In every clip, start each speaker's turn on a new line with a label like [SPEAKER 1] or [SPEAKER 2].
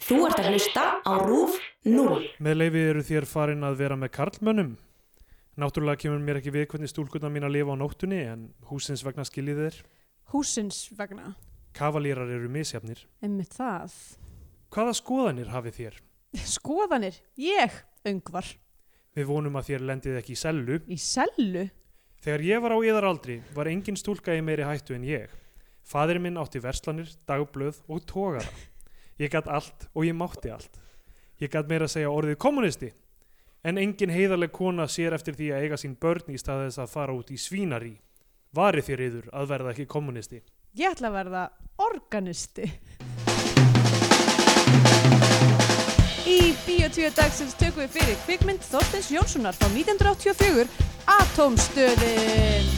[SPEAKER 1] Þú ert að hlusta á RÚF 0.
[SPEAKER 2] Með leifi eru þér farin að vera með karlmönnum. Náttúrulega kemur mér ekki við hvernig stúlkunna mín að lifa á nóttunni en húsins vegna skiljið þeir.
[SPEAKER 3] húsins vegna.
[SPEAKER 2] Kavalýrar eru misjafnir.
[SPEAKER 3] Einmitt það.
[SPEAKER 2] Hvaða skoðanir hafið þér?
[SPEAKER 3] Skoðanir. Ég, öngvar.
[SPEAKER 2] Við vonum að þér lendið ekki í sellu.
[SPEAKER 3] Í sellu.
[SPEAKER 2] Þegar ég var á yðar aldri var engin stúlka í meiri hættu en ég. Fadir minn átti verslanir, dagblöð og tógara. Ég gat allt og ég mátti allt. Ég gat meira að segja orðið komunisti. En engin heiðarleg kona sér eftir því að eiga sín börn í stað þess að fara út í svínarí. Varið þér yður að verða ekki komunisti.
[SPEAKER 3] Ég ætla að verða organisti. Í Bíotvíu dagsins tökum við fyrir kvikmynd Þorstins Jónssonar frá 1984 Atomstöðin.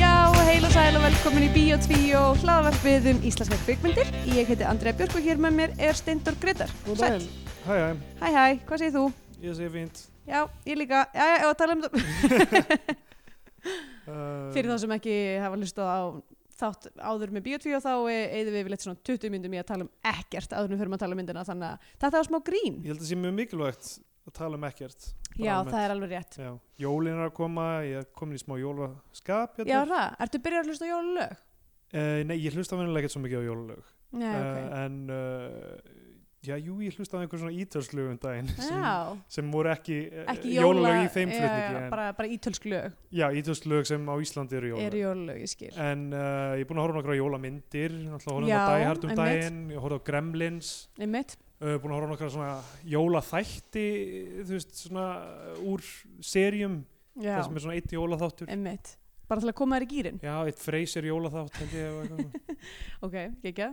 [SPEAKER 3] Já, heil og sæl og velkomin í Bíó 2 og hlaðvarpið um íslenska kvikmyndir. Ég heiti Andrea Björk og hér með mér er Steindor Gretar. Sæll.
[SPEAKER 2] Hæ, hæ,
[SPEAKER 3] Hæ, hæ, hvað segir þú?
[SPEAKER 2] ég sé fínt.
[SPEAKER 3] Já, ég líka. Já, já, ef að tala um það.
[SPEAKER 2] Uh,
[SPEAKER 3] Fyrir þá sem ekki hafa hlustað á þátt áður með Bíó 2 þá eigðum við yfirleitt svona 20 myndum í að tala um ekkert áður en við förum að tala um myndina þannig að þetta var smá grín.
[SPEAKER 2] Ég held að það sé mjög mikilvægt að tala um ekkert. Bara
[SPEAKER 3] Já,
[SPEAKER 2] almennt.
[SPEAKER 3] það er alveg rétt.
[SPEAKER 2] Já, jólin er að koma, ég er komin í smá jólaskap. hérna. Eh,
[SPEAKER 3] Já, er það. Ertu byrjað að hlusta á jólalög?
[SPEAKER 2] nei, ég hlusta venulega ekkert svo mikið á jólalög.
[SPEAKER 3] Nei, Ah, ok.
[SPEAKER 2] uh, en uh, já, jú, ég hlustaði á einhver svona ítalslög um daginn sem,
[SPEAKER 3] Já,
[SPEAKER 2] sem voru ekki, uh,
[SPEAKER 3] ekki jóla...
[SPEAKER 2] jólalög í þeim
[SPEAKER 3] já,
[SPEAKER 2] flutningi
[SPEAKER 3] Já,
[SPEAKER 2] en,
[SPEAKER 3] bara, bara ítölsk lög
[SPEAKER 2] já, ítalslög sem á Íslandi eru jólalög
[SPEAKER 3] eru jólalög, ég skil.
[SPEAKER 2] en uh, ég er búin að horfa á nokkra jólamyndir náttúrulega horfum
[SPEAKER 3] Já,
[SPEAKER 2] á Die Hard um
[SPEAKER 3] einmitt.
[SPEAKER 2] daginn ég horfði á Gremlins
[SPEAKER 3] Einmitt.
[SPEAKER 2] uh, búin að horfa á nokkra svona jólaþætti þú veist, svona uh, úr serjum,
[SPEAKER 3] Já.
[SPEAKER 2] það sem er svona eitt jólaþáttur
[SPEAKER 3] Einmitt. Bara til að koma þér í gýrin.
[SPEAKER 2] já, eitt freysir jólaþátt held ég, og eitthvað.
[SPEAKER 3] Ok, ekki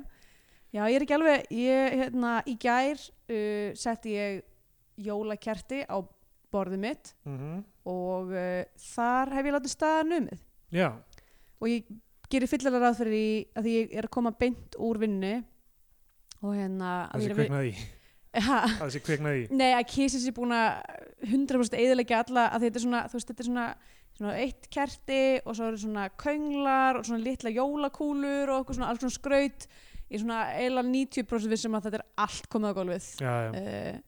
[SPEAKER 3] Já, ég er ekki alveg, ég, hérna, í gær uh, setti ég jólakerti á borðið mitt
[SPEAKER 2] Mhm.
[SPEAKER 3] og uh, þar hef ég látið staðan umið.
[SPEAKER 2] já,
[SPEAKER 3] Og ég gerir fyllilega ráð fyrir því að því ég er að koma beint úr vinnu og hérna...
[SPEAKER 2] það
[SPEAKER 3] að
[SPEAKER 2] sé
[SPEAKER 3] ég er að
[SPEAKER 2] kveiknaði í
[SPEAKER 3] vi- Ha,
[SPEAKER 2] það sé kveiknaði í
[SPEAKER 3] Nei, að kísis er búin að 100% eðilegja alla að þetta er svona, þú veist, þetta er svona, svona eitt kerti og svo eru svona könglar og svona litla jólakúlur og okkur svona alls svona skraut í svona eiginlega 90% vissum um að þetta er allt komið á gólfið
[SPEAKER 2] já, já.
[SPEAKER 3] uh,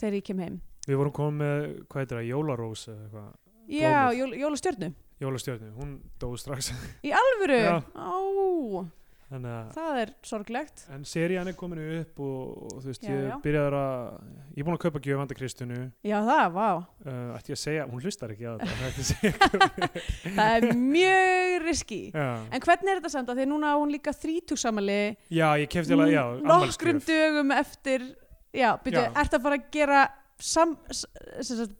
[SPEAKER 3] þegar ég kem heim.
[SPEAKER 2] Við vorum komið með, hvað heitir það, Jólarós eða eitthvað,
[SPEAKER 3] Já, jól, jólastjörnu.
[SPEAKER 2] Jólastjörnu, hún dói strax.
[SPEAKER 3] Í alvöru?
[SPEAKER 2] Já.
[SPEAKER 3] Á,
[SPEAKER 2] Þannig að,
[SPEAKER 3] það er sorglegt.
[SPEAKER 2] en serían er komin upp og, og þú veist,
[SPEAKER 3] Já, já.
[SPEAKER 2] ég byrjaði að, ég er búin að kaupa gjöfanda Kristjánu,
[SPEAKER 3] Já, það, vá.
[SPEAKER 2] uh, ætti ég að segja, hún hlustar ekki að þetta, ætti ég að segja.
[SPEAKER 3] Það er mjög riski.
[SPEAKER 2] Já,
[SPEAKER 3] En hvernig er þetta samt að því að núna á hún líka þrítugsamali
[SPEAKER 2] já ég kefti alveg, já, afmælisgjöf.
[SPEAKER 3] nokkrum dögum eftir já, byrju,
[SPEAKER 2] Já.
[SPEAKER 3] ert að fara að gera sam, s- sem sagt,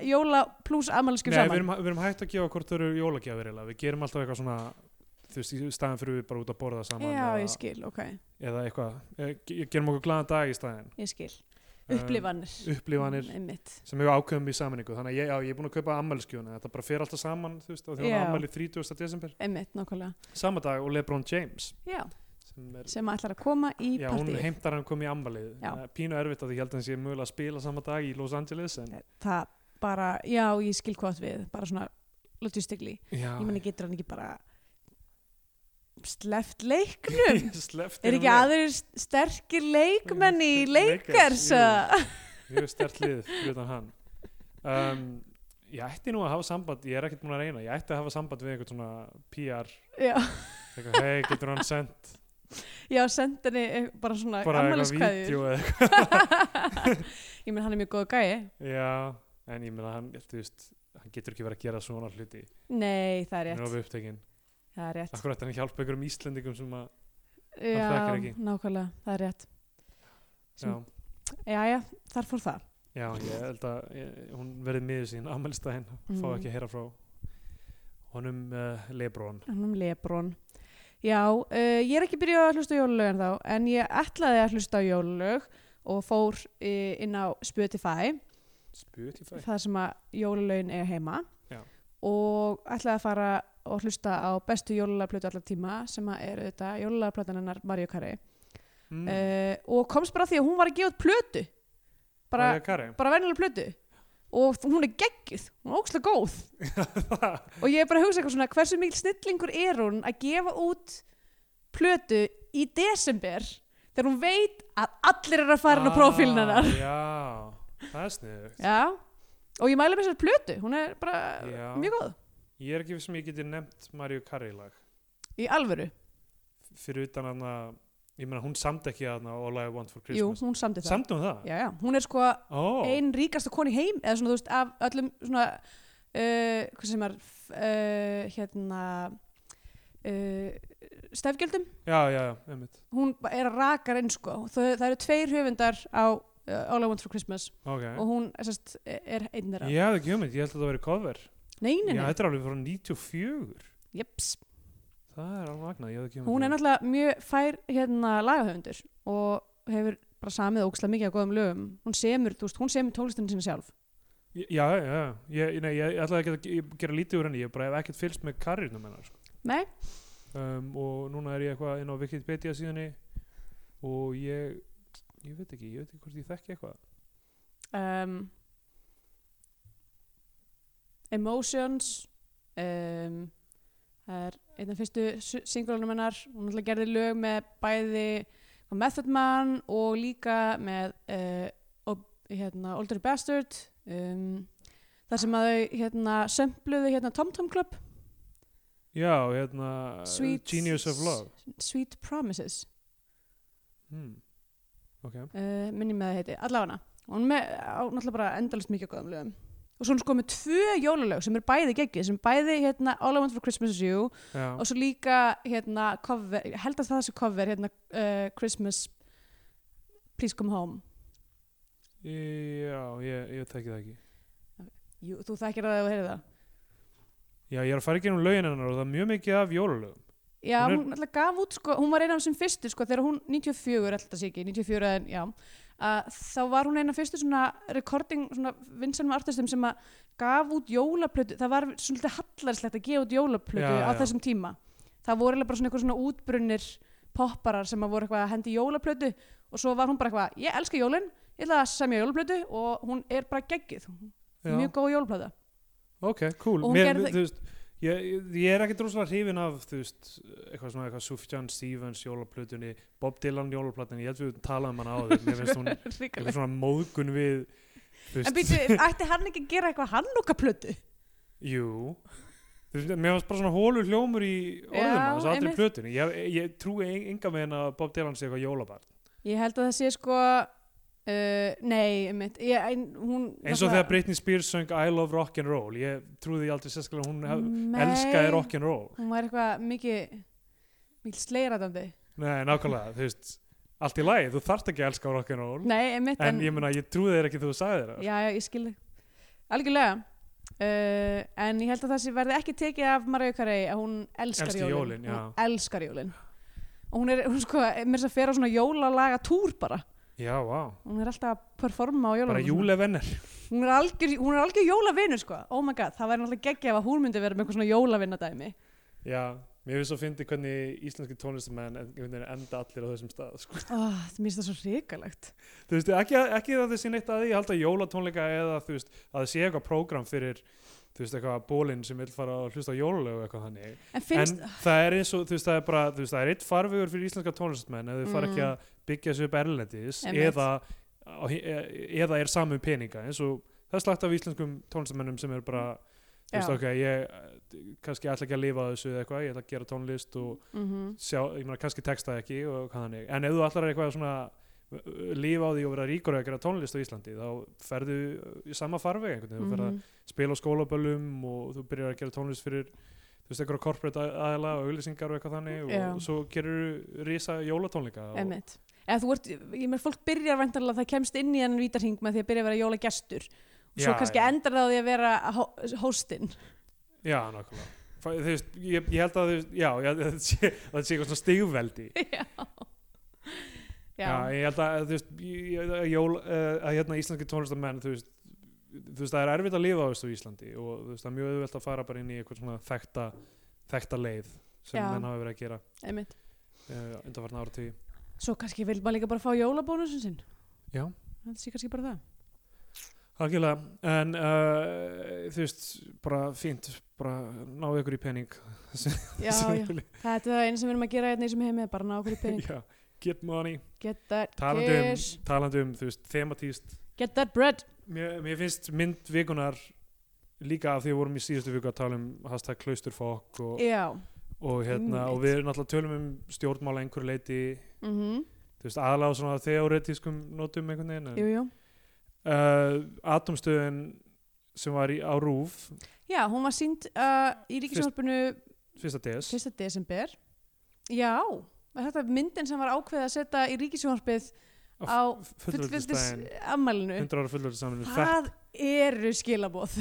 [SPEAKER 3] jóla pluss ammæliskum
[SPEAKER 2] Nei, við
[SPEAKER 3] saman
[SPEAKER 2] erum, við erum hægt að gefa hvort þau eru jólagjafir eiginlega, við gerum alltaf eitthvað svona, þú veist, í staðan fyrir við bara út að borða saman
[SPEAKER 3] já, ég
[SPEAKER 2] eða,
[SPEAKER 3] skil, ok,
[SPEAKER 2] eða eitthvað, Eh, ge- gerum okkur glaðan dag í staðin.
[SPEAKER 3] ég skil
[SPEAKER 2] Um,
[SPEAKER 3] upplifanir,
[SPEAKER 2] Upplifanir,
[SPEAKER 3] Mm, einmitt.
[SPEAKER 2] sem hefur ákveðum í sammenningu þannig að ég, já, ég er búin að kaupa ammæliskjóna þetta bara fer alltaf saman þú veist, á því hún
[SPEAKER 3] Já.
[SPEAKER 2] ammæli 30. desember
[SPEAKER 3] einmitt, nákvæmlega
[SPEAKER 2] sama dag og Lebron James
[SPEAKER 3] já,
[SPEAKER 2] sem er,
[SPEAKER 3] sem ætlar að koma í
[SPEAKER 2] já, hún
[SPEAKER 3] partíið
[SPEAKER 2] heimtar hann komið í ammælið
[SPEAKER 3] Já.
[SPEAKER 2] Það er pínu erfitt að því ég held að hann sé mögulega að spila sama dag í Los Angeles en,
[SPEAKER 3] það bara, já, ég skil hvað átt við bara svona logistikli
[SPEAKER 2] já,
[SPEAKER 3] ég meni, getur hann ekki bara sleft leiknum
[SPEAKER 2] sleftir
[SPEAKER 3] er ekki aðrir st- sterkir leikmenn í leikers
[SPEAKER 2] Lakers, jú.
[SPEAKER 3] eða?
[SPEAKER 2] mjög stert lið fyrir utan hann um, ég ætti nú að hafa samband ég er ekkert búin að reyna, ég ætti að hafa samband við eitthvað svona PR
[SPEAKER 3] já
[SPEAKER 2] eitthvað, hei, getur hann sendt
[SPEAKER 3] Já, sendi henni eh, bara svona
[SPEAKER 2] bara eitthvað
[SPEAKER 3] ammæliskveðjur.
[SPEAKER 2] vídeo eða
[SPEAKER 3] ég menn hann er mjög góð gæi.
[SPEAKER 2] Já, en ég meina hann, þú veist, hann getur ekki verið að gera svona hluti.
[SPEAKER 3] Nei, það er
[SPEAKER 2] Hann er
[SPEAKER 3] rétt.
[SPEAKER 2] ofið upptekinn.
[SPEAKER 3] Það er rétt.
[SPEAKER 2] Akkur ætti hann ekki að hjálpa einhverjum Íslendingum sem að, þekkir
[SPEAKER 3] Já,
[SPEAKER 2] ekki.
[SPEAKER 3] nákvæmlega, það er rétt.
[SPEAKER 2] já,
[SPEAKER 3] Sem- Jæja, þar fór það.
[SPEAKER 2] já, ég held að ég, hún verði miður sín, ammælstæðin, mm. fá
[SPEAKER 3] Mm.
[SPEAKER 2] ekki að heyra frá honum uh, Lebron.
[SPEAKER 3] Hann um Lebron. Já, uh, ég er ekki byrjuð að hlusta á jólulög en þá, en ég ætlaði að hlusta á jólulög og fór uh, inn á Spotify,
[SPEAKER 2] Spotify.
[SPEAKER 3] það sem að jólulögin er heima.
[SPEAKER 2] Já.
[SPEAKER 3] Og ætlaði að fara og hlusta á bestu jólulagplötu allar tíma sem að er auðvitað jólulagplötan hennar Mario Carey.
[SPEAKER 2] mm.
[SPEAKER 3] uh, og komst bara að því að hún var að gefa út plötu bara,
[SPEAKER 2] Mariah Carey.
[SPEAKER 3] bara venjulega plötu og þ- hún er geggið, hún er ókslega góð og ég er bara að hugsa eitthvað svona hversu mikil snillingur er hún að gefa út plötu í desember þegar hún veit að allir eru að fara inn á prófílinn hennar
[SPEAKER 2] Ah, já, það er sniðugt
[SPEAKER 3] já, og ég mæla með þessar plötu hún er bara
[SPEAKER 2] Já.
[SPEAKER 3] mjög góð
[SPEAKER 2] ég er ekki sem ég geti nefnt Mario Carey lag
[SPEAKER 3] í alvöru,
[SPEAKER 2] fyrir utan hann ég meina hún samt ekki að All I Want for
[SPEAKER 3] jú,
[SPEAKER 2] Christmas
[SPEAKER 3] hún samdi það
[SPEAKER 2] samt um það?
[SPEAKER 3] já, já. hún er sko
[SPEAKER 2] Ó,
[SPEAKER 3] ein ríkasta koni í heim eða svona þú veist af öllum svona uh, hvað sem er uh, hérna uh, stefgjöldum
[SPEAKER 2] já, já, já, einmitt
[SPEAKER 3] hún ba- er að raka einn sko það, það eru tveir höfundar á uh, All I Want For Christmas
[SPEAKER 2] okay.
[SPEAKER 3] og hún sest, er einn þeirra
[SPEAKER 2] ég hafði ekki hugmynd, ég held að það væri cover
[SPEAKER 3] nei, nei,
[SPEAKER 2] já,
[SPEAKER 3] nei,
[SPEAKER 2] þetta er alveg frá 94
[SPEAKER 3] jeps
[SPEAKER 2] það er alveg magnað, ég hafði ekki hugmynd um
[SPEAKER 3] hún er náttúrulega mjög fær hérna lagahöfundur og hefur bara samið ókslega mikið af góðum lögum hún semur, þú veist, hún semur tólestinu sinni sjálf
[SPEAKER 2] já, já, já, ég, nei, ég ætlaði ekki að ge- ég gera lítið úr henni, ég bara hef ekkert fylst með Careyna mennar sko.
[SPEAKER 3] nei,
[SPEAKER 2] um, og núna er ég eitthvað inn á Wikipedia síðanni og ég ég veit ekki, ég veit ekki hvort ég þekki eitthvað
[SPEAKER 3] um, Emotions um, það er einn af fyrstu singulunum hennar hún ætla gerði lög með bæði Method Man og líka með uh, ob, hérna, Older Bastard um, þar sem að þau hérna, sömbluðu hérna, Tom Tom Club
[SPEAKER 2] já, hérna,
[SPEAKER 3] Sweet-
[SPEAKER 2] Genius of Love
[SPEAKER 3] Sweet Promises
[SPEAKER 2] hmm. ok,
[SPEAKER 3] uh, minni með það heiti, allavega og hún með, á náttúrulega bara endalist mikið góðum lögum og svo hún sko með tvö jólalög sem er bæði geggið, sem er bæði hérna All I Want For Christmas Is You
[SPEAKER 2] já
[SPEAKER 3] og svo líka hérna cover, ég held að það sé cover hérna uh, Christmas Please Come Home
[SPEAKER 2] Já, ég, ég þekki það ekki
[SPEAKER 3] Jú, þú þekkir það að þú heyrið það
[SPEAKER 2] Já, ég er að fara ekki um lögin hennar og það er mjög mikið af jólalögum
[SPEAKER 3] Já,
[SPEAKER 2] Hún
[SPEAKER 3] hún,
[SPEAKER 2] er-
[SPEAKER 3] náttúrulega gaf út sko, hún var eina af þessum fyrstu sko, þegar hún 94, alltaf sé ekki, 94 en já, að, þá var hún eina af fyrstu svona recording, svona vinsanum artistum sem að gaf út jólaplötu, það var svona hallarslegt að gefa út jólaplötu
[SPEAKER 2] Já,
[SPEAKER 3] á
[SPEAKER 2] já.
[SPEAKER 3] þessum tíma. Það voru eiginlega bara svona eitthvað svona útbrunnir popparar sem að voru eitthvað að hendi í jólaplötu og svo var hún bara eitthvað, ég elska jólin, ég ætla að semja jólaplötu og hún er bara geggið,
[SPEAKER 2] Já,
[SPEAKER 3] mjög góð jólaplöta.
[SPEAKER 2] ok, cool
[SPEAKER 3] Og hún
[SPEAKER 2] mér,
[SPEAKER 3] gerði
[SPEAKER 2] mér,
[SPEAKER 3] það-
[SPEAKER 2] þú veist, ég, ég- ég er ekki droslega hrifin af, þú veist eitthvað svona, eitthvað Sufjan Stevens jólaplutunni Bob Dylan jólaplatunni, ég held við talaðum hann á því mér finnst hún
[SPEAKER 3] Ríkalegt.
[SPEAKER 2] eitthvað svona móðgun við þú
[SPEAKER 3] En
[SPEAKER 2] veist,
[SPEAKER 3] býttu, ætti hann ekki að gera eitthvað hannúkaplötu?
[SPEAKER 2] jú Þú veist, mér varst bara svona hólur hljómur í orðum
[SPEAKER 3] Já,
[SPEAKER 2] hans, allir
[SPEAKER 3] einmitt.
[SPEAKER 2] plötunni ég, ég trúi en- enga með henn að Bob Dylan sé eitthvað jólabarn
[SPEAKER 3] Ég held að það sé sko uh, Nei, mitt ég, ein, hún,
[SPEAKER 2] eins og þegar Britney Spears söng I love rock'n'roll ég trúði aldrei sérstaklega að hún hef,
[SPEAKER 3] Nei,
[SPEAKER 2] elskaði rock'n'roll
[SPEAKER 3] Hún var eitthvað mikið mikið sleiratandi
[SPEAKER 2] Nei, nákvæmlega, þú veist allt í lagi, þú þarft ekki að elska rock'n'roll
[SPEAKER 3] Nei, einmitt
[SPEAKER 2] Mm. en ég meina, ég trúði þér ekki þú sagði þér það.
[SPEAKER 3] Já, já, ég skil þig Algjörlega uh, En ég held að það sé verði ekki tekið af Mariu Carey að hún elskar
[SPEAKER 2] Elski
[SPEAKER 3] jólin,
[SPEAKER 2] jólin, já.
[SPEAKER 3] Hún elskar jólin Og hún er, hún sko, mér þess að fer á svona jólalaga túr bara
[SPEAKER 2] Já, vá,
[SPEAKER 3] Hún er alltaf að performa á jólalaga
[SPEAKER 2] bara júlevenner
[SPEAKER 3] Hún er algjör, hún er algjör jólavinur sko Oh my god, það væri náttúrulega geggjaf að hún myndi vera með eitthvað svona jólavinnadæmi
[SPEAKER 2] Já, mér finnst svo fyndi hvernig íslenski tónlistamenn en- einhvern veginn enda allir á þessum stað sko.
[SPEAKER 3] Oh, það minnst það svo hrikalegt.
[SPEAKER 2] Þú veist, ekki, ekki að það sé neitt að því ég held að jólatónleika eða þú veist, að það sé eitthvað prógram fyrir, þú veist, eitthvað bólinn sem vil fara að hlusta á jólalög og eitthvað þannig
[SPEAKER 3] En finnst,
[SPEAKER 2] en það er eins og þú veist það er bara þú veist það er eitt farvegur fyrir íslenska tónlistmenn ef þau fara ekki
[SPEAKER 3] Mm.
[SPEAKER 2] að byggja sér upp erlendis
[SPEAKER 3] Einmitt.
[SPEAKER 2] eða, á hi- e- eða er saman peninga eins og það er slagt af íslenskum tónlistamennum sem er bara þú veist
[SPEAKER 3] Já.
[SPEAKER 2] ok ég eh, kannski ætla ekki að lifa á þessu eða eitthvað ég ætla að gera tónlist og
[SPEAKER 3] mm
[SPEAKER 2] sjá ég meina kannski texta ekki og hvað þannig en ef þú ætlar eitthvað svona eh, eh, lifa á því og vera ríkur og að gera tónlist á Íslandi þá ferðu eh, í sama farveg einhvern veginn, þú
[SPEAKER 3] Mhm.
[SPEAKER 2] ferð að spila á skólaböllum og þú byrjar að gera tónlist fyrir þú veist, einhverja corporate a- aðila og auglýsingar og eitthvað þannig og
[SPEAKER 3] Já.
[SPEAKER 2] svo gerir þú risa jólatónleika og,
[SPEAKER 3] Emmett. Eða þú ert, ég með fólk byrjar vantarlega að það kemst inn í enn vítarhing með því að byrja að vera jólagestur. Og svo
[SPEAKER 2] Já,
[SPEAKER 3] kannski
[SPEAKER 2] já.
[SPEAKER 3] endar það á því að vera hó- hostinn.
[SPEAKER 2] Já, nákvæmlega Fæ- Þú veist, ég, ég held að þú veist, já, ég, það sé það sé eitthvað svona stigveldi
[SPEAKER 3] Já.
[SPEAKER 2] já, ég held að, þú veist, ég- ég- að, jól, eh, að hérna íslenski tónlistamenn þú veist, þú veist, það er erfitt að lifa á þessu á Íslandi og þú veist, það er mjög auðvelt að fara bara inn í eitthvað svona þekta, þekta leið sem
[SPEAKER 3] Já.
[SPEAKER 2] menn hafa verið að gera
[SPEAKER 3] Einmitt.
[SPEAKER 2] uh, undanfarna ára tíu
[SPEAKER 3] Svo kannski vil maður líka bara fá jólabónusin sinn.
[SPEAKER 2] Já.
[SPEAKER 3] Það sé kannski bara það.
[SPEAKER 2] Algjörlega, en uh, þú veist, bara fínt bara náðu ykkur í pening
[SPEAKER 3] Já, já. Þetta er það einu sem við erum að gera hérna í sem heimi, bara ná okkur í pening.
[SPEAKER 2] já, get money
[SPEAKER 3] Get that
[SPEAKER 2] talandi um,
[SPEAKER 3] cash.
[SPEAKER 2] talandi um, þú veist, thematíst
[SPEAKER 3] Get that bread.
[SPEAKER 2] mér, mér finnst mynd vikunar líka af því að við vorum í síðustu viku að tala um hashtag klausturfokk og,
[SPEAKER 3] Já.
[SPEAKER 2] og, hérna, og
[SPEAKER 3] einmitt.
[SPEAKER 2] við náttúrulega tölum um stjórnmála einhverju leiti
[SPEAKER 3] Mm
[SPEAKER 2] þú veist, aðalega á svona þeoretískum nótum einhvern veginn en-
[SPEAKER 3] Jú, jú.
[SPEAKER 2] uh, Atomstöðin sem var í, á RÚF
[SPEAKER 3] Já, hún var sínd uh, í ríkisjónvarpinu
[SPEAKER 2] fyrsta DS
[SPEAKER 3] 1. desember. Já, var þetta myndin sem var ákveðið að setja í ríkisjónvarpið á fullveldis
[SPEAKER 2] fullveldisdaginn
[SPEAKER 3] ammælinu.
[SPEAKER 2] 100 ára fullveldisdaginn
[SPEAKER 3] Hvað eru skilabóð?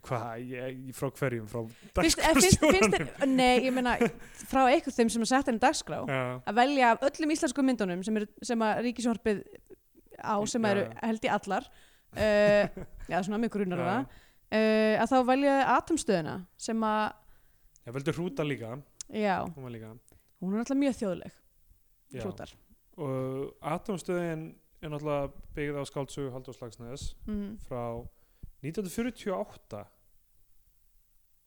[SPEAKER 2] hvað, ég, frá hverjum frá
[SPEAKER 3] Finnst- eh, finnst- finnst
[SPEAKER 2] dagskrárstjóranum
[SPEAKER 3] þér- Nei, ég meina frá einhver þeim sem að setja henni dagskrá
[SPEAKER 2] Já,
[SPEAKER 3] að velja af öllum íslensku myndunum sem, er, sem að ríkisjórfið á sem
[SPEAKER 2] Já,
[SPEAKER 3] eru
[SPEAKER 2] já.
[SPEAKER 3] held í allar uh, já, svona mjög grunar
[SPEAKER 2] já.
[SPEAKER 3] það uh, að þá velja þau atomstöðina sem að,
[SPEAKER 2] Já, veldu hrúta líka,
[SPEAKER 3] já,
[SPEAKER 2] hún var líka
[SPEAKER 3] hún er alltaf mjög þjóðleg
[SPEAKER 2] Já.
[SPEAKER 3] hrútar
[SPEAKER 2] og Atomstöðin er náttúrulega byggð á skáldsögu Halldórs Lagsnes
[SPEAKER 3] mm.
[SPEAKER 2] frá 1948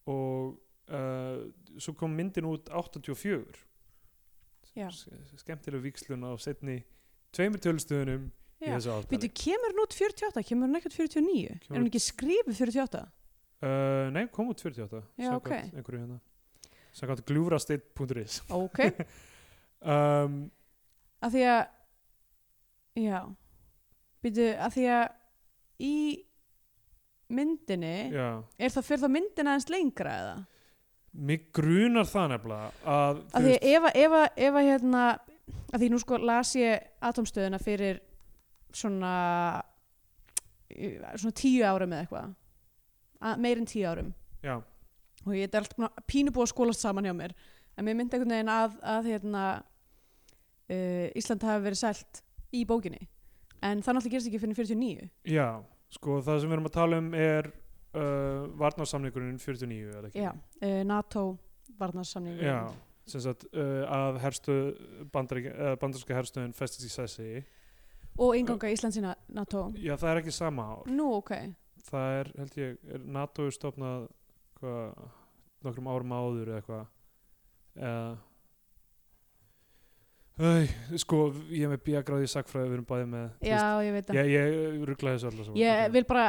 [SPEAKER 2] og uh, svo kom myndin út 84
[SPEAKER 3] Já.
[SPEAKER 2] skemmtileg víkslun á setni tveimur tölustöðunum í
[SPEAKER 3] Já.
[SPEAKER 2] þessu áttali
[SPEAKER 3] Býtu, kemur hún út 48? Kemur hún ekkert 49?
[SPEAKER 2] Kemur
[SPEAKER 3] Er hún ekki skrifið 48?
[SPEAKER 2] uh, nei, kom út 48
[SPEAKER 3] Já,
[SPEAKER 2] samkvæmt
[SPEAKER 3] ok.
[SPEAKER 2] einhverju hérna samkvæmt glúfrasteitt.is
[SPEAKER 3] Ok,
[SPEAKER 2] um,
[SPEAKER 3] af því að já, býtu, af því að í myndinni
[SPEAKER 2] já
[SPEAKER 3] er það fyrir það myndin aðeins lengra eða?
[SPEAKER 2] mig grunar það nefnilega að,
[SPEAKER 3] Af því að ef, að- ef, að- ef að hérna af því nú sko las ég atomstöðuna fyrir svona eh, svona tíu árum eða eitthvað A- meir en tíu árum
[SPEAKER 2] já,
[SPEAKER 3] og ég er alltaf búin að- pínu búið að skólast saman hjá mér en mér myndi einhvern veginn að, að hérna, uh, Ísland hafi verið sælt í bókinni en það náttúrulega gerist ekki fyrir 49
[SPEAKER 2] já, sko það sem við erum að tala um er uh, varnarsamningurinn 49 eða ekki
[SPEAKER 3] já, uh, NATO varnarsamning
[SPEAKER 2] Já, sem sagt uh, að herstuð, bandarík, uh, bandarska herstöðin festist í sessi
[SPEAKER 3] og inganga Íslands í na- NATO
[SPEAKER 2] Já, það er ekki sama ár
[SPEAKER 3] nú ok,
[SPEAKER 2] Það er, held ég, er NATO er stofnað hvað, nokkrum árum áður eða eitthvað eða Æ, sko, ég er með bíagráði í sakfræði, við erum bæði með þú veist,
[SPEAKER 3] já ég veit að
[SPEAKER 2] Ég, ég ruggla þessu allar saman
[SPEAKER 3] Ég vil bara,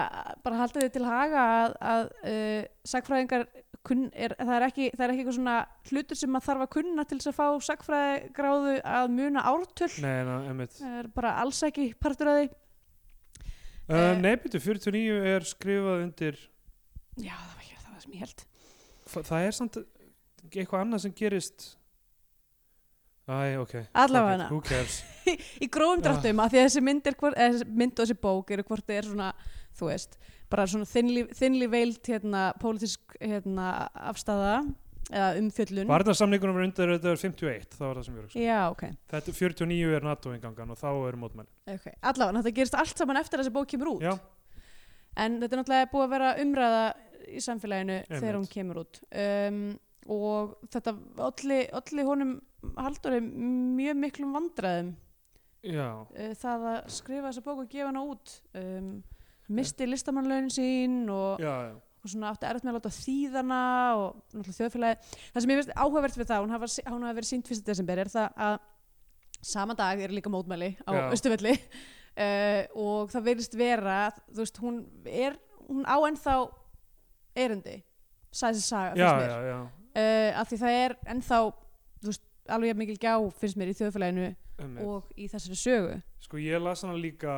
[SPEAKER 3] bara halda þið til haga að, að uh, sagfræðingar kunn, er, það, er ekki, það er ekki eitthvað svona hlutur sem maður þarf að kunna til þess að fá sagfræðigráðu að muna ártöl
[SPEAKER 2] Nei, na, einmitt
[SPEAKER 3] það er bara alls ekki partur að því
[SPEAKER 2] uh,
[SPEAKER 3] Eh.
[SPEAKER 2] Nei, býttu, 49 er skrifað undir
[SPEAKER 3] Já, það var ekki það var sem ég held
[SPEAKER 2] Hva- Það er samt eitthvað annað sem gerist Æ, ok
[SPEAKER 3] Allavega
[SPEAKER 2] Fuck it, Who cares
[SPEAKER 3] Í grófum dráttum, af því að þessi mynd, er hvort, eða þessi mynd og þessi bók eru hvort þið er svona, þú veist, bara svona þinnli, þinnli veilt hérna, pólitísk hérna, afstaða eða umfjöllun
[SPEAKER 2] Varnarsamningunum var undir þetta er 51 Það var það sem ég röksa
[SPEAKER 3] Já, ok,
[SPEAKER 2] Þetta 49 er NATO-ingangan og þá eru mótmenn
[SPEAKER 3] ok Allavega, þetta gerist allt saman eftir að þessi bók kemur út
[SPEAKER 2] Já,
[SPEAKER 3] en þetta er náttúrulega búið að vera umræða í samfélaginu
[SPEAKER 2] Einmitt.
[SPEAKER 3] þegar hún kemur út um, og þetta olli, olli honum Halldóri mjög miklum vandræðum
[SPEAKER 2] já
[SPEAKER 3] uh, það að skrifa þessa bók og gefa hana út um, misti listamannlaunin sín og,
[SPEAKER 2] Já, já
[SPEAKER 3] og svona átti erfitt með að láta þýðana og náttúrulega þjóðfélagi það sem ég finnst áhugavert við það, hún hafa, hún hafa verið sínt 1. desember er það að sama dag er líka mótmæli
[SPEAKER 2] Já.
[SPEAKER 3] á Östuvelli uh, og það verðist vera þú veist, hún er hún á ennþá erindi sæðis saga,
[SPEAKER 2] Já,
[SPEAKER 3] finnst mér
[SPEAKER 2] já, já
[SPEAKER 3] uh, af því það er ennþá þú veist, alveg jafn mikil gjá finnst mér í þjóðfélaginu
[SPEAKER 2] Einmitt.
[SPEAKER 3] og í þessari sögu
[SPEAKER 2] Sko ég las hana líka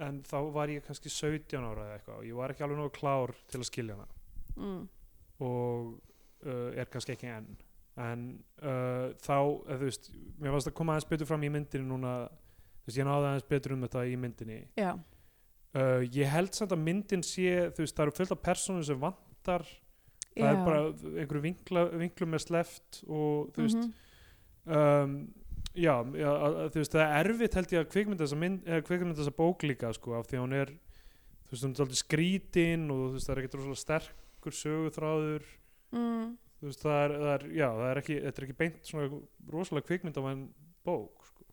[SPEAKER 2] En þá var ég kannski 17 ára eða eitthvað Og ég var ekki alveg nógu klár til að skilja hana
[SPEAKER 3] mm.
[SPEAKER 2] Og uh, er kannski ekki enn En uh, þá, eða, þú veist Mér varst að koma aðeins betur fram í myndinni núna Þú veist, ég náði aðeins betur um þetta í myndinni
[SPEAKER 3] já
[SPEAKER 2] uh, Ég held samt að myndin sé Þú veist, það eru fullt af personum sem vantar það er
[SPEAKER 3] Já.
[SPEAKER 2] bara einhverju vinkla, vinklum er sleft og þú veist
[SPEAKER 3] Mhm.
[SPEAKER 2] um, já, já að- að- þú veist það er erfitt held ég að kvikmynda þessa, mynd, eh, kvikmynda þessa bók líka sko af því að hún er þú veist hún er alltaf skrítin og þú veist það er ekki rosalega sterkur söguþráður
[SPEAKER 3] mm.
[SPEAKER 2] þú veist það er, það er já það er ekki, þetta er ekki beint svona rosalega kvikmynda bók sko.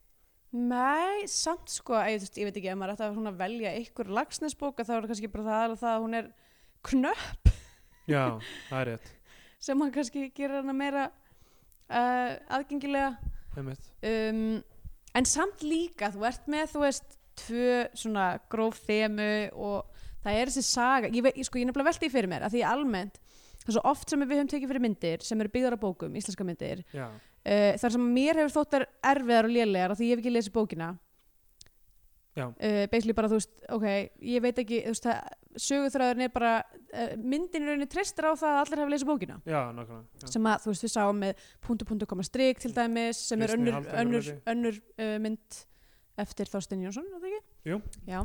[SPEAKER 3] Nei, samt sko, ég, veist, ég veit ekki, ef maður ætti að svona velja ykkur lagsnesbók, þá er kannski bara það aðalega það að hún er knöpp
[SPEAKER 2] Já, það er rétt
[SPEAKER 3] sem hann kannski gerir hana meira uh, aðgengilega.
[SPEAKER 2] einmitt.
[SPEAKER 3] Um, en samt líka, þú ert með, þú veist, tvö svona gróf þemu og það er þessi saga. Ég, veit, ég sko, ég er nefnilega velti fyrir mér, að því almennt, það er svo oft sem við höfum tekið fyrir myndir sem eru byggðar á bókum, íslenska myndir,
[SPEAKER 2] Já,
[SPEAKER 3] uh, þar sem mér hefur þótt þær erfiðar og lélegar af því ég hef ekki lesið bókina
[SPEAKER 2] Já.
[SPEAKER 3] uh, basically bara þú veist, ok ég veit ekki, þú veist það söguþræðurinn er bara, uh, myndin í rauninni tristar á það að allir hafi lesið bókina
[SPEAKER 2] já, nákvæmlega já.
[SPEAKER 3] sem að þú veist við sáum með punktu punktu koma strik til dæmis sem er
[SPEAKER 2] Kristný
[SPEAKER 3] önnur,
[SPEAKER 2] Halldóra
[SPEAKER 3] önnur,
[SPEAKER 2] Rauði.
[SPEAKER 3] önnur uh, mynd eftir Þorstein Jónsson, er það ekki?
[SPEAKER 2] Jú.
[SPEAKER 3] Já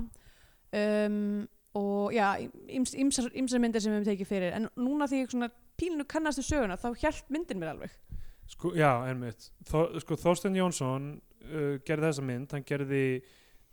[SPEAKER 3] um, og já, íms, ímsar, ímsar myndir sem við höfum tekið fyrir en núna því ég svona pílinu kannastu söguna þá hjælt myndin mér alveg
[SPEAKER 2] Sko, já, einmitt Þó, sko, Þorstein Jónsson uh, gerði þessa mynd, hann gerði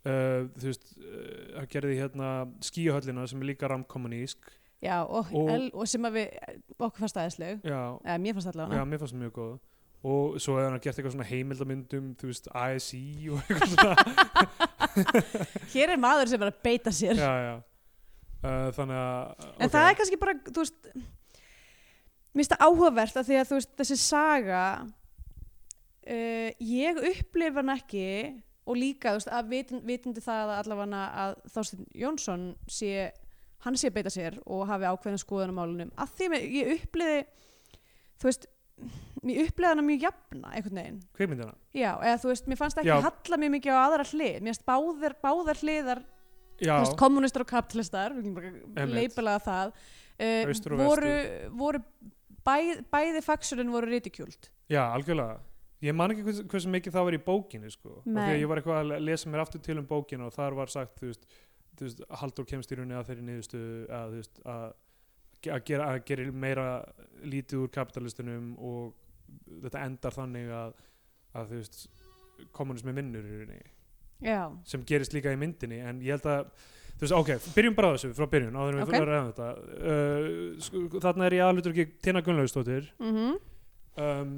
[SPEAKER 2] uh, þú veist, uh, hann gerði hérna skíuhöllina sem er líka ramkommunísk
[SPEAKER 3] Já, og,
[SPEAKER 2] Og-
[SPEAKER 3] el, og sem að við okkur fannst aðeinsleg,
[SPEAKER 2] Já,
[SPEAKER 3] eða mér fannst allavega
[SPEAKER 2] Já,
[SPEAKER 3] hana.
[SPEAKER 2] mér fannst það mjög góð og svo hefði hann gert eitthvað svona heimildamyndum þú veist, ASI og eitthvað svona
[SPEAKER 3] Hér er maður sem er að beita sér.
[SPEAKER 2] já, já uh, þannig að
[SPEAKER 3] En
[SPEAKER 2] ok.
[SPEAKER 3] það er kannski bara, þú veist, mér finnst það áhugavert að því að þú veist, þessi saga, uh, ég upplifa hann ekki og líka, þú veist, að vitund, vitundi það að allavega að Þorstein Jónsson sé, hann sé að beita sér og hafi ákveðna skoðan á málunum. Að því að ég upplifi, þú veist, mér upplifa hana mjög jafna einhvern veginn.
[SPEAKER 2] kvikmyndina
[SPEAKER 3] Já, eða þú veist, mér fannst ekki
[SPEAKER 2] Já.
[SPEAKER 3] halla mjög mikið á aðra hlið, mér fannst báðar, báðar hliðar,
[SPEAKER 2] já,
[SPEAKER 3] þú veist, kommunistar og kapitalistar, við getum bara
[SPEAKER 2] Einmitt.
[SPEAKER 3] leipilega það, eh,
[SPEAKER 2] Austur og
[SPEAKER 3] voru, voru bæ, bæði faksurinn voru ridikjúld.
[SPEAKER 2] já, algjörlega ég man ekki hvers, hversu mikið það var í bókinni sko. og því
[SPEAKER 3] Nei.
[SPEAKER 2] að ég var eitthvað að le- lesa mér aftur til um bókina og þar var sagt þú veist, þú veist Halldór kemst í rauninni að þeirri niðurstu að, þú veist, að, að, gera, að gera meira lítið úr kapitalistunum og þetta endar þannig að, að þú veist kommunismi vinnur í rauninni
[SPEAKER 3] Já,
[SPEAKER 2] sem gerist líka í myndinni en ég held að, þú veist, ok, byrjum bara á þessu frá byrjun, áður en við
[SPEAKER 3] Ok.
[SPEAKER 2] okay. ræðum þetta uh, sko, þarna er ég aðlutur ekki Tina Gunnlaugstóttir
[SPEAKER 3] mm
[SPEAKER 2] um,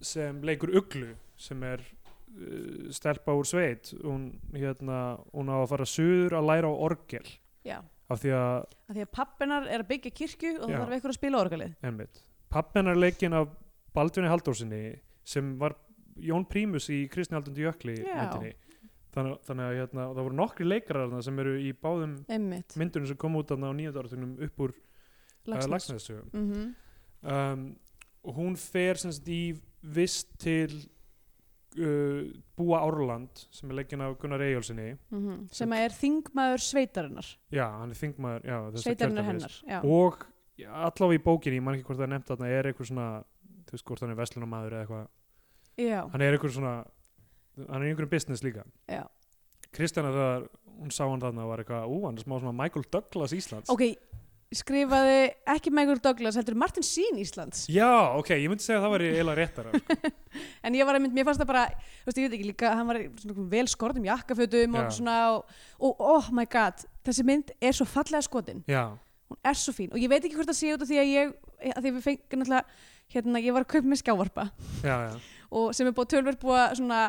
[SPEAKER 2] sem leikur Uglu sem er uh, stelpa úr sveit hún, hérna, hún á að fara suður að læra á orgel
[SPEAKER 3] já.
[SPEAKER 2] af því að,
[SPEAKER 3] Af því að pappinar er að byggja kirkju og
[SPEAKER 2] Já.
[SPEAKER 3] það þarf eitthvað að spila orgalið.
[SPEAKER 2] ennmitt pappin er leikin af Baldvinni Halldórsinni sem var Jón Prímus í Kristni Haldundi Jökli
[SPEAKER 3] Já.
[SPEAKER 2] myndinni þannig, þannig að hérna, það voru nokkri leikarar þarna sem eru í báðum
[SPEAKER 3] Einmitt,
[SPEAKER 2] myndunum sem kom út þarna á nýjönda áratugnum upp úr uh,
[SPEAKER 3] lagsnes.
[SPEAKER 2] lagsnesugum
[SPEAKER 3] Mhm.
[SPEAKER 2] um, og hún fer sem sagt í vist til uh, Búa Árland sem er leggin af Gunnar Eyjólfsinni
[SPEAKER 3] mhm. Sem að er þingmaður sveitarinnar,
[SPEAKER 2] já, hann er þingmaður já, þessa
[SPEAKER 3] sveitarinnar
[SPEAKER 2] kjördæmis.
[SPEAKER 3] hennar. Já.
[SPEAKER 2] og já, allavega í bókinni, ég man ekki hvort það er nefnt þarna er eitthvað svona, þú veist hvort hann er verslunamaður eða eitthvað,
[SPEAKER 3] já,
[SPEAKER 2] hann er eitthvað svona hann er í einhverjum business líka
[SPEAKER 3] já.
[SPEAKER 2] Kristjana þegar hún sá hann þarna var eitthvað, ú, hann er smá svona Michael Douglas Íslands
[SPEAKER 3] Ok, skrifaði ekki Michael Douglas, heldur Martin Sheen Íslands.
[SPEAKER 2] já, ok, ég myndi segja að það væri eiginlega réttara sko.
[SPEAKER 3] En ég var einmitt, mér fannst það bara, þú veist, ég veit ekki líka, hann var í svona einhverjum vel skortum jakkafötum
[SPEAKER 2] Já.
[SPEAKER 3] og svona, og, og oh my god, þessi mynd er svo fallega skotin,
[SPEAKER 2] já,
[SPEAKER 3] hún er svo fín og ég veit ekki hvort það sé út af því að ég, að því að við fengum náttúrulega, hérna, ég var að kaupa með skjávarpa
[SPEAKER 2] já, já
[SPEAKER 3] og sem er búið tölverð búið að svona,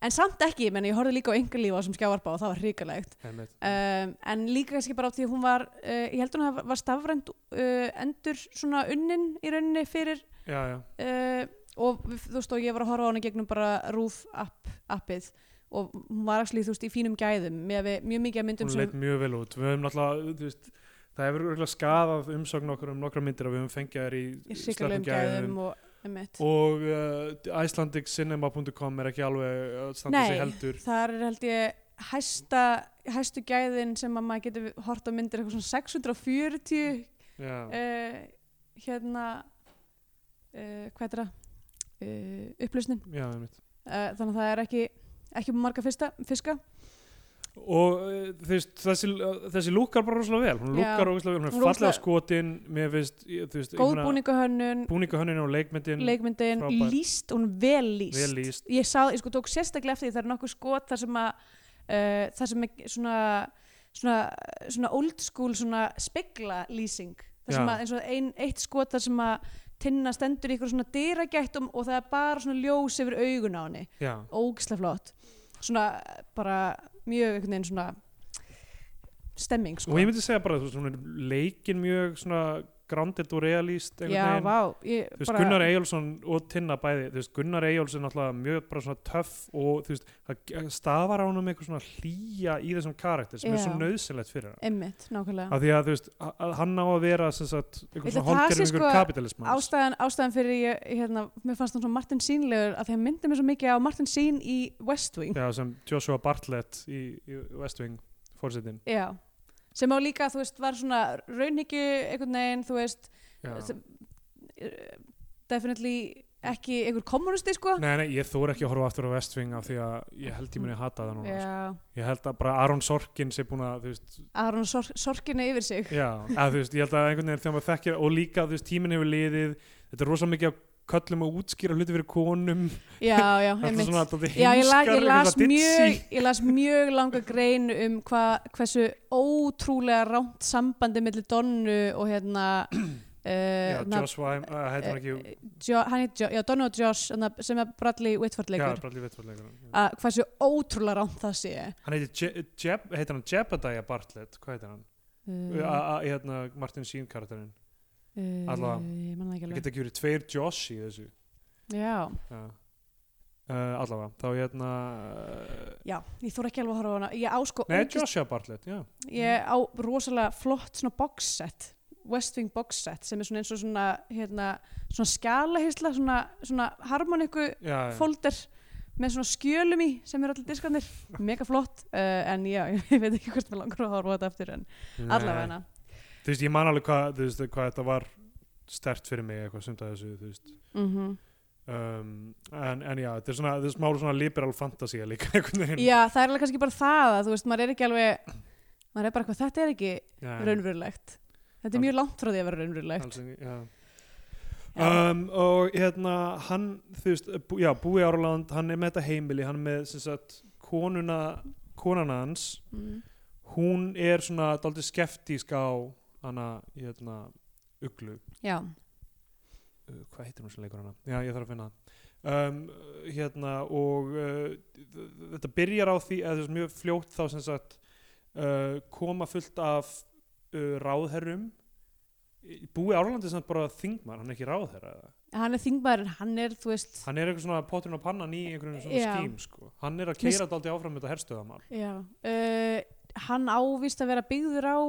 [SPEAKER 3] en samt ekki, ég menna ég horfði líka á enga lífa á þessum skjávarpa og það var hrikalegt.
[SPEAKER 2] einmitt.
[SPEAKER 3] Um, en líka kannski bara á því að hún var, uh, ég heldur hún að var stafrænt uh, endur svona unnin í rauninni fyrir
[SPEAKER 2] já, já,
[SPEAKER 3] uh, og við- þú veist og ég var að horfa á hana gegnum bara rúf app, appið og hún var axlið þú veist í fínum gæðum með að við mjög mikið af myndum
[SPEAKER 2] hún leit
[SPEAKER 3] sem
[SPEAKER 2] mjög vel út við höfum náttúrulega, þú veist það hefur örgulega skadað umsögn okkur um nokkra myndir að við höfum fengið þær í
[SPEAKER 3] í sikalum gæðum og emitt.
[SPEAKER 2] og uh, icelandiccinema.com er ekki alveg að standa
[SPEAKER 3] Nei.
[SPEAKER 2] sig heldur
[SPEAKER 3] þar er held ég hæsta, hæstu gæðin sem að maður getur hort á myndir eitthvað svona 640
[SPEAKER 2] já,
[SPEAKER 3] uh, hérna uh, hvað er það? Uh, upplýsnin
[SPEAKER 2] já, einmitt
[SPEAKER 3] uh, þannig að það er ekki ekki marga fyrsta, fiska
[SPEAKER 2] og uh, þú veist, þessi, þessi lúkar bara rosalega vel hún
[SPEAKER 3] Já.
[SPEAKER 2] lúkar rosalega vel, hún
[SPEAKER 3] Hún
[SPEAKER 2] er fallega
[SPEAKER 3] rosalega-
[SPEAKER 2] skotin mér finnst, ég- þú veist, ég
[SPEAKER 3] góð
[SPEAKER 2] meina,
[SPEAKER 3] búningahönnun,
[SPEAKER 2] búningahönnin og leikmyndin
[SPEAKER 3] leikmyndin
[SPEAKER 2] Frábær.
[SPEAKER 3] líst, hún vel líst
[SPEAKER 2] vel líst
[SPEAKER 3] ég, sá, ég sko tók sérstaklega eftir því það er nokkuð skot þar sem að uh, þar sem er svona, svona, svona old school svona spegla lýsing þar sem
[SPEAKER 2] Já.
[SPEAKER 3] að eins og ein, eitt skot þar sem að tinna stendur í ykkur svona dyragættum og það er bara svona ljós yfir augun á henni
[SPEAKER 2] já,
[SPEAKER 3] ógislega flott svona bara mjög einhvern veginn svona stemming sko.
[SPEAKER 2] og ég myndi segja bara þú veist, hún er leikin mjög svona grounded og realist einhvern
[SPEAKER 3] já,
[SPEAKER 2] veginn.
[SPEAKER 3] vá, ég,
[SPEAKER 2] þú veist, Gunnar Eyjálsson og Tinna bæði, þú veist, Gunnar Eyjálsson er náttúrulega mjög bara svona töff og þú veist, það stafar á honum eitthvað svona hlýja í þessum karakter sem er
[SPEAKER 3] Já.
[SPEAKER 2] svo nöðsynlegt fyrir hann.
[SPEAKER 3] einmitt, nákvæmlega
[SPEAKER 2] Af því að, þú veist, a- að hann á að vera sem sagt,
[SPEAKER 3] Ég
[SPEAKER 2] einhver
[SPEAKER 3] ætla
[SPEAKER 2] svona
[SPEAKER 3] að það sé
[SPEAKER 2] holdgerðingur
[SPEAKER 3] sko
[SPEAKER 2] sko kapitalismans.
[SPEAKER 3] ástæðan, ástæðan fyrir ég, ég, hérna, mér fannst hann svo Martin Sýnlegur að því hann myndi mér svo mikið á Martin Sýn í West Wing
[SPEAKER 2] Já, sem Joshua Bartlett í, í West Wing fórsetin.
[SPEAKER 3] já. sem á líka, þú veist, var svona raunhyggju einhvern veginn, þú veist
[SPEAKER 2] Já.
[SPEAKER 3] sem, eh, definitely ekki einhver kommunisti sko
[SPEAKER 2] Nei, nei, ég þóra ekki að horfa aftur á West Wing af því að ég held ég muni að hata það núna. sko.
[SPEAKER 3] já,
[SPEAKER 2] Ég held að bara Aron Sorkin sé búin að, þú veist,
[SPEAKER 3] Aron sor sorkinni yfir sig
[SPEAKER 2] Já, að, þú veist, ég held að einhvern veginn þegar maður þekkir og líka, þú veist, tíminn hefur liðið þetta er rosalega mikið að köllum að útskýra hluti fyrir konum,
[SPEAKER 3] já, já,
[SPEAKER 2] þetta er
[SPEAKER 3] einmitt
[SPEAKER 2] svona að þetta
[SPEAKER 3] Já, ég, la, ég, las
[SPEAKER 2] ditsi.
[SPEAKER 3] mjög, ég las mjög langa grein um hva, hversu ótrúlega ránt sambandi millir Donnu og hérna
[SPEAKER 2] Já,
[SPEAKER 3] uh,
[SPEAKER 2] Joshua, uh, heitir hann ekki
[SPEAKER 3] eh, jo, hann heit, jo, já, Donnu og Josh hérna, sem er Bradley Whitford
[SPEAKER 2] Já,
[SPEAKER 3] leikur
[SPEAKER 2] Bradley Whitford leikur
[SPEAKER 3] að hversu ótrúlega ránt það sé
[SPEAKER 2] Hann heitir, Je Jeb heitir hann Jebediah Bartlett, hvað heitir hann?
[SPEAKER 3] uh,
[SPEAKER 2] Mm. A, a, hérna, Martin Sheen karakterinn allavega.
[SPEAKER 3] ég man það ekki
[SPEAKER 2] Það
[SPEAKER 3] alveg
[SPEAKER 2] geta ekki verið tveir Josh í þessu
[SPEAKER 3] já,
[SPEAKER 2] Já Uh, allavega, þá hérna uh,
[SPEAKER 3] já, ég þóra ekki alveg að horfa á hana ég á sko
[SPEAKER 2] Nei,
[SPEAKER 3] ógeðslega-
[SPEAKER 2] Joshua Bartlett, já
[SPEAKER 3] ég á rosalega flott svona boxset West Wing boxset sem er svona eins og svona hérna, svona skjalahyrsla svona, svona harmoniku
[SPEAKER 2] Já, já.
[SPEAKER 3] folder með svona skjölum í sem eru allir diskarnir, mega flott uh, en já, ég veit ekki hvort mér langar að horfa á þetta aftur en
[SPEAKER 2] Nei.
[SPEAKER 3] allavega hana
[SPEAKER 2] þú veist, ég man alveg hvað, þú veist, hvað þetta var stert fyrir mig eitthvað sumt að þessu, þú veist
[SPEAKER 3] mm
[SPEAKER 2] um, en, en já, þetta er svona, þetta er smá svona liberal fantasía líka einhvern veginn
[SPEAKER 3] já, það er alveg kannski bara það að þú veist, maður er ekki alveg maður er bara eitthvað, þetta er ekki
[SPEAKER 2] Já,
[SPEAKER 3] raunverulegt þetta er mjög langt frá því að vera raunverulegt
[SPEAKER 2] alls ekki, já.
[SPEAKER 3] Já.
[SPEAKER 2] Um, og hérna hann, þú veist, bú, já, Búi Árland hann er með þetta heimili, hann er með sem sagt, konuna, konan hans
[SPEAKER 3] mm.
[SPEAKER 2] hún er svona daldið skeftísk á hana, hérna, uglu
[SPEAKER 3] já,
[SPEAKER 2] uh, hvað heitir hún sem leikur hana? Já, ég þarf að finna það um, hérna og uh, þetta byrjar á því eða þess mjög fljótt þá sem sagt uh, koma fullt af uh, ráðherrum Í- búi Árlandi samt bara þingmann, hann er ekki ráðherra eða?
[SPEAKER 3] hann er þingmaðurinn, hann er þú veist,
[SPEAKER 2] hann er eitthvað svona potturinn og pannan í einhvern svona
[SPEAKER 3] Já.
[SPEAKER 2] skím sko. hann er að
[SPEAKER 3] Mér-
[SPEAKER 2] keira þetta aldrei áfram með þetta herstöðamál
[SPEAKER 3] Já, uh, hann ávist að vera byggður á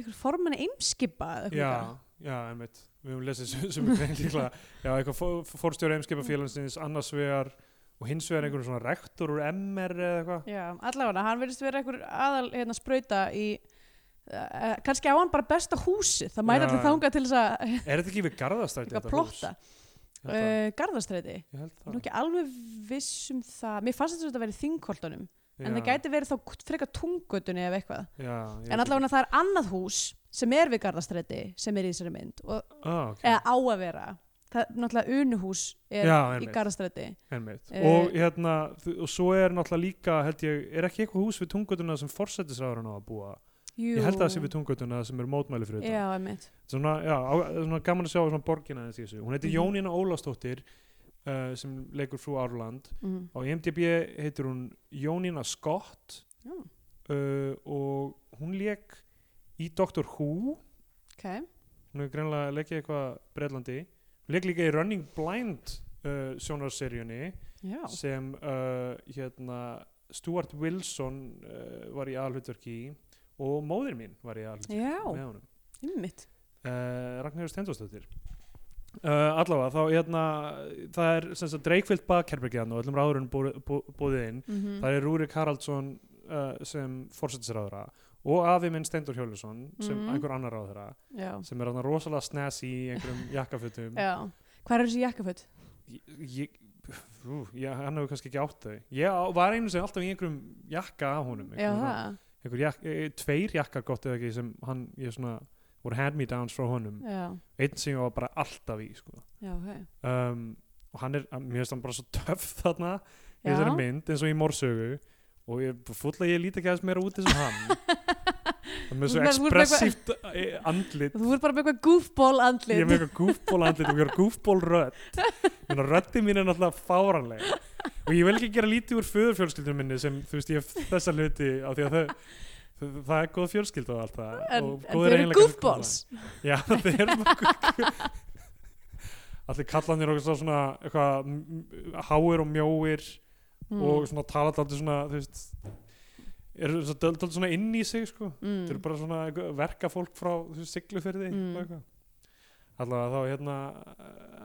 [SPEAKER 3] einhver formann eimskipa eða eitthvað
[SPEAKER 2] já, já, einmitt við höfum lesið sem, sem er grein líklega já, eitthvað fó- fórstjóri eimskipafélagsins annars vegar og hins vegar einhvern svona rektor úr MR eða eitthvað
[SPEAKER 3] Já, allavega, hann verðist vera einhver aðal hérna, sprauta í uh, kannski á hann bara besta húsi það mæta
[SPEAKER 2] Já,
[SPEAKER 3] allir
[SPEAKER 2] já.
[SPEAKER 3] þangað til þess að
[SPEAKER 2] Er þetta ekki við garðastæti
[SPEAKER 3] eitthvað plotta
[SPEAKER 2] Ég held það.
[SPEAKER 3] uh, Garðastræti,
[SPEAKER 2] Ég held
[SPEAKER 3] ég er nú
[SPEAKER 2] það.
[SPEAKER 3] ekki alveg viss um það, mér fannst þetta að vera í þingkoltunum en
[SPEAKER 2] Já,
[SPEAKER 3] það gæti verið þá k- frekar tungutunni ef eitthvað,
[SPEAKER 2] já, ég
[SPEAKER 3] en
[SPEAKER 2] veit ekki.
[SPEAKER 3] allavega það er annað hús sem er við Garðastræti sem er í þessari mynd og
[SPEAKER 2] ah, okay.
[SPEAKER 3] eða á að vera það er náttúrulega unuhús er
[SPEAKER 2] Já,
[SPEAKER 3] í
[SPEAKER 2] einmitt.
[SPEAKER 3] Garðastræti
[SPEAKER 2] Einmitt.
[SPEAKER 3] Eh,
[SPEAKER 2] og hérna þú- og svo er náttúrulega líka held ég, er ekki eitthvað hús við tungutuna sem forsætisraðurinn á að búa
[SPEAKER 3] Jú.
[SPEAKER 2] ég held að það sé við tungutuna sem er mótmæli fyrir
[SPEAKER 3] já,
[SPEAKER 2] þetta
[SPEAKER 3] einmitt
[SPEAKER 2] svona, já, á, svona gaman að sjá svona borgina aðeins í þessu hún heitir
[SPEAKER 3] Mhm.
[SPEAKER 2] Jónína Ólafsdóttir uh, sem leikur frú Árland
[SPEAKER 3] mm.
[SPEAKER 2] á IMDb heitir hún Jónína Scott
[SPEAKER 3] Já.
[SPEAKER 2] uh, og hún leik í Doctor Who
[SPEAKER 3] ok,
[SPEAKER 2] hún hefur greinlega leikið eitthvað Breitlandi hún leik líka í Running Blind uh, sjónarseríunni
[SPEAKER 3] já
[SPEAKER 2] sem uh, hérna Stuart Wilson uh, var í alhutverki í og móðir mín var í alhutverki
[SPEAKER 3] Já.
[SPEAKER 2] með honum
[SPEAKER 3] einmitt
[SPEAKER 2] uh, Ragnarður Stendóstóttir Uh, allavega, þá hérna það er sem sagt dreikfyllt bakherbergiðan og öllum ráðurinn búið bú, búið inn
[SPEAKER 3] mm -hmm.
[SPEAKER 2] það er Rúrik Haraldsson uh, sem fórsættisráðra og afi minn Stendur Hjólusson sem
[SPEAKER 3] Mhm.
[SPEAKER 2] einhver annar ráðra
[SPEAKER 3] já.
[SPEAKER 2] sem er hann rosalega snesi í einhverjum jakkafutum
[SPEAKER 3] já, hvað er þessi jakkaföt?
[SPEAKER 2] Ég- ég, ú, ég, hann hefur kannski ekki átt þau ég á- var einu sem alltaf í einhverjum jakka af honum
[SPEAKER 3] já,
[SPEAKER 2] einhverjum svona-
[SPEAKER 3] það,
[SPEAKER 2] einhver jak, e, tveir jakkar gott eða ekki sem hann, ég svona voru hand-me-downs frá honum
[SPEAKER 3] já,
[SPEAKER 2] einn sem ég var bara alltaf í sko.
[SPEAKER 3] já, ok
[SPEAKER 2] um, og hann er, mér finnst hann bara svo töff þarna í
[SPEAKER 3] Já.
[SPEAKER 2] þessari mynd eins og í morsögu og ég, fulla ég líti ekki aðeins meira úti sem hann er með
[SPEAKER 3] Þú
[SPEAKER 2] svo
[SPEAKER 3] ert með- þú ert með
[SPEAKER 2] ekspressíft eh, andlit
[SPEAKER 3] Þú ert bara með eitthvað goofball
[SPEAKER 2] ég
[SPEAKER 3] andlit
[SPEAKER 2] er með eitthvað gúfból andlit og ég er gúfból rödd Menna, röddin mín er náttúrulega fáranlega og ég vil ekki gera lítið úr föðurfjölskyldunum minni sem, þú veist, ég hef þessa hluti á því að það, það, það er góð fjölskylda og allt það
[SPEAKER 3] En,
[SPEAKER 2] og
[SPEAKER 3] en
[SPEAKER 2] góðir
[SPEAKER 3] þau eru
[SPEAKER 2] eiginleikar sem koma
[SPEAKER 3] goofballs
[SPEAKER 2] fram. já, þau eru bara gúfból allir kallanir og svona eitthvað m- m- háir og mjóir
[SPEAKER 3] Mm.
[SPEAKER 2] og svona tala alltaf svona þú veist eru alltaf svona inn í sig sko þetta eru bara svona eitthvað- verkafólk frá þú veist, siglufyrði
[SPEAKER 3] Mm.
[SPEAKER 2] og eitthvað allavega þá hérna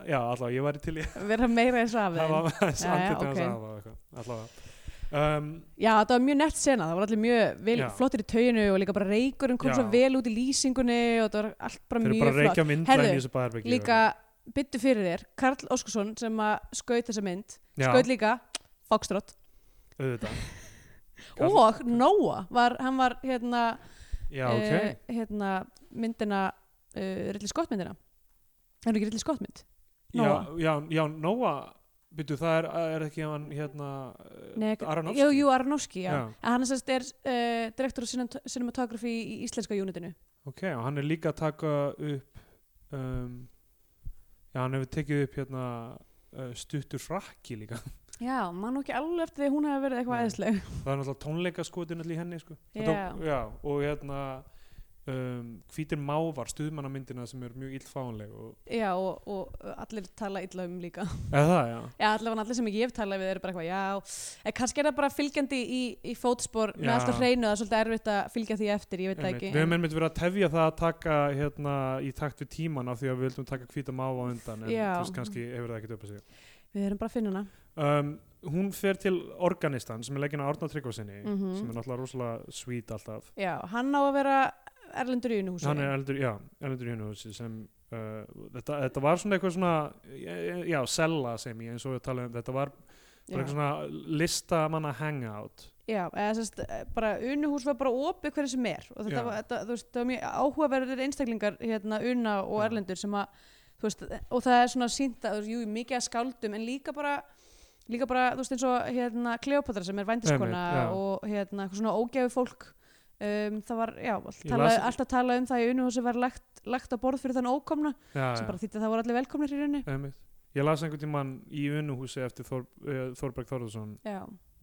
[SPEAKER 2] eh, já allavega ég væri til í að
[SPEAKER 3] Verða meira eins af þeim
[SPEAKER 2] hafa aðeins
[SPEAKER 3] Já, já,
[SPEAKER 2] andlit
[SPEAKER 3] ok.
[SPEAKER 2] okay. allavega, allavega. Um,
[SPEAKER 3] Já, þetta var mjög nett sena, það var allir mjög vel,
[SPEAKER 2] Já.
[SPEAKER 3] flottir í tauginu og líka bara reykurinn kom
[SPEAKER 2] Já.
[SPEAKER 3] svo vel út í lýsingunni og þetta var allt bara
[SPEAKER 2] þeir eru
[SPEAKER 3] mjög
[SPEAKER 2] bara að
[SPEAKER 3] flott
[SPEAKER 2] reykja myndlæn
[SPEAKER 3] Herðu,
[SPEAKER 2] í þessu bæðarbyggi
[SPEAKER 3] Líka, byttu fyrir þér, Karl Óskarsson sem að skaut þessa mynd,
[SPEAKER 2] já,
[SPEAKER 3] skaut líka Foxtrot
[SPEAKER 2] auðvitað Karl-
[SPEAKER 3] og Nóa, var, hann var hérna,
[SPEAKER 2] já, ok,
[SPEAKER 3] eh, hérna myndina, uh, rillir skottmyndina Er hún ekki rillir skottmynd?
[SPEAKER 2] já,
[SPEAKER 3] Nóa.
[SPEAKER 2] já, já, Nóa byrju, það er, er ekki hann hérna
[SPEAKER 3] Nei, ekki-
[SPEAKER 2] Aronofsky
[SPEAKER 3] Jú, jú, Aronofsky, já.
[SPEAKER 2] Já.
[SPEAKER 3] En hann sérst er uh, direktor á cinemat- cinematography í íslenska unitinu.
[SPEAKER 2] ok, og hann er líka að taka upp um, já, hann hefur tekið upp hérna uh, stuttur frakki líka
[SPEAKER 3] Já, mann ekki alveg eftir því að hún hefði verið eitthvað
[SPEAKER 2] Nei.
[SPEAKER 3] æðisleg.
[SPEAKER 2] það er náttúrulega tónleikaskotin allir í henni sko.
[SPEAKER 3] Já.
[SPEAKER 2] Þetta- já, og hérna um, hvítir mávar stuðmannamyndina sem er mjög illfáanleg og,
[SPEAKER 3] Já, og, og uh, allir tala illa um líka.
[SPEAKER 2] eða það, já
[SPEAKER 3] Já, allavega allir sem ekki ég hef talað við eru bara eitthvað, já, en kannski er það bara fylgjandi í, í fótspor með
[SPEAKER 2] Já.
[SPEAKER 3] allt að hreinu, það er svolítið erfitt að fylgja því eftir, ég veit það
[SPEAKER 2] Einmitt.
[SPEAKER 3] ekki.
[SPEAKER 2] við hefum einmitt verið að tefja það að taka hérna, í takt við tíman af því að við vildum taka hvíta máva á undan en þú
[SPEAKER 3] Já.
[SPEAKER 2] veist, kannski hefur það ekkert upp að segja
[SPEAKER 3] Við erum bara að finna hana.
[SPEAKER 2] um, hún fer til organistan sem er leggin á Árna Tryggvasinni
[SPEAKER 3] Mhm.
[SPEAKER 2] sem er náttúrulega rosalega svít alltaf
[SPEAKER 3] Já, hann á að vera erlendur í unuhúsi.
[SPEAKER 2] hann er eldur, já, eldur í hjónuhúsi sem uh, þetta, þetta var svona eitthvað svona eh, já, sella sem ég eins og við tala um þetta var bara eitthvað svona listamanna hangout
[SPEAKER 3] Já, eða sérst, eh, bara unuhús var bara opið hverju sem er og þetta
[SPEAKER 2] Já.
[SPEAKER 3] var, þetta, þú veist, það var mjög áhugaverðir einstaklingar hérna una og
[SPEAKER 2] Já.
[SPEAKER 3] erlendur sem að, þú veist, og það er svona sínt að, þú veist, jú, mikið að skáldum en líka bara, líka bara, þú veist, eins og hérna Kleopatra sem er vændiskona
[SPEAKER 2] Einmitt, já.
[SPEAKER 3] og hérna, eitthvað svona ógæfi fólk um, það var, já, allt,
[SPEAKER 2] Ég
[SPEAKER 3] tala,
[SPEAKER 2] las-
[SPEAKER 3] allt að tala um það í unuhúsi var lagt, lagt á borð fyrir þann ókomna
[SPEAKER 2] já,
[SPEAKER 3] sem bara þýtti að það voru allir velkomnir í rauninu
[SPEAKER 2] já, einmitt. ég las einhvern tímann í unuhúsi eftir Þor, uh, Þorberg Þorðarsson
[SPEAKER 3] Já,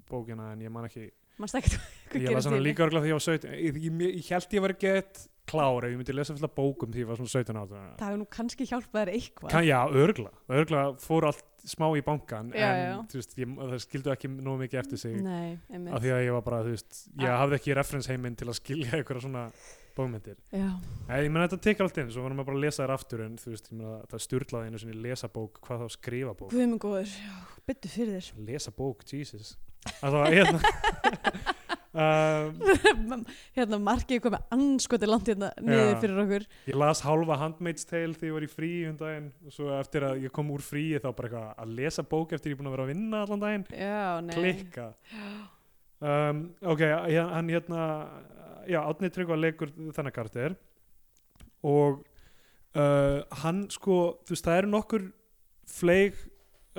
[SPEAKER 2] bókina en ég man ekki
[SPEAKER 3] mann stækt
[SPEAKER 2] ég las hana líka örgulega því ég var 17 ég, ég, ég, ég held ég var gett klár ef ég myndi lesa fulla bókum því ég var svona 17 ára
[SPEAKER 3] Það hefur nú kannski hjálpað þér eitthvað
[SPEAKER 2] Kan, já, örgla, örgla fór allt smá í bankan
[SPEAKER 3] Já,
[SPEAKER 2] en
[SPEAKER 3] já.
[SPEAKER 2] þú Veist, ég, það skildu ekki nóg mikið eftir sig
[SPEAKER 3] Nei, einmitt
[SPEAKER 2] af því að ég var bara, þú veist, ég
[SPEAKER 3] Ah.
[SPEAKER 2] hafði ekki referensheiminn til að skilja einhverja svona bókmyndir.
[SPEAKER 3] Já,
[SPEAKER 2] Nei, ég meina þetta tekur allt inn, svo varum maður bara að lesa þær aftur en þú veist, ég meina það sturlaði einu sinni lesa bók, hvað þá skrifa bók.
[SPEAKER 3] guðum og góður, sko. já, byttu fyrir
[SPEAKER 2] Lesa bók, Jesus. Það var hérna. um,
[SPEAKER 3] þér. hérna, markið komið anskoti langt hérna niður
[SPEAKER 2] Já.
[SPEAKER 3] fyrir okkur.
[SPEAKER 2] ég las hálfa Handmaid's Tale þegar ég var í frí um daginn og svo eftir að ég kom úr fríi þá bara eitthvað að lesa bók eftir ég er búin að vera að vinna allan daginn.
[SPEAKER 3] Já, nei.
[SPEAKER 2] klikka um, ok, hér- hann hérna já, Átni Tryggva leikur þennan karakter og uh, hann sko þú veist, það eru nokkur fleig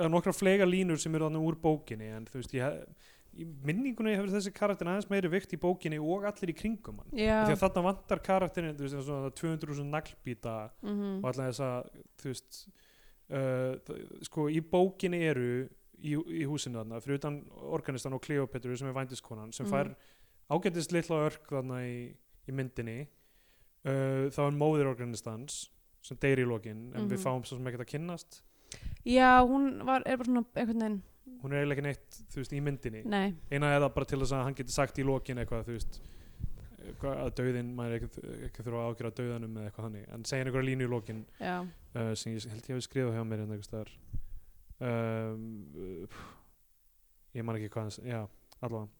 [SPEAKER 2] eða nokkra fleiga línur sem eru þannig úr bókinni en þú veist, ég hef- í minningunni hefur þessi karakter aðeins meiri vikt í bókinni og allir í kringum hann
[SPEAKER 3] Já,
[SPEAKER 2] því að þarna vantar karakterin þú veist, það er svona 200.000 naglbíta
[SPEAKER 3] mhm,
[SPEAKER 2] og allan þess að þú veist uh, það- sko í bókinni eru í, í húsinu þarna, fyrir utan organistan og Kleopetru sem er vændiskonan sem fær
[SPEAKER 3] Mhm.
[SPEAKER 2] ágætist litla örk þarna í, í myndinni uh, þá er móðir organistans sem deyr í lokin, en við
[SPEAKER 3] Mhm.
[SPEAKER 2] fáum svo sem ekkert að kynnast
[SPEAKER 3] já, hún var, er bara svona einhvern veginn,
[SPEAKER 2] hún er eiginlega ekki neitt, þú veist, í myndinni
[SPEAKER 3] nei,
[SPEAKER 2] eina er það bara til þess að hann geti sagt í lokin eitthvað, þú veist eitthvað að dauðin, maður er ekki, ekki þurfa að ágjöra dauðanum eða eitthvað þannig, en segja einhverja línu í lokin
[SPEAKER 3] já,
[SPEAKER 2] uh, sem ég held ég hefði skrifað hjá mér hérna einhvers staðar um, uh, pff, ég man ekki hvað hans, já, allavega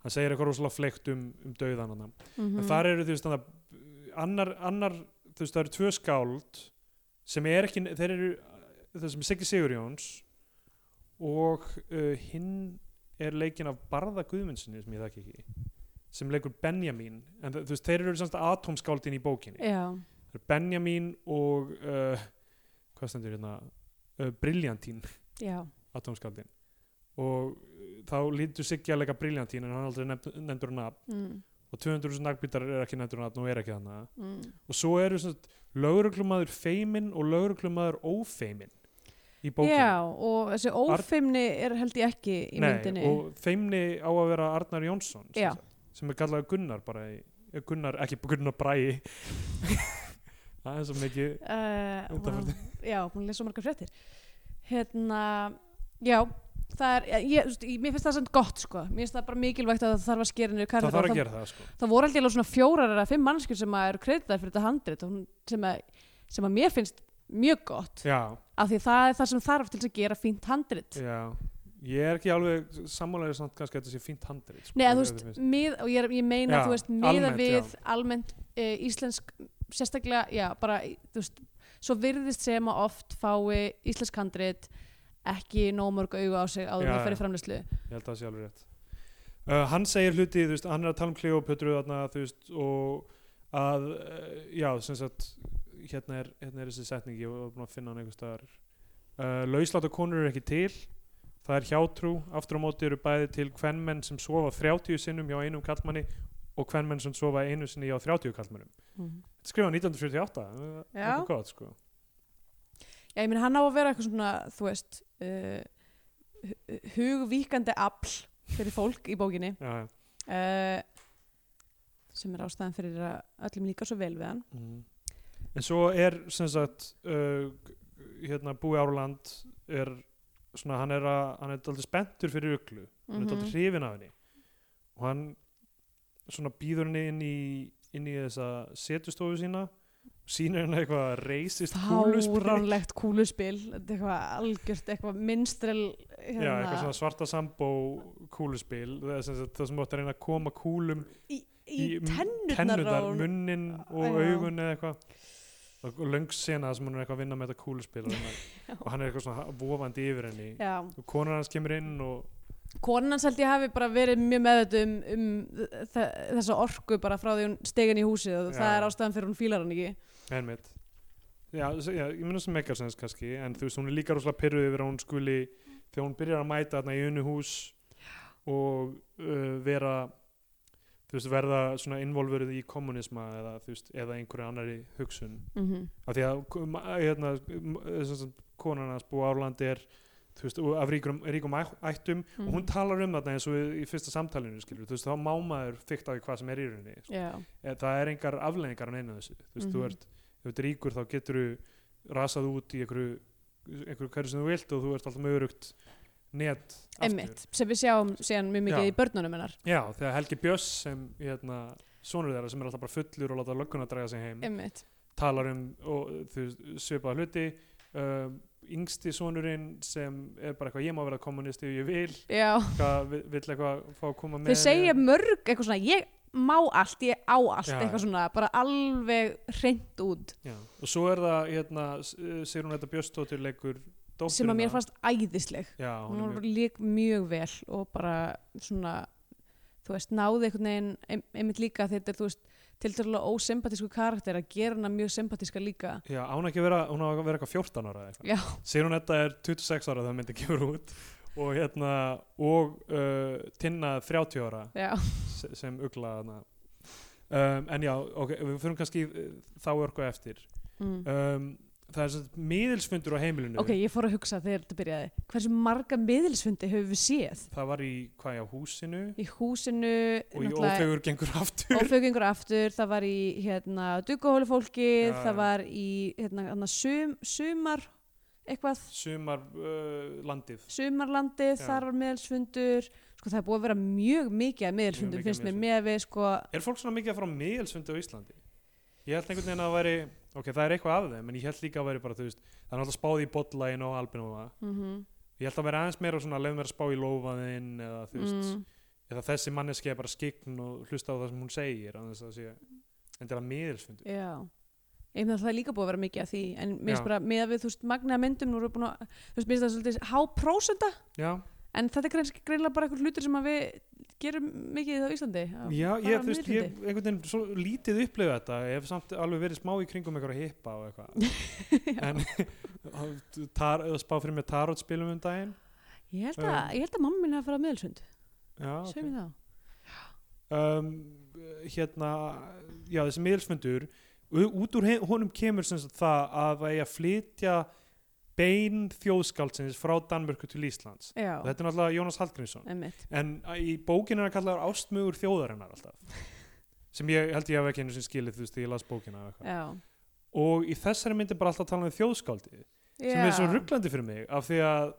[SPEAKER 2] hann segir eitthvað rosalega fleikt um, um dauðan hann
[SPEAKER 3] mhm.
[SPEAKER 2] en þar eru þú veist þannig að annar, annar, þú veist það eru tvö skáld sem er ekki, þeir eru það sem er Siggi Sigurjóns og uh, hinn er leikinn af Barða Guðmundssoni sem ég þekki ekki sem leikur Benjamin en þú veist, þeir eru semst atomskáldin í bókinni
[SPEAKER 3] Já,
[SPEAKER 2] Það er Benjamin og uh, hvað stendur hérna uh, Briljantín,
[SPEAKER 3] já,
[SPEAKER 2] atomskaldin og uh, þá lítur Siggi að leika Briljantín en hann er aldrei nefnd, nefndur nafn
[SPEAKER 3] mm.
[SPEAKER 2] og 200.000 nagbítar er ekki nættur nafn og er ekki þannig
[SPEAKER 3] mm.
[SPEAKER 2] og svo eru sem sagt, lögreglumaður feiminn og lögreglumaður ófeiminn í bókinu
[SPEAKER 3] Já, og þessi ófeimni er held ég ekki í myndinni
[SPEAKER 2] og feimni á að vera Arnar Jónsson sem,
[SPEAKER 3] Já.
[SPEAKER 2] sagt, sem er kallaður Gunnar bara í, eh, Gunnar, ekki Gunnar Bræi það er svo mikið
[SPEAKER 3] uh,
[SPEAKER 2] Undanfarið.
[SPEAKER 3] vá, Já, hún lesa svo margar fréttir Hérna, já Það er, ég, þú veist, ég, mér finnst það samt gott sko. mér finnst það bara mikilvægt að það þarf að skera niður
[SPEAKER 2] það
[SPEAKER 3] karfið
[SPEAKER 2] þarf að gera það sko
[SPEAKER 3] það voru held ég alveg svona fjórar eða fimm mannskjur sem að eru kreditaðar fyrir þetta handrit og hún- sem að, sem að mér finnst mjög gott
[SPEAKER 2] já,
[SPEAKER 3] af því það er það sem þarf til þess að gera fínt handrit
[SPEAKER 2] já ég er ekki alveg sammálaðið samt kannski að þetta sé fínt handrið sko,
[SPEAKER 3] Nei, að þú
[SPEAKER 2] ef þér
[SPEAKER 3] veist,
[SPEAKER 2] finnst.
[SPEAKER 3] mið, og ég, er- ég meina
[SPEAKER 2] Já,
[SPEAKER 3] þú veist, miða
[SPEAKER 2] almennt,
[SPEAKER 3] við
[SPEAKER 2] já.
[SPEAKER 3] almennt uh, íslensk sérstaklega, já, bara, í- þú veist svo virðist sem að oft fái íslensk handrit ekki nóg mörg auga á sig áður
[SPEAKER 2] Já,
[SPEAKER 3] með fyrir
[SPEAKER 2] já.
[SPEAKER 3] framlýslu
[SPEAKER 2] ég held að það sé alveg rétt uh, hann segir hluti, þú veist, hann er að tala um Kleopötru þarna, þú veist, og að, uh, já, sem sagt hérna er, hérna er þessi setning ég var búin að finna hann einhvers staðar uh, lausláta konur eru ekki til það er hjátrú, aftur á móti eru bæði til kvenmenn sem sofa 30 sinnum hjá einum kallmanni og kvenmenn sem sofa einu sinni hjá 30 kallmannum Þetta skrifa 1948, það
[SPEAKER 3] Já.
[SPEAKER 2] er gott sko
[SPEAKER 3] Já, ég meina, hann á að vera eitthvað svona, þú veist uh, hu- hugvíkandi afl fyrir fólk í bókinni
[SPEAKER 2] já, já.
[SPEAKER 3] uh, sem er ástæðan fyrir að öllum líka svo vel við hann
[SPEAKER 2] Mm. En svo er sem sagt uh, hérna Búi Árland er svona hann er, að, hann er daldið spenntur fyrir uglu hann
[SPEAKER 3] Mhm.
[SPEAKER 2] er daldið hrifin af henni og hann svona býður henni inn í, inn í þessa setustofu sína sýnir henni eitthvað reisist kúluspil
[SPEAKER 3] Fáránlegt kúluspil Þetta er eitthvað algjört, eitthvað minnstrel hérna,
[SPEAKER 2] Já, eitthvað svona svarta sambó kúluspil það, er sem sagt, það sem átt að reyna að koma kúlum
[SPEAKER 3] í, í
[SPEAKER 2] m-
[SPEAKER 3] tennurnar á
[SPEAKER 2] tennurnar,
[SPEAKER 3] honum.
[SPEAKER 2] munnin og
[SPEAKER 3] Já.
[SPEAKER 2] augun eða eitthvað og löng sena sem hún er eitthvað að vinna með þetta kúluspil og, hann- og hann er eitthvað svona vofandi yfir henni
[SPEAKER 3] Já,
[SPEAKER 2] og konan hans kemur inn og
[SPEAKER 3] konan hans held ég hafi bara verið mjög meðvitað um, um þe- þessa orku bara frá því hún stegan í húsið og það
[SPEAKER 2] Já.
[SPEAKER 3] er ástæðan fyrir hún fílar hann ekki
[SPEAKER 2] ennmitt já, s- já, ég minna sem megasens kannski en þú veist, hún er líka rosalega pyrruð yfir að hún skuli þegar hún byrjar að mæta þarna í unuhús og uh, vera þú veist, verða svona involverið í kommunisma eða, þú veist, eða einhverju annari hugsun
[SPEAKER 3] mm
[SPEAKER 2] af því að um, hérna, um, sem sagt, konan hans búa Árlandi er þú veist, og af ríkum, ríkum æ- ættum og
[SPEAKER 3] Mhm.
[SPEAKER 2] hún talar um þarna eins og í- í fyrsta samtalinu skilur, þú veist, þá má maður fykta á því hvað sem er í rauninni sko.
[SPEAKER 3] Já,
[SPEAKER 2] Eh, það er engar afleðingar en einu þessu þú veist, þú
[SPEAKER 3] Mhm.
[SPEAKER 2] ert, ef þú ert ríkur þá getur þú rasað út í einhverju einhverju hverju sem þú vilt og þú ert alltaf með örugt net aftur.
[SPEAKER 3] emmitt, sem við sjáum síðan mjög mikið
[SPEAKER 2] Já.
[SPEAKER 3] í börnunum hennar
[SPEAKER 2] já, þegar Helgi Björs sem hérna, sonur þeirra sem er alltaf bara fullur og láta lögguna draga sig heim
[SPEAKER 3] Emmitt,
[SPEAKER 2] talar um og, þú, veist, svipaða hluti um, yngsti sonurinn sem er bara eitthvað ég má vera kommunisti ef ég vil
[SPEAKER 3] já
[SPEAKER 2] hvað, vi- vill eitthvað fá að koma með
[SPEAKER 3] þau segja
[SPEAKER 2] henni.
[SPEAKER 3] mörg eitthvað svona ég má allt, ég á allt
[SPEAKER 2] Já,
[SPEAKER 3] eitthvað
[SPEAKER 2] já.
[SPEAKER 3] svona, bara alveg hreint út
[SPEAKER 2] já, og svo er það hérna, segir hún þetta Björstóttir leikur dótturina
[SPEAKER 3] sem að mér fannst æðisleg
[SPEAKER 2] já, hún
[SPEAKER 3] hún
[SPEAKER 2] er
[SPEAKER 3] var
[SPEAKER 2] mjög,
[SPEAKER 3] lík mjög vel og bara svona þú veist, náði einhvern veginn ein, einmitt líka þetta er þú veist, tiltölulega ósympatísku karakter að gera hana mjög sympatíska líka
[SPEAKER 2] já, á hún ekki að vera, hún á að vera eitthvað 14 ára eða
[SPEAKER 3] Já.
[SPEAKER 2] eitthvað segir hún þetta er 26 ára þegar myndi kemur út og hérna og uh, tinna 30 ára
[SPEAKER 3] já,
[SPEAKER 2] se- sem ugla hana um, en já, ok, við fyrir kannski uh, þá örgu eftir
[SPEAKER 3] mm.
[SPEAKER 2] um, það er svona miðilsfundur á heimilinu
[SPEAKER 3] ok, ég fór að hugsa þegar þetta byrjaði hversu marga miðilsfundi höfum við séð
[SPEAKER 2] það var í hvað já, húsinu
[SPEAKER 3] í húsinu
[SPEAKER 2] og í
[SPEAKER 3] náttúrulega-
[SPEAKER 2] ófegur gengur aftur
[SPEAKER 3] Óflögingur aftur, það var í hérna, duggahóli fólkið,
[SPEAKER 2] Já,
[SPEAKER 3] það
[SPEAKER 2] já.
[SPEAKER 3] var í hérna, hérna, sum, sumar eitthvað,
[SPEAKER 2] sumar uh, landið
[SPEAKER 3] sumarlandið,
[SPEAKER 2] Já.
[SPEAKER 3] þar var meðelsfundur sko það er búið að vera mjög mikið að meðelsfundum
[SPEAKER 2] mikið af
[SPEAKER 3] finnst mér
[SPEAKER 2] miðilsfundum.
[SPEAKER 3] með við sko
[SPEAKER 2] er fólk svona mikið að fara á miðilsfundi á Íslandi ég held einhvern veginn að það væri ok, það er eitthvað af þeim, en ég held líka að væri bara þú veist, það er náttúrulega spáð í botlægin og albinu og það
[SPEAKER 3] mm
[SPEAKER 2] ég held að vera aðeins meira svona leið mér að spá í lófaðinn eða þú veist,
[SPEAKER 3] mm,
[SPEAKER 2] eða þessi manneski er bara skikn og hlusta á það sem hún segir án þess að sé, en það er miðilsfundur
[SPEAKER 3] Já Ég meðan það er líka búið að vera mikið að því en mér finnst
[SPEAKER 2] Já.
[SPEAKER 3] bara með að við þú veist magna myndum nú erum við búin að, þú veist, mér finnst það svolítið háprósenda,
[SPEAKER 2] já,
[SPEAKER 3] en þetta er kannski greinlega bara eitthvað hlutur sem að við gerum mikið á Íslandi að
[SPEAKER 2] Já, ég,
[SPEAKER 3] fara á
[SPEAKER 2] þú veist, ég
[SPEAKER 3] miðilfundi.
[SPEAKER 2] einhvern veginn svo lítið upplifa þetta, ég hef samt alveg verið smá í kringum einhverja hippa og eitthvað en tar, spá fyrir mig tarotspilum um daginn
[SPEAKER 3] Ég held að, ég held að mamma mín hafi farið að fara að meðelsund
[SPEAKER 2] já, Ah, ok.
[SPEAKER 3] Sveimi þá
[SPEAKER 2] um, hérna já, þessi miðilsfundur út úr he- honum kemur sem sagt það að það eigi að flytja bein þjóðskáldsins frá Danmörku til Íslands
[SPEAKER 3] já,
[SPEAKER 2] og þetta er náttúrulega Jónas Hallgrímsson
[SPEAKER 3] einmitt
[SPEAKER 2] en í bókinu hann kallar ástmögur þjóðarinnar alltaf sem ég held ég hafi ekki einu sem skilið þú veist þegar ég las bókina eða eitthvað.
[SPEAKER 3] já.
[SPEAKER 2] og í þessari myndi bara alltaf tala um þjóðskáldið sem er svo rugglandi fyrir mig af því að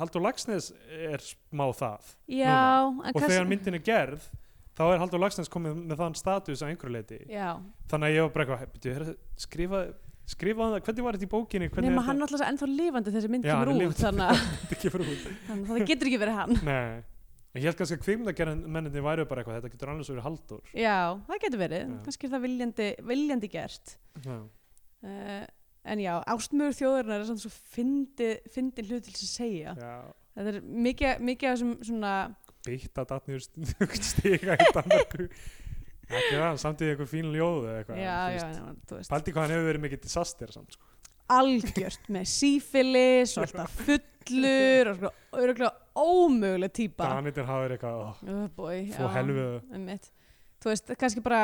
[SPEAKER 2] Haldur Lagsnes er smá það
[SPEAKER 3] já, en
[SPEAKER 2] og þegar
[SPEAKER 3] kannski
[SPEAKER 2] myndin er gerð þá er Haldur Lagsnes komið með þann status að einhverju leiti
[SPEAKER 3] já,
[SPEAKER 2] þannig að ég var bara eitthvað "Bíddu, heyrðu, skrifa, skrifa það, hvernig var þetta í bókinni hvernig
[SPEAKER 3] nema hann alltaf ennþá lifandi þessi mynd
[SPEAKER 2] Já, hann
[SPEAKER 3] kemur
[SPEAKER 2] er
[SPEAKER 3] út
[SPEAKER 2] lifandi.
[SPEAKER 3] þannig að-
[SPEAKER 2] þetta ekki fyrir út
[SPEAKER 3] þannig að það getur ekki verið hann
[SPEAKER 2] Nei, ég held kannski að kvikmyndagerðmenninni væru bara eitthvað, þetta getur annars verið Haldur
[SPEAKER 3] já, það getur verið,
[SPEAKER 2] Já.
[SPEAKER 3] kannski er það viljandi, viljandi gert
[SPEAKER 2] Já.
[SPEAKER 3] uh, en já, ástmögur þjóðurnar er samt svo fyndi, fyndi hlut til þess að segja
[SPEAKER 2] Já.
[SPEAKER 3] þetta er mikið, mikið af þessum svona
[SPEAKER 2] beitt að datnir stiga í Danmarku ekki það, samt í einhver fín ljóð eða eitthvað þú
[SPEAKER 3] já, já,
[SPEAKER 2] veist.
[SPEAKER 3] já, þú veist
[SPEAKER 2] Paldi hvað hann hefur verið mikið disaster samt sko.
[SPEAKER 3] algjört með sífilis og alltaf fullur og sko, öruglega ómöguleg típa
[SPEAKER 2] Danitinn hafa verið eitthvað oh,
[SPEAKER 3] oh boy,
[SPEAKER 2] fó helfið
[SPEAKER 3] einmitt. þú veist, kannski bara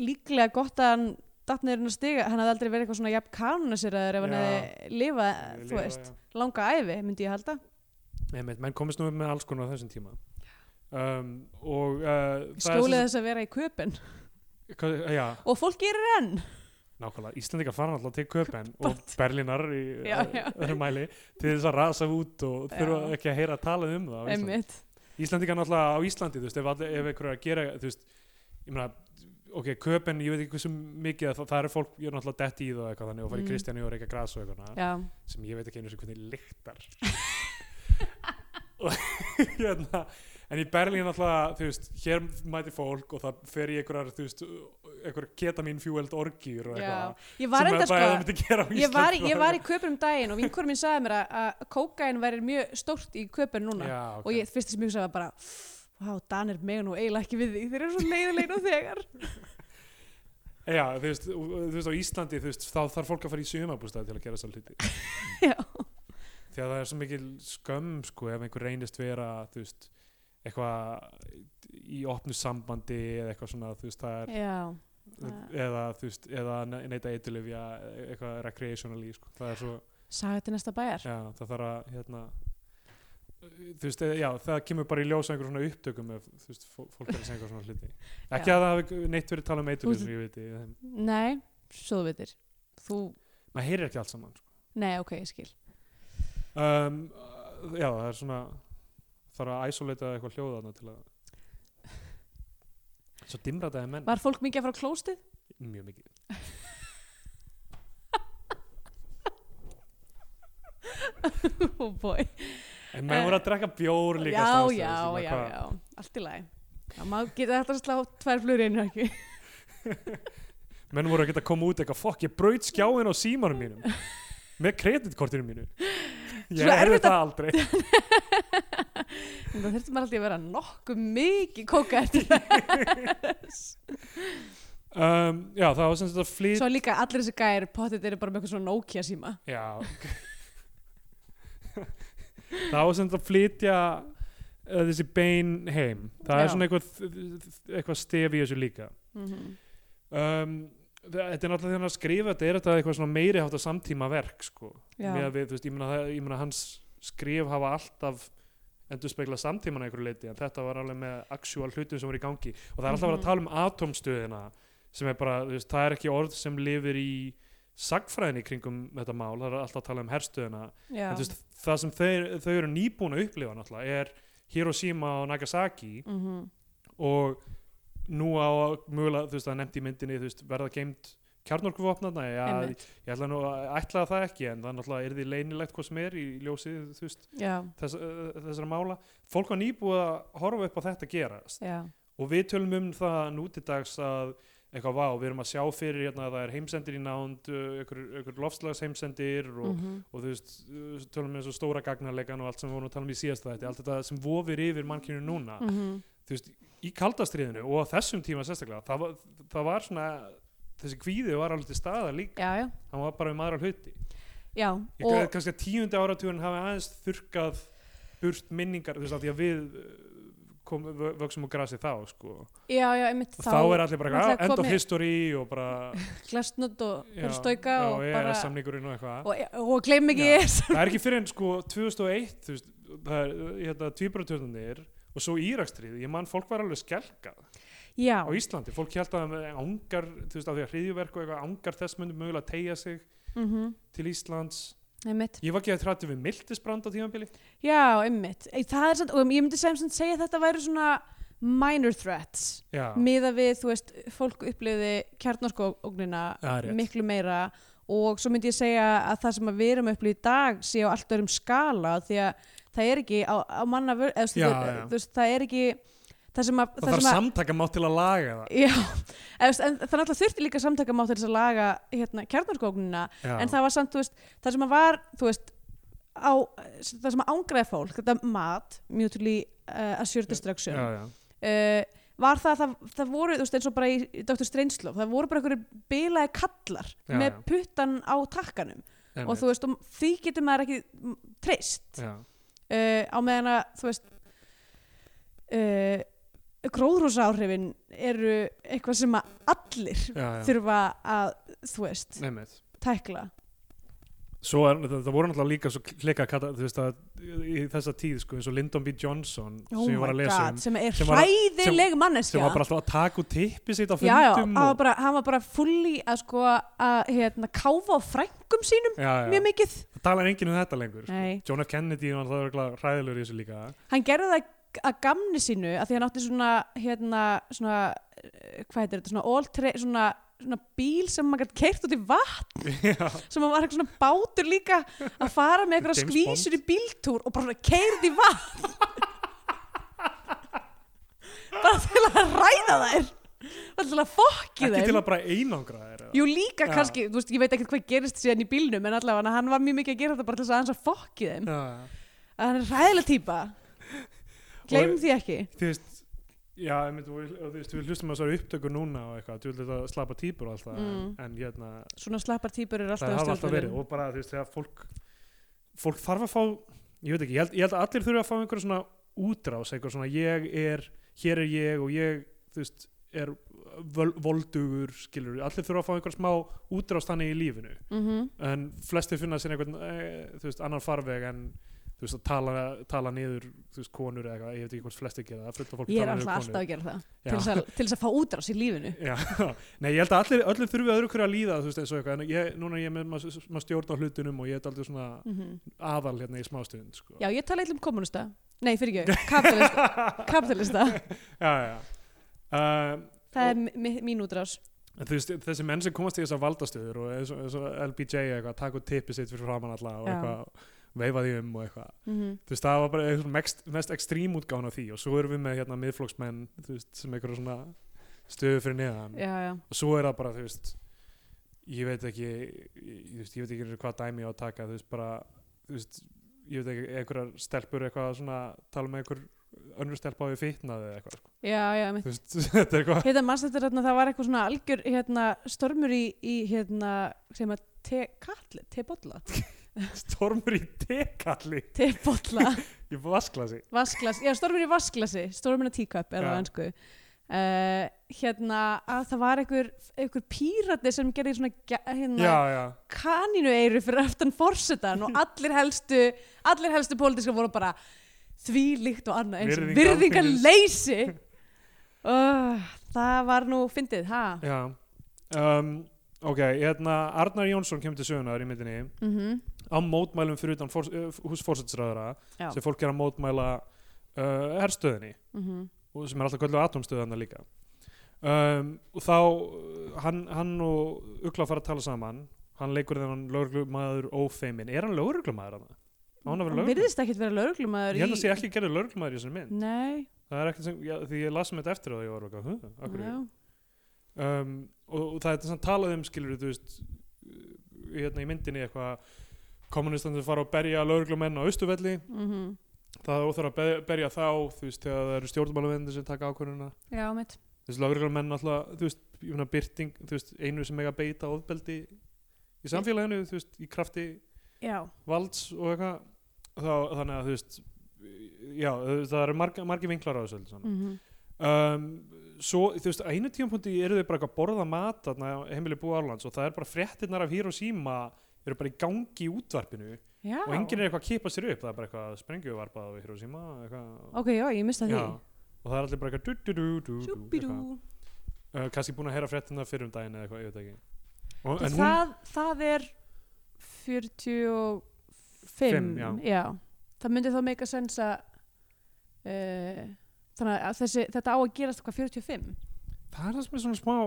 [SPEAKER 3] líklega gott að hann datnirinn að stiga, hann hafði aldrei verið eitthvað svona jafn kanunasýraður ef hann
[SPEAKER 2] Já.
[SPEAKER 3] hefði lifað, Eh, þú veist, langa æfi myndi ég halda,
[SPEAKER 2] Einmitt, menn komist nú upp með alls konar á þessum tíma um, og uh,
[SPEAKER 3] skjólið þess að vera í köpinn
[SPEAKER 2] hvað, já,
[SPEAKER 3] og fólk gerir enn
[SPEAKER 2] nákvæmlega, Íslandingar fara alltaf til Köpen og Berlínar í eh,
[SPEAKER 3] Já, já.
[SPEAKER 2] öðrum mæli til þess að rasa út og þurfa
[SPEAKER 3] Já.
[SPEAKER 2] ekki að heyra að tala um það á Íslandi.
[SPEAKER 3] einmitt,
[SPEAKER 2] Íslandingar náttúrulega á Íslandi þú veist, ef, allir- ef einhverju er að gera þú veist, ég meina, ok, köpen ég veit ekki hversu mikið, að það, það eru fólk ég er náttúrulega detti í það og eitthvað þannig og farið
[SPEAKER 3] Mm.
[SPEAKER 2] mm. Kristjáni og reyka gras og eitthvað
[SPEAKER 3] já,
[SPEAKER 2] sem ég veit ekki einu sem hvernig lyktar og hérna en í Berlín náttúrulega, þú veist hér mæti fólk og það fer í einhverjar þú veist, einhverjar ketamín fueled orgjur og
[SPEAKER 3] já
[SPEAKER 2] eitthvað
[SPEAKER 3] ég var
[SPEAKER 2] sem
[SPEAKER 3] enda
[SPEAKER 2] er bara það
[SPEAKER 3] sko
[SPEAKER 2] myndi gera á Íslandi
[SPEAKER 3] Ég var, í- ég var í köpunum daginn og vinkur minn sagði mér að, að kókain væri mjög stórt í köpun núna
[SPEAKER 2] já, ok.
[SPEAKER 3] og ég fyrst þess að mjög sagði bara Vá, Danir mega nú eiginlega ekki við því þeir eru svo leiðilegir og þegar
[SPEAKER 2] já, þú veist, og- og þú veist á Íslandi þú veist, þá þarf fólk að fara í sumabústæði til að gera þessar hluti
[SPEAKER 3] Já,
[SPEAKER 2] því að það er svo mikil skömm sko ef einhver reynist vera þú veist eitthvað í opnu sambandi eða eitthvað svona þú veist það er
[SPEAKER 3] já,
[SPEAKER 2] eða þú veist eða ne- neita eitilifja eitthvað recreationally sko það er svo
[SPEAKER 3] sagði þetta næsta bæjar
[SPEAKER 2] já það þarf að hérna þú veist eða, já það kemur bara í ljós á einhver svona upptökum ef þú veist fó- fólk er að segja eitthvað svona hluti ekki
[SPEAKER 3] Já. Mhm.
[SPEAKER 2] að það hafi neitt verið talað um
[SPEAKER 3] Þú-
[SPEAKER 2] eitilifja ég veit í þeim
[SPEAKER 3] Nei, svo þú veitir Þú,
[SPEAKER 2] maður heyrir ekki allt saman sko.
[SPEAKER 3] nei, ok, ég skil
[SPEAKER 2] um, já það er svona þarf að isolata eitthvað hljóðarna til að svo dimrataði menn
[SPEAKER 3] Var fólk mikið að fara á klóstið?
[SPEAKER 2] mjög mikið
[SPEAKER 3] Oh boy
[SPEAKER 2] en menn voru að drekka bjór líka
[SPEAKER 3] Já,
[SPEAKER 2] staðar,
[SPEAKER 3] já,
[SPEAKER 2] staðar, svona,
[SPEAKER 3] já,
[SPEAKER 2] hvað-
[SPEAKER 3] já, allt í lagi Já, maður geta þetta að slá tvær flur einu ekki
[SPEAKER 2] menn voru að geta að koma út eitthvað fokk ég braut skjáin á símanum mínum með kreditkortinu mínu ég
[SPEAKER 3] Svo
[SPEAKER 2] erði
[SPEAKER 3] erfitt
[SPEAKER 2] það aldrei
[SPEAKER 3] Það þurfti maður alltaf að vera nokkuð mikið kóka eftir þess
[SPEAKER 2] um, já það var sem sagt að flýt
[SPEAKER 3] Svo líka allir þessi gæri pottet eru bara með eitthvað svona Nokia síma
[SPEAKER 2] Já Það var sem þetta að flytja uh, þessi bein heim Það
[SPEAKER 3] Já.
[SPEAKER 2] er svona eitthvað, eitthvað stef í þessu líka
[SPEAKER 3] mm
[SPEAKER 2] Mhm. um, þa- Þetta er náttúrulega þegar hann er að skrifa þetta er þetta eitthvað svona meiri hátt að samtíma verk sko.
[SPEAKER 3] Já.
[SPEAKER 2] með að við, þú veist, ég meina, það, ég meina hans skrif hafa alltaf endur spekla samtíman að einhverju leiti en þetta var alveg með actual hlutum sem voru í gangi og það er alltaf verið
[SPEAKER 3] Mhm.
[SPEAKER 2] að tala um atomstöðina sem er bara, þú veist, það er ekki orð sem lifir í sagfræðin í kringum þetta mál, það er alltaf að tala um herstöðina
[SPEAKER 3] Já,
[SPEAKER 2] en þú veist, það sem þeir, þau eru nýbúin að upplifa náttúrulega er Hiroshima og Nagasaki
[SPEAKER 3] mm
[SPEAKER 2] og nú á að mögulega, þú veist, það er nefnt í myndinni þú veist, verða geimt kjarnorkuvopnarna ja,
[SPEAKER 3] einmitt
[SPEAKER 2] ég ætla nú að ætla það ekki en það náttúrulega er því leynilegt hvað sem er í ljósi þú veist,
[SPEAKER 3] Já,
[SPEAKER 2] þess, uh, þessara mála fólk var nýbúið að horfa upp á þetta gerast
[SPEAKER 3] já,
[SPEAKER 2] og við tölum um það nútidags að eitthvað vá, við erum að sjá fyrir hérna að það er heimsendir í nánd uh, ykkur, ykkur lofslags heimsendir og,
[SPEAKER 3] mhm,
[SPEAKER 2] og þú veist, uh, tölum við eins og stóra gagnarleikan og allt sem við vorum að tala um í síðasta þetta allt þetta sem vofir yfir mannkinu núna
[SPEAKER 3] mhm,
[SPEAKER 2] þú veist, í kaldastriðinu og á þessum tíma sérstaklega, það var, það var svona þessi kvíði var alveg til staðar líka
[SPEAKER 3] já, já,
[SPEAKER 2] hann var bara um aðra hluti
[SPEAKER 3] já
[SPEAKER 2] ég og...
[SPEAKER 3] og
[SPEAKER 2] kannski að tíundi áratugurinn hafi aðeins þurkað burt minningar, þú veist, af því að við uh, kom, vö- vöxum og grasi þá sko.
[SPEAKER 3] já, já, einmitt
[SPEAKER 2] þá, þá er allir bara
[SPEAKER 3] náttúrulega
[SPEAKER 2] eitthvað, "Ah, end of
[SPEAKER 3] komið-
[SPEAKER 2] history og bara
[SPEAKER 3] glasnutt og
[SPEAKER 2] já,
[SPEAKER 3] hulstóika
[SPEAKER 2] já,
[SPEAKER 3] og
[SPEAKER 2] EES
[SPEAKER 3] bara
[SPEAKER 2] samningurinn og eitthvað
[SPEAKER 3] og, og gleym ekki
[SPEAKER 2] Já.
[SPEAKER 3] ég
[SPEAKER 2] það er ekki fyrir en sko 2001 þú veist, það er hérna, tvíburatörnunir og svo Írakstrið, ég man fólk var alveg skelkað
[SPEAKER 3] já,
[SPEAKER 2] á Íslandi, fólk held að það ángar, þú veist, af því að hriðjuverk og eitthvað ángar þess myndi mögulega tegja sig
[SPEAKER 3] mm
[SPEAKER 2] til Íslands
[SPEAKER 3] einmitt
[SPEAKER 2] ég var ekki að trættu við miltisbrand á tímanbili
[SPEAKER 3] já, einmitt, Ei, það er samt og ég myndi sem sem segja að þetta væri svona minor threats
[SPEAKER 2] já,
[SPEAKER 3] miða við, þú veist, fólk upplifði kjarnorskógnina
[SPEAKER 2] það er rétt.
[SPEAKER 3] miklu meira og svo myndi ég segja að það sem að við erum að upplifði í dag sé á allt öðrum skala því að það er ekki á, á manna vör, eða, þú
[SPEAKER 2] Já,
[SPEAKER 3] veist, það,
[SPEAKER 2] já.
[SPEAKER 3] Þú veist, það er ekki það sem að
[SPEAKER 2] það þarf
[SPEAKER 3] sem að,
[SPEAKER 2] samtaka mátt til að laga það
[SPEAKER 3] Já, eða, þú veist, en það náttúrulega þurfti líka samtakamátt til þess að laga hérna, kjarnorskógnina
[SPEAKER 2] já.
[SPEAKER 3] en það var samt, þú veist, það sem að var þú veist, á, það sem að ángraði fólk, þetta mat mutually uh, assured destruction
[SPEAKER 2] já, já.
[SPEAKER 3] uh, var það að það, það voru, þú veist, eins og bara í Dr. Strangelove, það voru bara einhverju bilaði kallar
[SPEAKER 2] Já,
[SPEAKER 3] með
[SPEAKER 2] já.
[SPEAKER 3] puttan á takkanum og
[SPEAKER 2] einmitt.
[SPEAKER 3] þú veist, og því getur maður ekki mm, treyst uh,
[SPEAKER 2] já.
[SPEAKER 3] á meðan að, þú veist uh, gróðrúsáhrifin eru eitthvað sem að allir
[SPEAKER 2] Já, já.
[SPEAKER 3] þurfa að, þú veist,
[SPEAKER 2] Einmitt.
[SPEAKER 3] tækla
[SPEAKER 2] Svo er, það, það voru náttúrulega líka svo klika kata, þú veist að í þessa tíð sko eins og Lyndon B. Johnson
[SPEAKER 3] Oh
[SPEAKER 2] sem ég var að
[SPEAKER 3] my
[SPEAKER 2] lesa
[SPEAKER 3] god,
[SPEAKER 2] um
[SPEAKER 3] sem er
[SPEAKER 2] sem var-
[SPEAKER 3] hræðileg manneskja
[SPEAKER 2] sem var bara alltaf að taka út tippi sitt á
[SPEAKER 3] já, já,
[SPEAKER 2] fundum
[SPEAKER 3] hann var
[SPEAKER 2] og,
[SPEAKER 3] bara, hann var bara fulli að sko að hérna, káfa á frængum sínum
[SPEAKER 2] já, já.
[SPEAKER 3] mjög mikið
[SPEAKER 2] það talar enginn um þetta lengur sko.
[SPEAKER 3] Nei.
[SPEAKER 2] John F. Kennedy var alltaf ræðilegur í þessu líka
[SPEAKER 3] hann gerði það að gamni sínu að því hann átti svona hérna svona eh, hvað heitir þetta svona all trade svona, svona bíl sem maður gætt keirt út í vatn
[SPEAKER 2] já,
[SPEAKER 3] sem hann var eitthvað svona bátur líka að fara með eitthvað
[SPEAKER 2] James
[SPEAKER 3] skvísur í bíltúr og bara svona keirði í vatn bara til að ræða þær bara til að fokki
[SPEAKER 2] ekki til
[SPEAKER 3] þeim
[SPEAKER 2] að bara einangra þér eða?
[SPEAKER 3] Jú líka
[SPEAKER 2] Já.
[SPEAKER 3] kannski, þú veist, ég veit ekkert hvað gerist síðan í bílnum en allavega hann var mjög mikið að gera þetta bara til þess að hans að fokki þeim
[SPEAKER 2] já, já.
[SPEAKER 3] að hann er ræðileg típa Gleym
[SPEAKER 2] Og-
[SPEAKER 3] því ekki
[SPEAKER 2] þú veist já, einmitt, og, og, þú veist, við hlustum að þessu upptöku núna og eitthvað, þú veist þetta slapa típur og alltaf
[SPEAKER 3] Mm.
[SPEAKER 2] en, en hérna,
[SPEAKER 3] svona slappar týpur eru alltaf
[SPEAKER 2] það
[SPEAKER 3] á
[SPEAKER 2] hafa alltaf verið
[SPEAKER 3] stjórnvölinn
[SPEAKER 2] og bara þú veist þegar fólk fólk þarf að fá, ég veit ekki ég held, ég held að allir þurfa að fá einhverja svona útrás einhverja svona ég er, hér er ég og ég, þú veist, er völ, voldugur, skilur allir þurfa að fá einhverja smá útrás þannig í lífinu
[SPEAKER 3] mm -hmm.
[SPEAKER 2] en flestir finna sér einhvern e, þú veist, annan farveg en þú veist, að tala, tala niður þú veist, konur eða eitthvað, ég veit ekki hvort flestir gera það fullt af fólk
[SPEAKER 3] ég er
[SPEAKER 2] tala niður
[SPEAKER 3] alltaf alltaf að gera það til
[SPEAKER 2] Já.
[SPEAKER 3] þess, að, til þess að fá útrás í lífinu
[SPEAKER 2] Já, nei, ég held að allir, allir þurfi öðru hverju að líða, þú veist, eins og eitthvað, en ég, núna er ég með maður ma stjórn á hlutunum og ég er aldrei svona
[SPEAKER 3] mm
[SPEAKER 2] aðal hérna í smástund, sko.
[SPEAKER 3] já ég tala eitthvað um kommunista nei fyrir ekki, kapitalista, kapitalista.
[SPEAKER 2] já, já. Um,
[SPEAKER 3] það er mi- mi- mín útrás
[SPEAKER 2] en þú veist, þessi menn sem komast í þessar valdastöður og eins og, eins og LBJ eitthvað, taka út tippi sitt fyrir framann alla og
[SPEAKER 3] Já.
[SPEAKER 2] eitthvað, veifa því um og eitthvað.
[SPEAKER 3] mm
[SPEAKER 2] Þú veist, það var bara eitthvað mest, mest ekstrím útgána því og svo erum við með hérna miðflóksmenn, þú veist, sem eitthvað svona stöðu fyrir neðan.
[SPEAKER 3] já, já.
[SPEAKER 2] og svo er það bara þú veist ég veit ekki ég, þú veist, ég veit ekki hvað dæmi ég á að taka þú veist bara þú veist, ég veit ekki einhverjar stelpur eitthvað svona tala með einhver önnur stelpa á við fitnaði eða eitthvað sko.
[SPEAKER 3] já, já, einmitt.
[SPEAKER 2] þú veist þetta er eitthvað
[SPEAKER 3] hérna mannst þetta hérna, það var eitthvað svona algjör hérna, stormur í, í hérna sem að te kalli, te bolla
[SPEAKER 2] stormur í tekalli
[SPEAKER 3] te bolla,
[SPEAKER 2] í vasklasi
[SPEAKER 3] vasklas já stormur í vasklasi, stormur í teacup er það
[SPEAKER 2] Já.
[SPEAKER 3] ennsku Uh, hérna að það var einhver, einhver pírati sem gerði svona gæ- hérna,
[SPEAKER 2] já já
[SPEAKER 3] kanínu eiru fyrir aftan forsetan og allir helstu allir helstu pólitíska voru bara því líkt og annað eins
[SPEAKER 2] Virðing
[SPEAKER 3] virðingar leysi það var nú fyndið ha?
[SPEAKER 2] já um, ok hérna Arnar Jónsson kemur til sögunar í myndinni
[SPEAKER 3] Mm
[SPEAKER 2] á mótmælum fyrir utan fórs, eh, hús fórsætisræðara
[SPEAKER 3] Já.
[SPEAKER 2] sem fólk er að mótmæla uh, herstöðinni
[SPEAKER 3] -hmm.
[SPEAKER 2] og sem er alltaf kallið atomstöðana líka um, og þá uh, hann, hann og Ugla fara að tala saman hann leikur þennan lögreglumæður ófeimin, er hann lögreglumæður hann? Á hann að vera
[SPEAKER 3] hann
[SPEAKER 2] lögreglumæður?
[SPEAKER 3] virðist ekkert vera lögreglumæður
[SPEAKER 2] Ég held að sé ekki gerði lögreglumæður í þessari mynd
[SPEAKER 3] nei,
[SPEAKER 2] það er ekkert sem, já, því ég las um þetta eftir og ég var okkar, huh, akkur
[SPEAKER 3] já,
[SPEAKER 2] um, og, og það er þess að talað um skilur þú veist uh, hérna í myndinni eitthvað kommunistandi fara að berja lögreglumenn á austuvelli
[SPEAKER 3] mm
[SPEAKER 2] það er óþar að be- berja þá þú veist, þegar það eru stjórnmálavendir sem taka ákvörðuna
[SPEAKER 3] já mitt
[SPEAKER 2] þessi lögreglumenn náttúrulega, þú veist, ég meina byrting, þú veist, einu sem eiga að beita ofbeldi í samfélaginu, þú veist, í krafti
[SPEAKER 3] já,
[SPEAKER 2] valds og eitthvað, þá, þannig að, þú veist, já, það eru margi, margi vinklar á þessu öllu saman.
[SPEAKER 3] mm
[SPEAKER 2] um, svo, þú veist, á einu tímapunkti eru þau bara eitthvað að borða mat þarna á heimili búið Árlands og það er bara fréttinnar af Hiroshima eru bara í gangi í útvarpinu
[SPEAKER 3] já.
[SPEAKER 2] og enginn er eitthvað að kipa sér upp það er bara eitthvað sprengjuvarpað á Hiroshima eitthvað,
[SPEAKER 3] ok, já, ég mista því
[SPEAKER 2] já, og það er allir bara eitthvað du, du, du, du, du,
[SPEAKER 3] Sjúbidú.
[SPEAKER 2] eitthvað. Uh, kannski búin að heyra fréttinnar fyrir um daginn eða eitthvað, ég veit ekki og,
[SPEAKER 3] Þú,
[SPEAKER 2] en hún,
[SPEAKER 3] það, það er 45
[SPEAKER 2] Fimm, já.
[SPEAKER 3] það myndi þá meika sens að uh, þannig að þessi, þetta á að gerast hvað 45
[SPEAKER 2] það er það sem er svona smá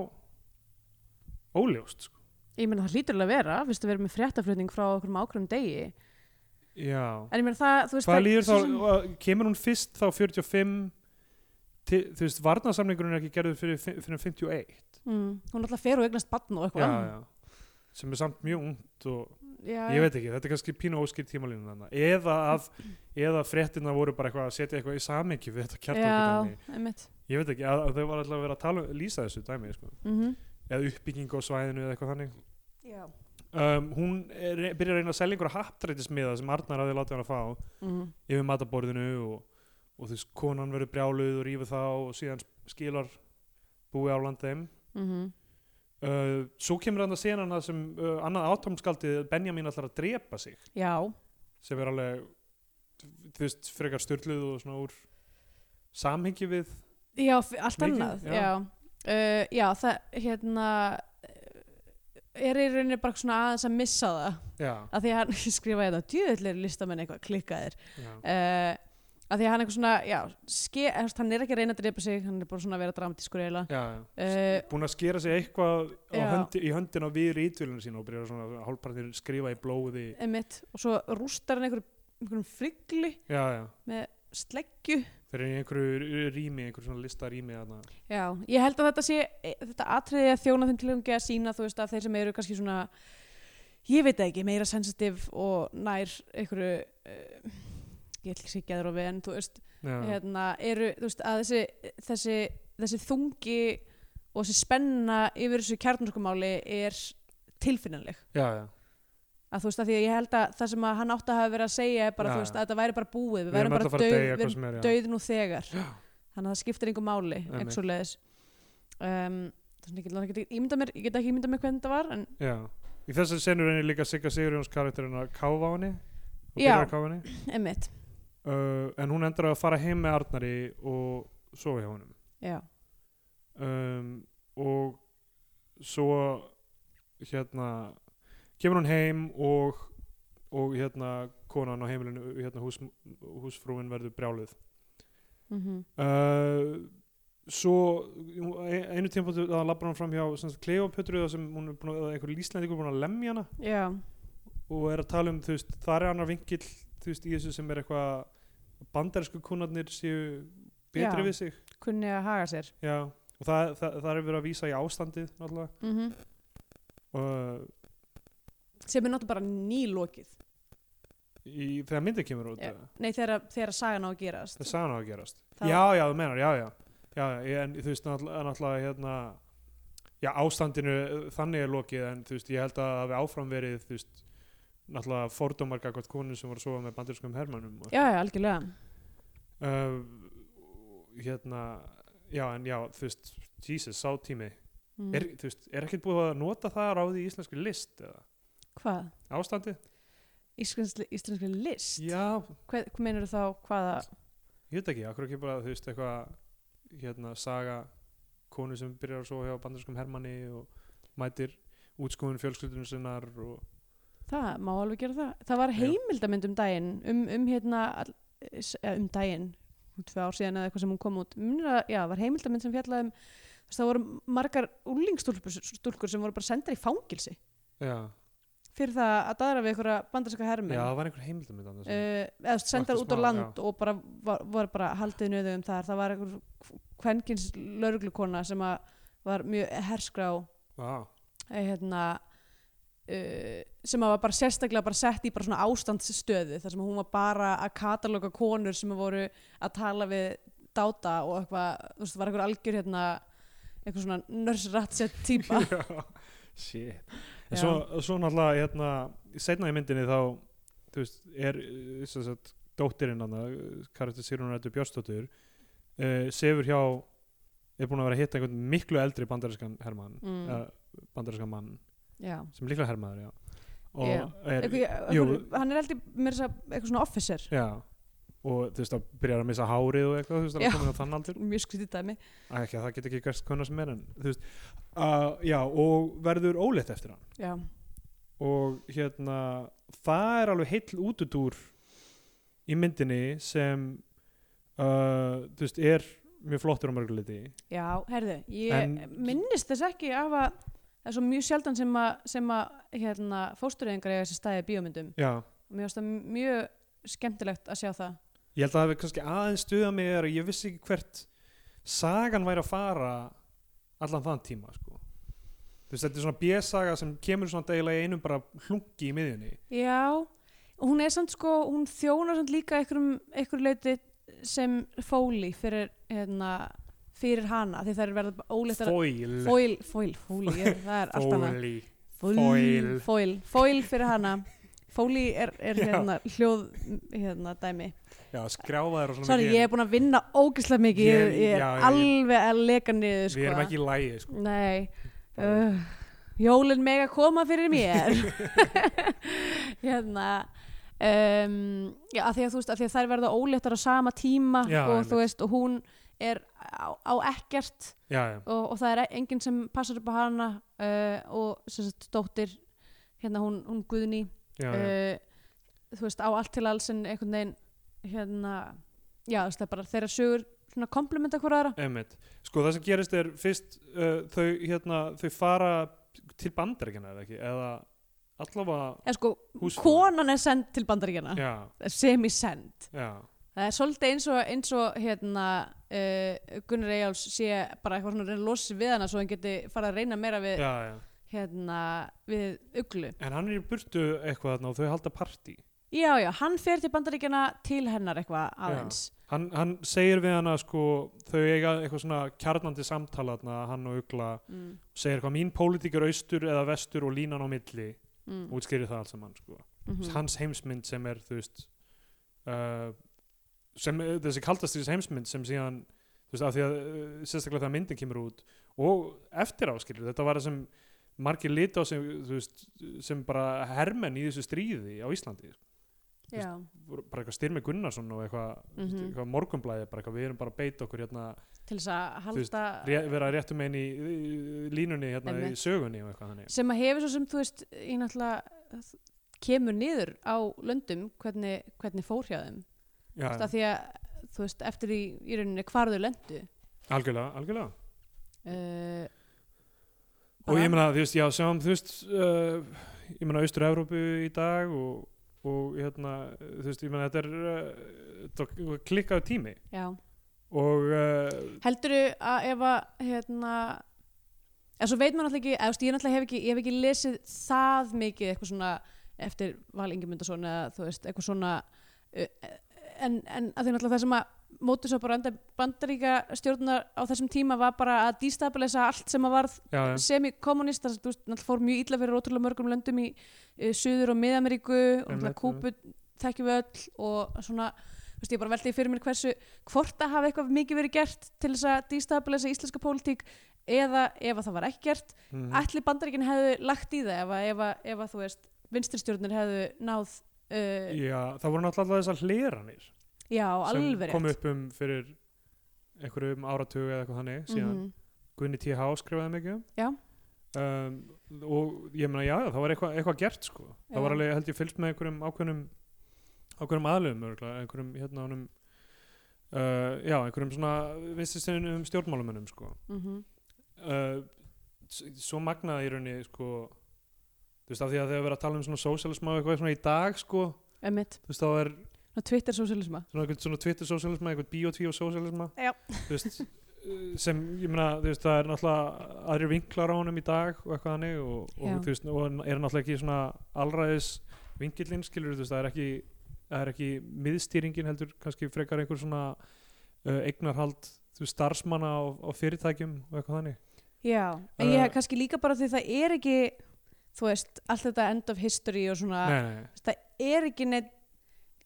[SPEAKER 2] óljóst sko.
[SPEAKER 3] ég meina það hlýtur alveg að vera fyrst að vera með fréttaflutning frá okkur ákveðum degi en
[SPEAKER 2] já
[SPEAKER 3] ég meina það, þú veist
[SPEAKER 2] Hvað
[SPEAKER 3] það-
[SPEAKER 2] líður þá,
[SPEAKER 3] svo sem-
[SPEAKER 2] uh, kemur hún fyrst þá 45 til, þú veist, varnarsamningurinn er ekki gerður fyrir, fi- fyrir 51
[SPEAKER 3] mm, hún alltaf fer og eignast barn og eitthvað
[SPEAKER 2] já. sem er samt mjög ungt og
[SPEAKER 3] Já,
[SPEAKER 2] ég veit ekki, þetta er kannski pínu óskýr tímalínu þarna, eða að eða fréttina voru bara eitthvað að setja eitthvað í samingi við þetta kjartókudæmi,
[SPEAKER 3] já, einmitt
[SPEAKER 2] ég veit ekki að, að þau var alltaf að vera að tala, um- lýsa þessu dæmi sko.
[SPEAKER 3] mm
[SPEAKER 2] eða uppbygging á svæðinu eða eitthvað þannig
[SPEAKER 3] já.
[SPEAKER 2] um, hún er, byrjar að reyna að selja einhverja happdrættismiða sem Arnar hafði látið hann að fá
[SPEAKER 3] Mm.
[SPEAKER 2] yfir mataborðinu og, og þú veist, konan verður brjáluð og rífur þá og síðan skilar búi á landheim
[SPEAKER 3] Mm
[SPEAKER 2] uh, svo kemur hann að sena hana sem uh, annað átomskaldið Benjamin ætlar að drepa sig
[SPEAKER 3] já,
[SPEAKER 2] sem er alveg þú veist, frekar styrluð og svona úr samhengi við
[SPEAKER 3] já, f- allt
[SPEAKER 2] Mikið,
[SPEAKER 3] annað
[SPEAKER 2] já.
[SPEAKER 3] já, uh, já það hérna eh, er í rauninni bara svona aðeins að missa það
[SPEAKER 2] já,
[SPEAKER 3] að því að hann skrifaði þetta djöðlir listamenn eitthvað klikkaðir
[SPEAKER 2] já,
[SPEAKER 3] uh, að því að hann eitthvað svona já, ske, eh, þú veist, hann er ekki að reyna að drepa sig hann er bara svona að vera dramatískur eiginlega
[SPEAKER 2] já.
[SPEAKER 3] uh,
[SPEAKER 2] búin að skera sig eitthvað á
[SPEAKER 3] Já.
[SPEAKER 2] höndi, í höndina við rítvilinu sína og byrja svona hálfpartin skrifa í blóði
[SPEAKER 3] emitt og svo rústar hann einhverjum, einhverjum frigli
[SPEAKER 2] já, já,
[SPEAKER 3] sleggju
[SPEAKER 2] þeir eru í einhverju rými einhverju svona lista rými þarna
[SPEAKER 3] já, ég held að þetta sé eh, þetta atriði að þjóna þeim tilhengi að sína þú veist að þeir sem eru kannski svona ég veit það ekki, meira sensitive og nær einhverju uh, ég ætl ekki að geða rofi en þú veist
[SPEAKER 2] já,
[SPEAKER 3] hérna, eru, þú veist, að þessi, þessi, þessi þungi og þessi spenna yfir þessu kjarnorkumáli er tilfinnanleg.
[SPEAKER 2] já, já.
[SPEAKER 3] Að þú veist, að því að ég held að það sem að hann átti að hafa verið að segja er bara,
[SPEAKER 2] Já,
[SPEAKER 3] þú
[SPEAKER 2] já.
[SPEAKER 3] veist, að þetta væri bara búið, við
[SPEAKER 2] Við erum
[SPEAKER 3] værum
[SPEAKER 2] öll að
[SPEAKER 3] bara
[SPEAKER 2] fara að
[SPEAKER 3] dauð,
[SPEAKER 2] deyja
[SPEAKER 3] við
[SPEAKER 2] eitthvað
[SPEAKER 3] erum
[SPEAKER 2] sem er, já.
[SPEAKER 3] dauð nú þegar. Þannig að það skiptir einhver máli,
[SPEAKER 2] Einmitt.
[SPEAKER 3] eitthvað leðis. Um, það er svona, ég get- ég get ekki ímyndað mér, ég get ekki ímyndað mér hvernig þetta var, en
[SPEAKER 2] Já, í þessu senu reynir líka Sigga Sigurjóns karakterinn að káfa á henni og
[SPEAKER 3] Já.
[SPEAKER 2] byrja að káfa henni
[SPEAKER 3] einmitt,
[SPEAKER 2] uh, en hún endur á að fara heim með Arnari og sofa hjá honum
[SPEAKER 3] já.
[SPEAKER 2] um, og svo hérna kemur hún heim og og hérna konan á heimilinu hérna hús, húsfrúin verður brjáluð
[SPEAKER 3] Mm
[SPEAKER 2] uh, svo einu tíma þá labbar hún fram hjá sem sagt, Kleopötru þar sem hún er búin að einhver líslendingur búin að lemja hana
[SPEAKER 3] Já,
[SPEAKER 2] og er að tala um þú veist, það er annar vinkill þú veist, í þessu sem er eitthvað að bandarísku konarnir séu betri
[SPEAKER 3] Já.
[SPEAKER 2] við sig
[SPEAKER 3] kunni að haga sér.
[SPEAKER 2] já, og það, það, það er verið að vísa í ástandið náttúrulega
[SPEAKER 3] Mm
[SPEAKER 2] og,
[SPEAKER 3] Sem er náttúrulega bara nýlokið.
[SPEAKER 2] í, þegar myndið kemur út
[SPEAKER 3] Já.
[SPEAKER 2] eða?
[SPEAKER 3] Nei, þegar, þegar sagan á að gerast.
[SPEAKER 2] það sagði hann á að gerast
[SPEAKER 3] Það-
[SPEAKER 2] já, já, þú menar, já, já, já, já en þú veist, náttúrulega, náttúrulega hérna já, ástandinu, eh, þannig er lokið en þú veist, ég held að það hafi áfram verið þú veist, náttúrulega fordómar gagvart konun sem var að sofa með bandarískum hermannum og
[SPEAKER 3] Já, já, algjörlega.
[SPEAKER 2] uh, hérna já en já þú veist Jesus sá tími
[SPEAKER 3] Mm.
[SPEAKER 2] er, þú veist, er ekkert búið að nota það ráði í íslenskri list eða
[SPEAKER 3] Hvað?
[SPEAKER 2] ástandi
[SPEAKER 3] Íslenskri, íslenskri list?
[SPEAKER 2] já
[SPEAKER 3] Hvað, hvað meinar þá hvaða?
[SPEAKER 2] ég veit ekki akkur ekki bara þú veist eitthvað hérna saga konu sem byrjar að sofa hjá bandarskum hermanni og mætir útskóðun fjölskyldunum sinnar og
[SPEAKER 3] Það má alveg gera það. Það var
[SPEAKER 2] Já.
[SPEAKER 3] heimildamynd um daginn, um, um hérna, all, eh, um daginn, um tvö ár síðan eða eitthvað sem hún kom út. Minnir að, já, var heimildamynd sem fjallaði um, þú veist, það voru margar úlingstúlkur stúlkur sem voru bara sendar í fangilsi
[SPEAKER 2] já,
[SPEAKER 3] fyrir það að daðra við einhverja bandarska
[SPEAKER 2] já
[SPEAKER 3] hermenn.
[SPEAKER 2] það var einhver heimildamönd annars
[SPEAKER 3] Uh, eða þú veist, sendar
[SPEAKER 2] Vakti
[SPEAKER 3] út á
[SPEAKER 2] smá,
[SPEAKER 3] land og bara var, voru bara haldið nöðum þar það var einhver kvenkins lörglukona sem að var mjög herskrá
[SPEAKER 2] já,
[SPEAKER 3] eh, hérna, uh, sem að var bara sérstaklega bara sett í bara svona ástandsstöðu þar sem hún var bara að kataloga konur sem voru að tala við dáta og eitthvað, þú veist, var eitthvað algjör hérna, eitthvað svona nörsratsett típa.
[SPEAKER 2] Já, shit en
[SPEAKER 3] Já.
[SPEAKER 2] svo, svo náttúrulega hérna, setna í myndinni þá þú veist, er eh, sem sagt, dóttirinn hann karakter Sirun Rættu Björstóttur uh, sefur hjá er búin að vera að hitta einhvern miklu eldri bandarískan hermann
[SPEAKER 3] Mm.
[SPEAKER 2] uh, bandarískan mann
[SPEAKER 3] já
[SPEAKER 2] sem líklega hermaður já. og
[SPEAKER 3] Já.
[SPEAKER 2] er
[SPEAKER 3] Ekkur,
[SPEAKER 2] jú.
[SPEAKER 3] ekkur, hann er heldur mér þess að segja eitthvað svona officer
[SPEAKER 2] já, og þú veist að byrjar að missa hárið og eitthvað þú veist að
[SPEAKER 3] Já.
[SPEAKER 2] er komin á þann aldur
[SPEAKER 3] mjög skrítið dæmi
[SPEAKER 2] Æ, ekki, að það get ekki gerst hvernig sem er en þú veist, uh, já, og verður óleitt eftir hann
[SPEAKER 3] já,
[SPEAKER 2] og hérna það er alveg heill útudúr í myndinni sem uh, þú veist, er mjög flottur á mörguleiti
[SPEAKER 3] já, herðu ég
[SPEAKER 2] En-
[SPEAKER 3] minnist þess ekki af að það er svo mjög sjaldan sem að, sem að hérna, fóstureyðingar eiga þessi staði í bíómyndum
[SPEAKER 2] já,
[SPEAKER 3] mér finnst það mjög skemmtilegt að sjá það
[SPEAKER 2] ég held að það hefur kannski aðeins stuða mig er að ég vissi ekki hvert sagan væri að fara allan þann tíma sko. þú veist, þetta er svona bjössaga sem kemur svona degilega í einum bara hlungi í miðjunni
[SPEAKER 3] Já, hún er samt sko, hún þjónar samt líka einhverjum, einhverjum leiti sem fóli fyrir, hérna, fyrir hana, því það er verið óleitt að
[SPEAKER 2] Fóil
[SPEAKER 3] fóil, fóil, fóli, ég, það er allt annað
[SPEAKER 2] Fóli
[SPEAKER 3] fóil,
[SPEAKER 2] Foil.
[SPEAKER 3] fóil, fóil fyrir hana fóli er, er
[SPEAKER 2] Já.
[SPEAKER 3] hérna hljóð, hérna, dæmi
[SPEAKER 2] Já, skráfaður og svona
[SPEAKER 3] Sorry, ég er búin að vinna ógeðslega mikið, ég,
[SPEAKER 2] Ég-
[SPEAKER 3] ég er
[SPEAKER 2] já, ég-
[SPEAKER 3] alveg að leka niður, sko
[SPEAKER 2] Við erum ekki í lægi sko.
[SPEAKER 3] Nei uh, Jólin mega koma fyrir mér Hérna um, Já, að því að þú veist að því að þær verða óléttar á sama tíma
[SPEAKER 2] Já,
[SPEAKER 3] og
[SPEAKER 2] einmitt.
[SPEAKER 3] þú veist, og hún er á, á ekkert
[SPEAKER 2] Já, já,
[SPEAKER 3] og, og það er enginn sem passar upp á hana uh, og sem sagt dóttir hérna hún, hún Guðný
[SPEAKER 2] já, já.
[SPEAKER 3] uh, þú veist, á allt til alls en einhvern veginn hérna, já, þú veist, það er bara þeirra sögur svona komplementa hver aðra
[SPEAKER 2] Einmitt. Sko það sem gerist er fyrst uh, þau, hérna, þau fara til bandaríkjana eða ekki eða allavega
[SPEAKER 3] eða sko,
[SPEAKER 2] Húsfreyja.
[SPEAKER 3] konan er send til bandaríkjana
[SPEAKER 2] já,
[SPEAKER 3] semi-send
[SPEAKER 2] já,
[SPEAKER 3] það er svolítið eins og, eins og hérna, uh, Gunnar Eyjáls sé bara eitthvað svona að reyna að losa sig við hana svo hann geti farið að reyna meira við
[SPEAKER 2] já, já.
[SPEAKER 3] hérna, við uglu
[SPEAKER 2] En hann er í burtu eitthvað þarna og þau halda partí
[SPEAKER 3] já já, hann fer til bandaríkjana til hennar eitthvað aðeins
[SPEAKER 2] hann, hann segir við hana sko þau eiga eitthvað svona kjarnandi samtala þarna, hann og Ugla
[SPEAKER 3] mm,
[SPEAKER 2] segir hvað mín pólitík er austur eða vestur og línan á milli
[SPEAKER 3] mm,
[SPEAKER 2] útskýrir það alls að mann sko
[SPEAKER 3] mm
[SPEAKER 2] hans heimsmynd sem er þú veist uh, sem, eh, þessi kaldastis heimsmynd sem síðan þú veist, af því að uh, sérstaklega þegar myndin kemur út og eftir áskilur, þetta var það sem margir liti á sem, þú veist, sem bara hermenn í þessu stríði á Íslandi
[SPEAKER 3] já,
[SPEAKER 2] bara eitthvað Styrmi Gunnarsson og eitthvað, mm
[SPEAKER 3] Mhm.
[SPEAKER 2] eitthvað morgunblæði bara eitthvað, við erum bara að beita okkur hérna,
[SPEAKER 3] til þess að
[SPEAKER 2] veist,
[SPEAKER 3] halda
[SPEAKER 2] ré, vera réttum einn í í línunni hérna í
[SPEAKER 3] Einmitt.
[SPEAKER 2] sögunni og eitthvað þannig
[SPEAKER 3] sem að hefur svo sem þú veist ég náttúrulega kemur niður á löndum hvernig, hvernig fór hjá þeim
[SPEAKER 2] Já,
[SPEAKER 3] Þú veist, af því að þú veist eftir í, í rauninni hvar þau löndu
[SPEAKER 2] algjörlega, algjörlega
[SPEAKER 3] uh,
[SPEAKER 2] og ég meina, þú veist, já, sjáum, þú veist uh, ég meina, Austur-Evrópu í dag og, og hérna þú veist, ég meina, þetta er uh, þetta er klikkaður tími
[SPEAKER 3] já.
[SPEAKER 2] og uh,
[SPEAKER 3] Heldurðu að ef að hérna eða svo veit maður náttúrulega ekki, eða, þú veist, ég náttúrulega hef ekki, ég hef ekki lesið það mikið eitthvað svona eftir Val Ingemundarsson eða þú veist, eitthvað svona uh, en, en að því náttúrulega það sem að mótis á bara bandaríka stjórnar á þessum tíma var bara að destabilisa allt sem að varð
[SPEAKER 2] já, já,
[SPEAKER 3] semi-kommunist þar sem þú veist, náttúrulega fór mjög illa fyrir ótrúlega mörgum löndum í uh, Suður og Mið-Ameríku og náttúrulega
[SPEAKER 2] Einmitt,
[SPEAKER 3] Kúpu þekkjum við öll og svona, þú veist, ég bara veldi fyrir mér hversu hvort að hafa eitthvað mikið verið gert til þess að destabilisa íslenska pólitík eða ef að það var ekki gert
[SPEAKER 2] mhm,
[SPEAKER 3] ætli bandaríkin hefðu lagt í það ef að, ef að, ef að þú veist, vinstristjórnir hefðu náð uh,
[SPEAKER 2] já það voru náttúrulega þessar hleranir
[SPEAKER 3] já,
[SPEAKER 2] sem
[SPEAKER 3] alveg
[SPEAKER 2] kom upp um fyrir einhverjum áratug eða eitthvað þannig síðan
[SPEAKER 3] Mhm.
[SPEAKER 2] Gunni T.H. skrifaði mikið um.
[SPEAKER 3] Já.
[SPEAKER 2] um, og ég meina, já, það var eitthvað eitthva gert sko,
[SPEAKER 3] Já.
[SPEAKER 2] það var alveg, held ég, fylgst með einhverjum ákveðnum ákveðnum aðlöfum, örgulega, einhverjum hérna honum uh, já, einhverjum svona vinstistunum stjórnmálumunum sko
[SPEAKER 3] Mhm.
[SPEAKER 2] uh, s- svo magnaði í rauninni sko, þú veist, af því að þegar við erum að tala um svona sósialism og eitthvað svona í dag sko,
[SPEAKER 3] Einmitt.
[SPEAKER 2] þú veist, þá er
[SPEAKER 3] Ná, Twitter sósíalisma
[SPEAKER 2] svona einhvern svona Twitter-sósialisma, einhvern biotvíu-sósialisma
[SPEAKER 3] Já.
[SPEAKER 2] þú veist eh, sem, ég meina, þú veist, það er náttúrulega aðrir vinklar á honum í dag og eitthvað hannig og,
[SPEAKER 3] Já.
[SPEAKER 2] og þú veist, og hann er náttúrulega ekki svona allræðis vinkillinn, skilur þú veist, það er ekki það er ekki miðstýringin heldur kannski frekar einhver svona uh, eignarhald, þú veist, starfsmanna á, á fyrirtækjum og eitthvað hannig
[SPEAKER 3] Já, en ég
[SPEAKER 2] Eh,
[SPEAKER 3] hef kannski líka bara því það er ekki, þú veist, allt þetta end of history og svona,
[SPEAKER 2] nei, nei,
[SPEAKER 3] það er ekki neitt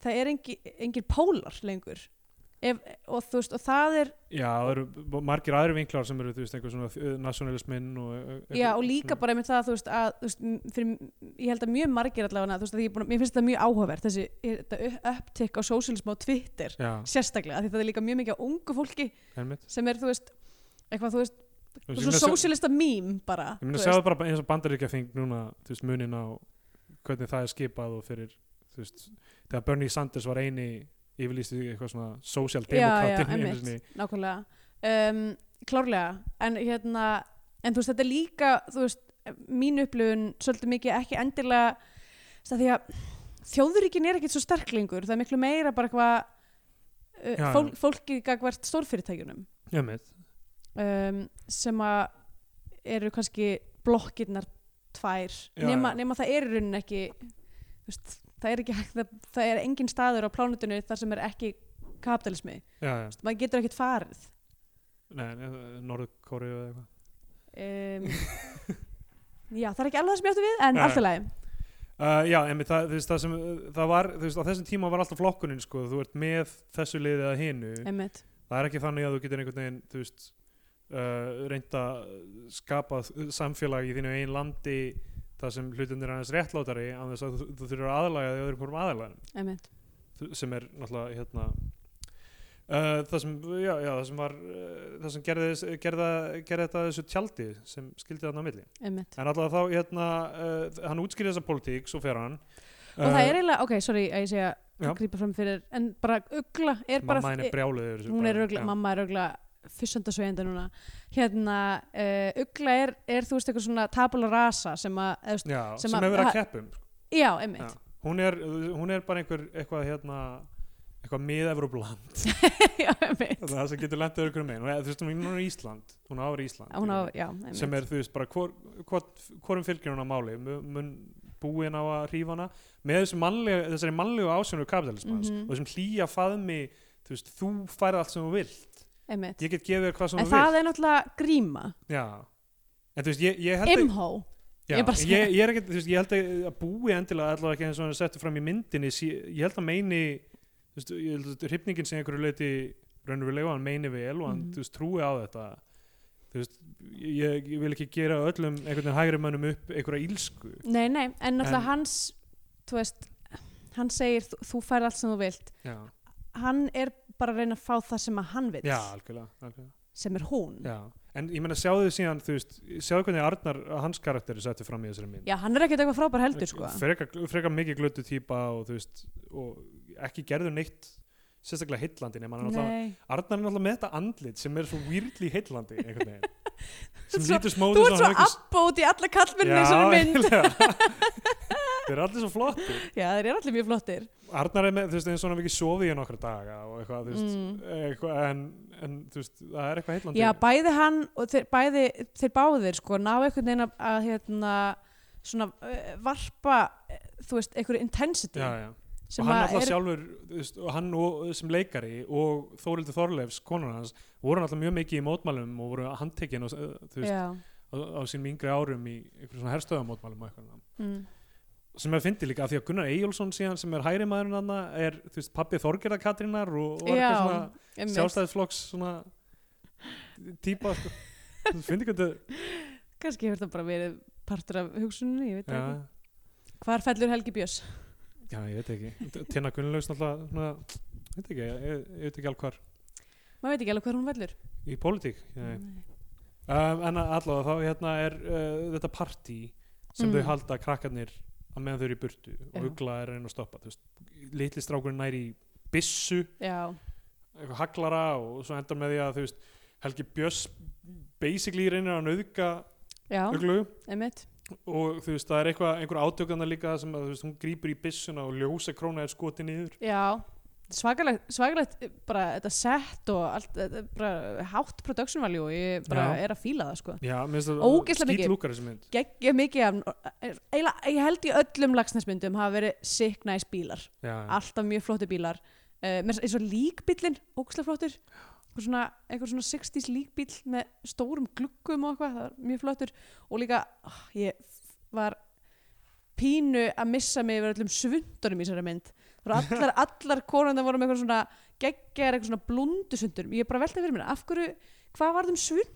[SPEAKER 3] það er engi, engir pólar lengur Ef, og þú veist, og það er
[SPEAKER 2] Já, það eru b- margir aðri vinklar sem eru, þú veist, einhver svona nationalismin og... eh,
[SPEAKER 3] já,
[SPEAKER 2] eitthvað
[SPEAKER 3] og líka bara með það, þú veist, að þú veist, m- fyrir, m- ég held að mjög margir allavega þú veist, að ég, er búin að- mér finnst þetta mjög áhugavert þessi þetta upptikk á socialism á Twitter
[SPEAKER 2] Já,
[SPEAKER 3] sérstaklega, af því það er líka mjög mikið á ungu fólki
[SPEAKER 2] einmitt.
[SPEAKER 3] sem er, þú veist, eitthvað, þú veist
[SPEAKER 2] Þú veist,
[SPEAKER 3] svona
[SPEAKER 2] ég meina,
[SPEAKER 3] socialista mím bara
[SPEAKER 2] Ég meina,
[SPEAKER 3] þú
[SPEAKER 2] sjáðu
[SPEAKER 3] veist.
[SPEAKER 2] bara eins og bandaríkja þing núna, þú veist, munin á hvernig það er skipað og fyrir, þú veist, þegar Bernie Sanders var eini yfirlýsti eitthvað svona
[SPEAKER 3] já, já,
[SPEAKER 2] sósjaldemokratinn einu sinni.
[SPEAKER 3] einmitt, nákvæmlega um, klárlega, en hérna en þú veist, þetta er líka, þú veist mín upplifun svolítið mikið ekki endilega þess að því að þjóðuríkin er ekkit svo sterk lengur, það er miklu meira bara eitthvað uh,
[SPEAKER 2] Já,
[SPEAKER 3] fól,
[SPEAKER 2] já.
[SPEAKER 3] fólkið gagvart stórfyrirtækjunum
[SPEAKER 2] Einmitt.
[SPEAKER 3] um, sem að eru kannski blokkirnar tvær,
[SPEAKER 2] Já,
[SPEAKER 3] nema,
[SPEAKER 2] já.
[SPEAKER 3] nema það er í rauninni ekki þú veist, það er ekki hægt það, það er engin staður á plánutinu þar sem er ekki kapitalismi,
[SPEAKER 2] Já, já,
[SPEAKER 3] maður getur ekkit farið
[SPEAKER 2] nei, Norðkóri eða eitthvað.
[SPEAKER 3] um, já, það er ekki alveg það sem ég átti við en
[SPEAKER 2] Nei.
[SPEAKER 3] allt í lagi,
[SPEAKER 2] Uh, já, emi, það, þú veist, það sem, uh, það var, þú veist, á þessum tíma var alltaf flokkunin, sko, þú ert með þessu liðið að hinu,
[SPEAKER 3] einmitt
[SPEAKER 2] það er ekki þannig að þú getur einhvern veginn, þú veist, uh, reynd að skapa þ- samfélag í þínu einn landi þar sem hlutin er aðeins réttlátari, án þess að þú, þú þurfur að aðlaga því öðrum hvorm aðlaganum,
[SPEAKER 3] einmitt,
[SPEAKER 2] Þú- sem er náttúrulega, hérna, uh, það sem, já, já, það sem var, uh, það sem gerði, þess- gerða, gerði þetta þessu tjaldi sem skildi þarna á milli,
[SPEAKER 3] einmitt
[SPEAKER 2] en alltaf þá, hérna, uh, hann útskýrði þessa politík, svo fer hann.
[SPEAKER 3] og það er eiginlega, ok, sorry að ég segja
[SPEAKER 2] Uh, Já.
[SPEAKER 3] að grípa fram fyrir, en bara ugla er bara,
[SPEAKER 2] Uh,
[SPEAKER 3] e-
[SPEAKER 2] mamma henni brjáluð yfir þessu
[SPEAKER 3] hún
[SPEAKER 2] bara,
[SPEAKER 3] er örgla,
[SPEAKER 2] já.
[SPEAKER 3] mamma er örgla fyrstöndasvegjandi núna hérna, uh, ugla er, er þú veist eitthvað svona tabula rasa sem að, eða, þú veist,
[SPEAKER 2] já,
[SPEAKER 3] sem
[SPEAKER 2] sem,
[SPEAKER 3] að-
[SPEAKER 2] hefur verið að um.
[SPEAKER 3] ha-
[SPEAKER 2] keppum
[SPEAKER 3] já,
[SPEAKER 2] já.
[SPEAKER 3] einmitt
[SPEAKER 2] hún, er, hún er bara einhver eitthvað hérna eitthvað mið-Evrópland
[SPEAKER 3] já, einmitt,
[SPEAKER 2] það sem getur lendið öðru megin hún er, þú veist, hún er í Ísland hún áfri Ísland
[SPEAKER 3] hún á,
[SPEAKER 2] einhvern
[SPEAKER 3] já,
[SPEAKER 2] veginn.
[SPEAKER 3] einmitt
[SPEAKER 2] sem er, þú veist, bara hvor, hvor, hvorum fylgir hún á máli Mu- mun búin á að rífa hana með þessu mannlega, þessari mannlegu ásjónu kapitalismans og
[SPEAKER 3] Mhm.
[SPEAKER 2] þessum hlýja faðmi þú veist, þú færð allt sem þú vilt
[SPEAKER 3] einmitt,
[SPEAKER 2] ég get gefið þér hvað sem
[SPEAKER 3] en
[SPEAKER 2] þú
[SPEAKER 3] það
[SPEAKER 2] vilt
[SPEAKER 3] er náttúrulega gríma,
[SPEAKER 2] já, en þú veist, ég, ég held
[SPEAKER 3] imhó
[SPEAKER 2] Já,
[SPEAKER 3] Ég
[SPEAKER 2] ég,
[SPEAKER 3] bara
[SPEAKER 2] ég,
[SPEAKER 3] segi-
[SPEAKER 2] er ekkert, þú veist, ég held að- að búi endilega allavega ekki eins og hann settur fram í myndinni sí, ég held að meini þú veist, ég held að hrifningin sem einhverju leiti raunverulega og hann meini vel og hann
[SPEAKER 3] Mhm.
[SPEAKER 2] þú veist, trúi á þetta þú veist, ég, ég vil ekki gera öllum einhvern veginn hægri mönnum upp einhverja ílsku
[SPEAKER 3] nei, nei, en náttúrulega
[SPEAKER 2] En-
[SPEAKER 3] hans þú veist, hann segir þú, þú fær allt sem þú vilt
[SPEAKER 2] já,
[SPEAKER 3] hann er bara að reyna að fá það sem að hann vill
[SPEAKER 2] já algjörlega, algjörlega.
[SPEAKER 3] sem er hún
[SPEAKER 2] Já. en ég meina sjáðu síðan þú veist, sjáðu hvernig Arnar, hans karakteri settur fram í þessari mynd
[SPEAKER 3] Já, hann er ekkert eitthvað frábær heldur sko
[SPEAKER 2] frekar, frekar mikið glötu típa og þú veist, og ekki gerður neitt sérstaklega heillandi nema hann er alltaf
[SPEAKER 3] Nei.
[SPEAKER 2] Arnar er náttúrulega með þetta andlit sem er svo výrli heillandi einhvern veginn sem
[SPEAKER 3] Svo-
[SPEAKER 2] lítur smóð
[SPEAKER 3] Þú ert svo abba út í alla kallmenni í þessari mynd
[SPEAKER 2] Þeir eru allir svo flottir
[SPEAKER 3] Já, þeir eru allir mjög flottir
[SPEAKER 2] Arnar er með, þú veist, eins og hann hafi ekki sofið í nokkra daga og eitthvað, þú veist
[SPEAKER 3] Mm.
[SPEAKER 2] eitthvað, en, en þú veist, það er eitthvað heillandi
[SPEAKER 3] Já, bæði hann og þeir, bæði, þeir báðir sko ná einhvern veginn að, að hérna, svona uh, varpa eh, þú veist, einhverju intensity
[SPEAKER 2] já, já.
[SPEAKER 3] sem
[SPEAKER 2] og hann
[SPEAKER 3] að
[SPEAKER 2] alltaf
[SPEAKER 3] er
[SPEAKER 2] sjálfur þú veist, og hann og, sem leikari og Þórildur Þorleifs, konan hans voru alltaf mjög mikið í mótmælum og voru handtekinn og, eh, þú veist,
[SPEAKER 3] Já,
[SPEAKER 2] á, á sínum yngri árum í einhverjum svona herstöðamótmælum og eitthvað
[SPEAKER 3] mm,
[SPEAKER 2] sem ég fyndi líka af því að Gunnar Eyjólfsson síðan sem er hægri maðurinn hann er þú veist pappi Þorgerða Katrínar og, og var
[SPEAKER 3] Já,
[SPEAKER 2] eitthvað svona
[SPEAKER 3] einmitt.
[SPEAKER 2] sjálfstæðisflokks svona típa sko. þú fyndi hvað þetta
[SPEAKER 3] kannski hefur það bara verið partur af hugsuninu, ég veit það
[SPEAKER 2] já,
[SPEAKER 3] ekki Hvar fellur Helgi Björns?
[SPEAKER 2] já, ég veit ekki Tina Gunnlaus náttúrulega svona, ég veit ekki, ég, ég, ég veit ekki alveg hvar
[SPEAKER 3] Maður veit ekki alveg hver hún fellur
[SPEAKER 2] í pólitík nei.
[SPEAKER 3] Nei.
[SPEAKER 2] um, en allavega þá hérna er uh, þetta partí sem
[SPEAKER 3] Mm.
[SPEAKER 2] þau halda krakkarnir að meðan þau eru í burtu
[SPEAKER 3] Já.
[SPEAKER 2] og ugla er að reyna að stoppa þú veist, litli strákurinn næri í byssu
[SPEAKER 3] Já,
[SPEAKER 2] eitthvað haglara og svo endar með því að þú veist Helgi Björns basically reynir að nauðka
[SPEAKER 3] já,
[SPEAKER 2] uglu
[SPEAKER 3] einmitt
[SPEAKER 2] og þú veist það er eitthvað einhver átökana líka þar sem að þú veist hún grýpur í byssuna og ljósa króna er skoti niður
[SPEAKER 3] Já, svakalegt, svakalegt eh, bara þetta sett og allt, þetta er bara hátt production value og ég bara
[SPEAKER 2] Já.
[SPEAKER 3] er að fíla það sko.
[SPEAKER 2] Já, mér finnst
[SPEAKER 3] Ógeysla mikið.
[SPEAKER 2] skítlúkar þessi mynd
[SPEAKER 3] Gekkja mikið af, eila, ég held í öllum lagsnesmyndum hafa verið sick nice bílar,
[SPEAKER 2] Já,
[SPEAKER 3] alltaf mjög flotti bílar. Uh, mér finnst eins og líkbíllinn, ógæslega flottur, einhver svona, einhver svona 60s líkbíll með stórum gluggum og eitthvað, það var mjög flottur og líka, oh, ég var pínu að missa mig yfir öllum svundunum í þessari mynd Það voru allar, allar konundar voru með eitthvað svona geggjar, eitthvað svona blundusundur ég bara velta fyrir mér, af hverju, hvað var þeim sundur?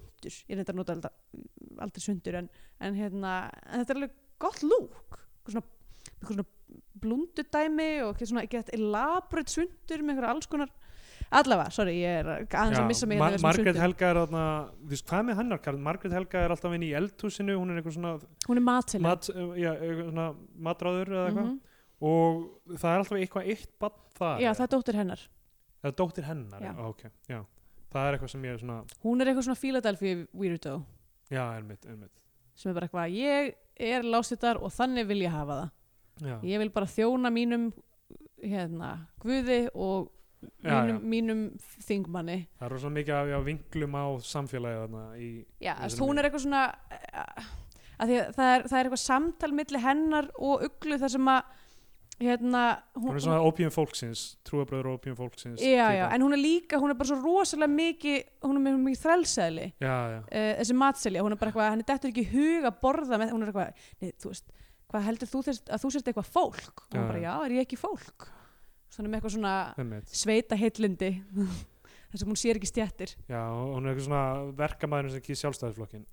[SPEAKER 3] Ég reyndar að nota aldrei, aldrei sundur en, en hérna en þetta er alveg gott lúk eitthvað svona, eitthvað svona blundudæmi og eitthvað svona gett elaborate sundur með eitthvað alls konar allavega, sorry, ég er aðeins að missa mig
[SPEAKER 2] Ma
[SPEAKER 3] hérna í þessum
[SPEAKER 2] Margrét
[SPEAKER 3] sundum.
[SPEAKER 2] Helga er þarna þú veist hvað með hennar Karl, Margrét Helga er alltaf inn í eldhúsinu, hún er einhver svona,
[SPEAKER 3] hún er Mhm. matfélag
[SPEAKER 2] mat, eh, já, einhver svona matráður eða eitthvað og það er alltaf eitthvað eitt bann þar
[SPEAKER 3] já,
[SPEAKER 2] eða-
[SPEAKER 3] það er dóttir hennar
[SPEAKER 2] eða dóttir hennar
[SPEAKER 3] Já.
[SPEAKER 2] já. ok, já, það er eitthvað sem ég er svona
[SPEAKER 3] hún er eitthvað svona Philadelphia weirdo
[SPEAKER 2] já, einmitt, einmitt
[SPEAKER 3] sem er bara eitthvað, ég er lástittar og þannig vil ég hafa það
[SPEAKER 2] já,
[SPEAKER 3] ég vil bara þjóna mínum hérna, guði og
[SPEAKER 2] já, já.
[SPEAKER 3] mínum, mínum þingmanni
[SPEAKER 2] það er svona mikið af já, vinglum á samfélagi þarna í,
[SPEAKER 3] já,
[SPEAKER 2] Ég
[SPEAKER 3] þess,
[SPEAKER 2] sem
[SPEAKER 3] hún
[SPEAKER 2] ég-
[SPEAKER 3] er eitthvað svona eh, að því að það er, það er eitthvað samtal milli hennar og uglu þar sem að hérna,
[SPEAKER 2] hún er svona opium fólksins trúabröður opium fólksins
[SPEAKER 3] já, já,
[SPEAKER 2] týpa.
[SPEAKER 3] en hún er líka, hún er bara svo rosalega mikið hún er með mikið þrælsæðli
[SPEAKER 2] já, já,
[SPEAKER 3] uh, þessi matselja, hún er bara eitthvað, henni dettur ekki í hug að borða með, hún er eitthvað, nei, þú veist, hvað heldur þú þess að þú sért eitthvað fólk? Og hún
[SPEAKER 2] Já,
[SPEAKER 3] bara, já,
[SPEAKER 2] já.
[SPEAKER 3] er ég ekki fólk? Svona með eitthvað svona
[SPEAKER 2] einmitt
[SPEAKER 3] sveita heitlindi, þess að hún sér ekki stjættir.
[SPEAKER 2] já, og hún er eitthvað svona verkamæður sem kýr sjálfstæðisflokkin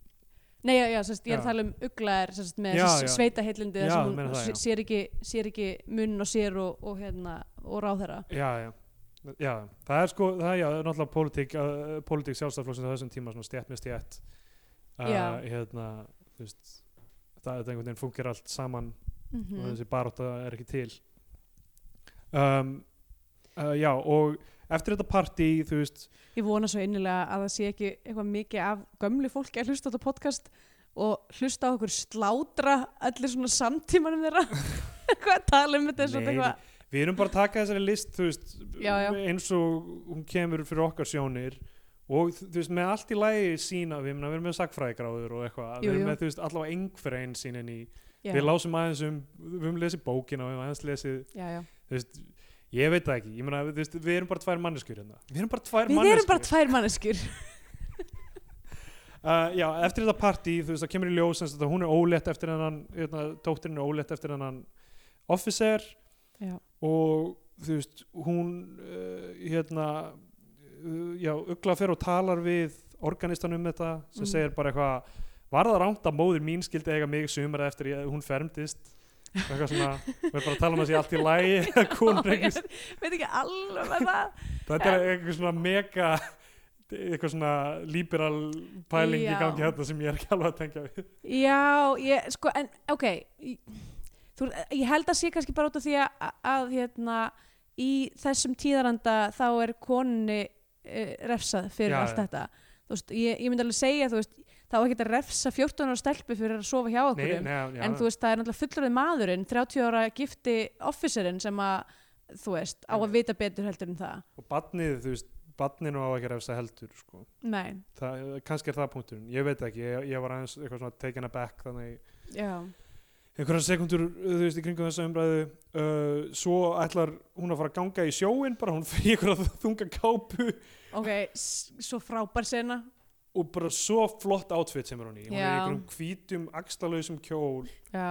[SPEAKER 3] Nei, já, já, sest, ég
[SPEAKER 2] Já.
[SPEAKER 3] er að tala um uglaðir sest, með
[SPEAKER 2] Já,
[SPEAKER 3] þessi
[SPEAKER 2] já.
[SPEAKER 3] sveita heitlindi,
[SPEAKER 2] Já,
[SPEAKER 3] þess að
[SPEAKER 2] ég meina það,
[SPEAKER 3] hún
[SPEAKER 2] já.
[SPEAKER 3] sé- sér ekki, sér ekki munn og sér og, og, hérna, og ráð þeirra.
[SPEAKER 2] já, já Já, það er sko, það er já, það er náttúrulega politík, uh, politík sjálfstæðflokksins á þessum tíma svona stjætt með stjætt uh,
[SPEAKER 3] Já.
[SPEAKER 2] hérna, þú veist það er einhvern veginn fungir allt saman
[SPEAKER 3] Mm
[SPEAKER 2] og þessi baróta er ekki til um, uh, Já, og eftir þetta partí, þú veist
[SPEAKER 3] Ég vona svo innilega að það sé ekki eitthvað mikið af gömlu fólki að hlusta á þetta podcast og hlusta á okkur slátra allir svona samtímanum þeirra eitthvað að tala um þetta svona
[SPEAKER 2] Nei,
[SPEAKER 3] eitthvað
[SPEAKER 2] við erum bara að taka þessari list, þú veist
[SPEAKER 3] Já, já.
[SPEAKER 2] eins og hún kemur fyrir okkar sjónir og þú veist, með allt í lagi sína, við, meina, við erum með sakfræðigráður og eitthvað,
[SPEAKER 3] Jú,
[SPEAKER 2] við erum
[SPEAKER 3] jú.
[SPEAKER 2] með, þú veist, allavega einhverja einsýnin í
[SPEAKER 3] já,
[SPEAKER 2] við lásum aðeins um, við höfum lesið bókina og við höfum aðeins lesið,
[SPEAKER 3] já, já.
[SPEAKER 2] þú veist ég veit það ekki, ég meina, þú veist, við erum bara tvær manneskjur hérna, við erum bara tvær
[SPEAKER 3] Við
[SPEAKER 2] manneskjur
[SPEAKER 3] erum bara tvær manneskjur
[SPEAKER 2] uh, já, eftir þetta partí, þú veist, það kemur í ljós sem sagt að hún er ólétt eftir hennan hérna, dóttirinn er ólétt eftir hennan officer
[SPEAKER 3] Já,
[SPEAKER 2] og þú veist, hún uh, hérna uh, já, ugla fyrir og talar við organistan um þetta, sem
[SPEAKER 3] Mhm.
[SPEAKER 2] segir bara eitthvað var það rámt að móðir mín skildi eiga mig sumar eftir ég, hún fermdist eitthvað svona, við erum bara að tala um að sé allt í lægi að konur
[SPEAKER 3] ég
[SPEAKER 2] ekki
[SPEAKER 3] veit veit ekki alveg með það
[SPEAKER 2] Þetta er eitthvað svona mega eitthvað svona liberal pæling í
[SPEAKER 3] Já.
[SPEAKER 2] gangi þetta sem ég er ekki alveg að tengja við
[SPEAKER 3] Já, ég, sko, en ok í- þú, ég held að sé kannski bara út af því að, að hérna, í þessum tíðaranda þá er koninni uh, refsað fyrir
[SPEAKER 2] Já,
[SPEAKER 3] allt
[SPEAKER 2] já.
[SPEAKER 3] þetta þú veist, ég, ég myndi alveg segja þú veist, þá er ekki að refsa 14 ára stelpu fyrir að sofa hjá okkur um.
[SPEAKER 2] nei, já,
[SPEAKER 3] en þú veist, það er náttúrulega fullurðið maðurinn 30 ára gifti officerinn sem að, þú veist, á að
[SPEAKER 2] Einmitt.
[SPEAKER 3] vita betur heldur en það
[SPEAKER 2] og barnið, þú veist, barninu á ekki að refsa heldur sko.
[SPEAKER 3] Nei,
[SPEAKER 2] það, kannski er það punkturinn, ég veit ekki ég, ég var aðeins eitthvað svona taken aback þannig
[SPEAKER 3] já,
[SPEAKER 2] einhverja sekundur, þú veist, í kringum þessa umræðu uh, svo ætlar hún að fara að ganga í sjóin, bara hún fyrir einhverja þunga kápu
[SPEAKER 3] ok, s- svo frábær sena
[SPEAKER 2] og bara svo flott outfit sem er hún í hún er í
[SPEAKER 3] Já.
[SPEAKER 2] einhverjum hvítum, axlalausum kjól
[SPEAKER 3] Já,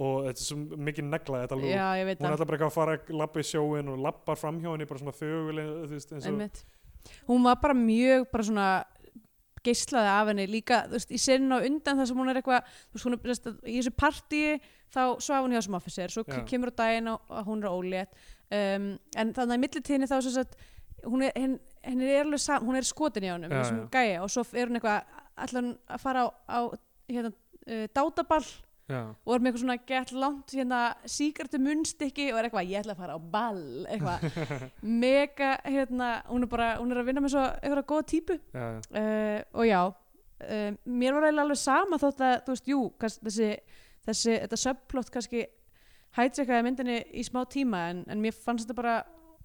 [SPEAKER 2] og þetta er svo mikið negla þetta lúk
[SPEAKER 3] já ég veit
[SPEAKER 2] hún
[SPEAKER 3] það
[SPEAKER 2] ætla bara eitthvað að fara að labba í sjóin og labbar framhjá henni bara svona þöguleg þú veist, eins og
[SPEAKER 3] Einmitt. hún var bara mjög bara svona geislaði af henni líka þú veist, í sinn og undan þar sem hún er eitthvað þú veist, hún er, þú veist, í þessu partíi þá svaf hún hjá sem officer, svo
[SPEAKER 2] Já.
[SPEAKER 3] kemur á daginn og, og hún er ólétt um, en þannig að millitíðinni þá sem sagt, hún er, henn, henn er alveg sam, hún er skotin í honum,
[SPEAKER 2] Já,
[SPEAKER 3] þessum
[SPEAKER 2] já.
[SPEAKER 3] gæja og svo er hún eitthvað, ætlar hún að fara á, á hérna, uh, dátaball
[SPEAKER 2] já,
[SPEAKER 3] og er með eitthvað svona gett langt hérna síkartu munnstykki og er eitthvað ég ætla að fara á ball eitthvað mega hérna hún er bara hún er að vinna með svo eitthvað góða típu
[SPEAKER 2] já, já.
[SPEAKER 3] uh, og já uh, mér var eiginlega alveg sama þótt að þú veist jú kannski, þessi, þessi þetta subplot kannski hætsekkaði myndinni í smá tíma en, en mér fannst þetta bara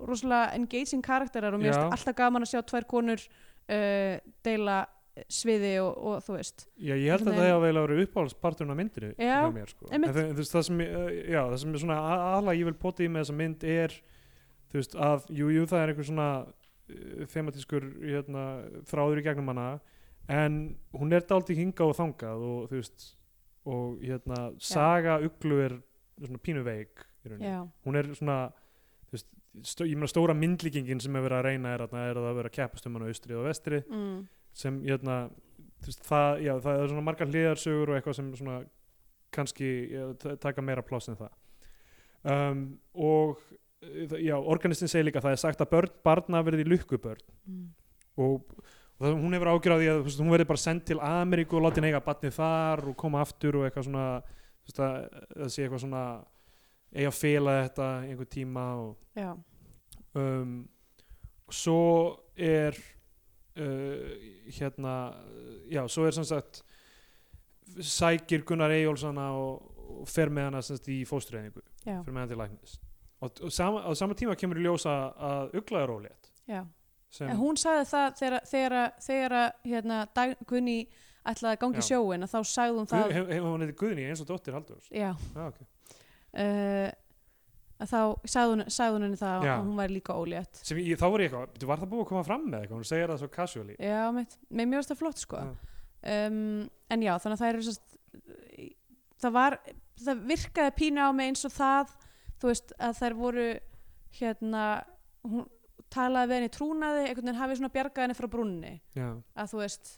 [SPEAKER 3] rosalega engaging karakterar og mér
[SPEAKER 2] Já.
[SPEAKER 3] finnst alltaf gaman að sjá tvær konur uh, deila sviði og, og þú veist
[SPEAKER 2] já, ég held að
[SPEAKER 3] Nei.
[SPEAKER 2] það hefði eiginlega verið uppáhaldsparturinn af myndinni
[SPEAKER 3] Já,
[SPEAKER 2] hjá mér, sko. en,
[SPEAKER 3] einmitt.
[SPEAKER 2] þe- þú veist, það sem ég- eh, já, það sem er svona aðla ég vil potið í með þessa mynd er þú veist, að jú, jú, það er einhver svona eh, þematískur hérna, þráður í gegnum hana en hún er dálítið hingað og þangað og þú veist og hérna, saga uglu er svona pínuveik í rauninni
[SPEAKER 3] já,
[SPEAKER 2] hún er svona þú þú veist, stó, ég meina stóra myndlíkingin sem er verið að reyna er, þarna, er að það er verið að keppast um hann austri og vestri
[SPEAKER 3] mm.
[SPEAKER 2] sem jötna, veist, það, já, það er svona margar hliðarsögur og eitthvað sem svona kannski já, t- taka meira pláss en það um, og eh, það- já, organistin segir líka að það er sagt að börn, barna verði lukkubörn
[SPEAKER 3] Mm.
[SPEAKER 2] og, og það, hún hefur ágjur á því að þú veist, hún verði bara sendt til Ameríku og láti neyga batni þar og koma aftur og eitthvað svona þú veist, að, það sé eitthvað svona eiga að fela þetta í einhver tíma og
[SPEAKER 3] já,
[SPEAKER 2] um, svo er uh, hérna já, svo er sem sagt sækir Gunnar Eyjólfsana og, og fer með hana sem sagt í fóstureyningu,
[SPEAKER 3] já,
[SPEAKER 2] fer með hana til læknis og, og sama, á sama tíma kemur í ljósa að ugla er ólétt
[SPEAKER 3] já.
[SPEAKER 2] sem,
[SPEAKER 3] En hún sagði það þegar, þegar, þegar hérna, dag, Gunni ætlaði að gangi
[SPEAKER 2] Já.
[SPEAKER 3] sjóin að þá sagði hún það
[SPEAKER 2] Guð- hef- hún heiti Guðni eins og dóttir Halldórs
[SPEAKER 3] já,
[SPEAKER 2] ah, okay.
[SPEAKER 3] uh, að þá sagði hún, sagði hún henni það
[SPEAKER 2] Já.
[SPEAKER 3] að hún væri líka ólétt
[SPEAKER 2] sem ég, þá var ég eitthvað, "Bíddu, var það búið að koma fram með eitthvað hún segir það svo casually
[SPEAKER 3] Já, mitt, með mér varst það flott sko
[SPEAKER 2] Já.
[SPEAKER 3] um, En já, þannig að það eru sest, það var það virkaði pína á mig eins og það þú veist, að þær voru hérna, hún talaði við henni í trúnaði, einhvern veginn hafi svona bjargað henni frá brunni
[SPEAKER 2] já,
[SPEAKER 3] að þú veist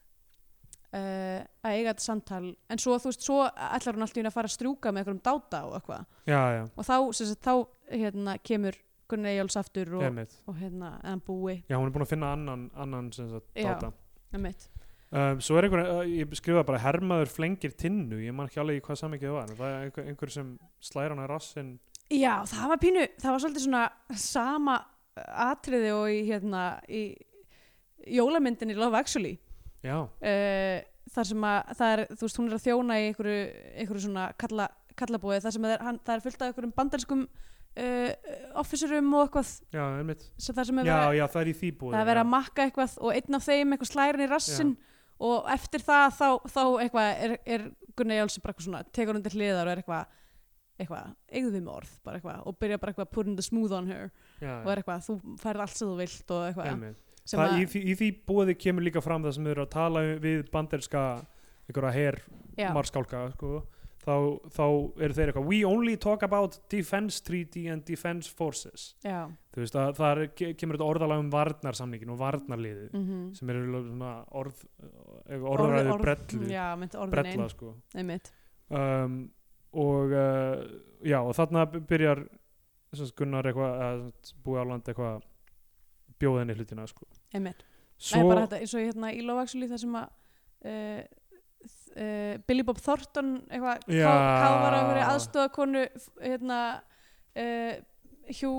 [SPEAKER 3] uh, að eiga þetta samtal en svo þú veist, svo ætlar hún alltaf að fara að strjúka með einhverjum dáta og eitthvað
[SPEAKER 2] já, já,
[SPEAKER 3] og þá, sem sagt, þá hérna, kemur Gunnar Eyjáls aftur og,
[SPEAKER 2] einmitt.
[SPEAKER 3] og hérna, en hann búi
[SPEAKER 2] já, hún er búin að finna annan, annan sem sagt,
[SPEAKER 3] Já.
[SPEAKER 2] dáta
[SPEAKER 3] einmitt.
[SPEAKER 2] Um, svo er einhver, uh, ég skrifaði bara hermaður flengir tinnu, ég man ekki alveg í hvað samvikið það var, en það er einhver, einhver sem slæra hana í rassin,
[SPEAKER 3] Já, það var pínu, það var svolítið svona sama atriði og í hérna, í jólamyndinni Love Actually
[SPEAKER 2] já,
[SPEAKER 3] uh, þar sem að það er, þú veist, hún er að þjóna í einhverju, einhverju svona kalla, kallabóði þar sem að það er, hann, það er fullt af einhverjum bandarskum uh, officerum og eitthvað
[SPEAKER 2] já, einmitt
[SPEAKER 3] sem það sem er
[SPEAKER 2] já,
[SPEAKER 3] verið,
[SPEAKER 2] já, það er í því búið
[SPEAKER 3] það er verið að makka eitthvað og einn af þeim eitthvað slærin í rassin og eftir það þá, þá eitthvað er, er Gunnar Jálsson bara eitthvað svona tekur undir hliðar og er eitthvað eitthvað, eigðu við með orð bara eitthvað og byrja bara eitthvað að putting the smooth on her
[SPEAKER 2] já,
[SPEAKER 3] og er eitthvað, þú færð allt sem þú vilt og eitthvað
[SPEAKER 2] einmitt.
[SPEAKER 3] sem
[SPEAKER 2] Það,
[SPEAKER 3] að,
[SPEAKER 2] í, því, í því búið kemur líka fram það sem þau eru að tala við banderska einhverja her
[SPEAKER 3] já,
[SPEAKER 2] marskálka, sko þá, þá eru þeir eitthvað, we only talk about defense treaty and defense forces
[SPEAKER 3] já,
[SPEAKER 2] þú veist, að það kemur þetta orðalag um varnarsamningin og varnarliðið
[SPEAKER 3] mm
[SPEAKER 2] sem eru svona orð, eh, orðræðu brellu
[SPEAKER 3] já, myndi orðin
[SPEAKER 2] brella
[SPEAKER 3] einn,
[SPEAKER 2] sko
[SPEAKER 3] einmitt
[SPEAKER 2] um, og uh, já og þarna b- byrjar sem sagt, Gunnar eitthvað að búi áland eitthvað að bjóða henni hlutina sko
[SPEAKER 3] einmitt, það er
[SPEAKER 2] svo,
[SPEAKER 3] bara þetta eins og hérna í Love Actually þar sem að uh, uh, Billy Bob Thornton eitthvað,
[SPEAKER 2] Já.
[SPEAKER 3] ká- káfar á einhverju aðstofakonu hérna uh, hjú,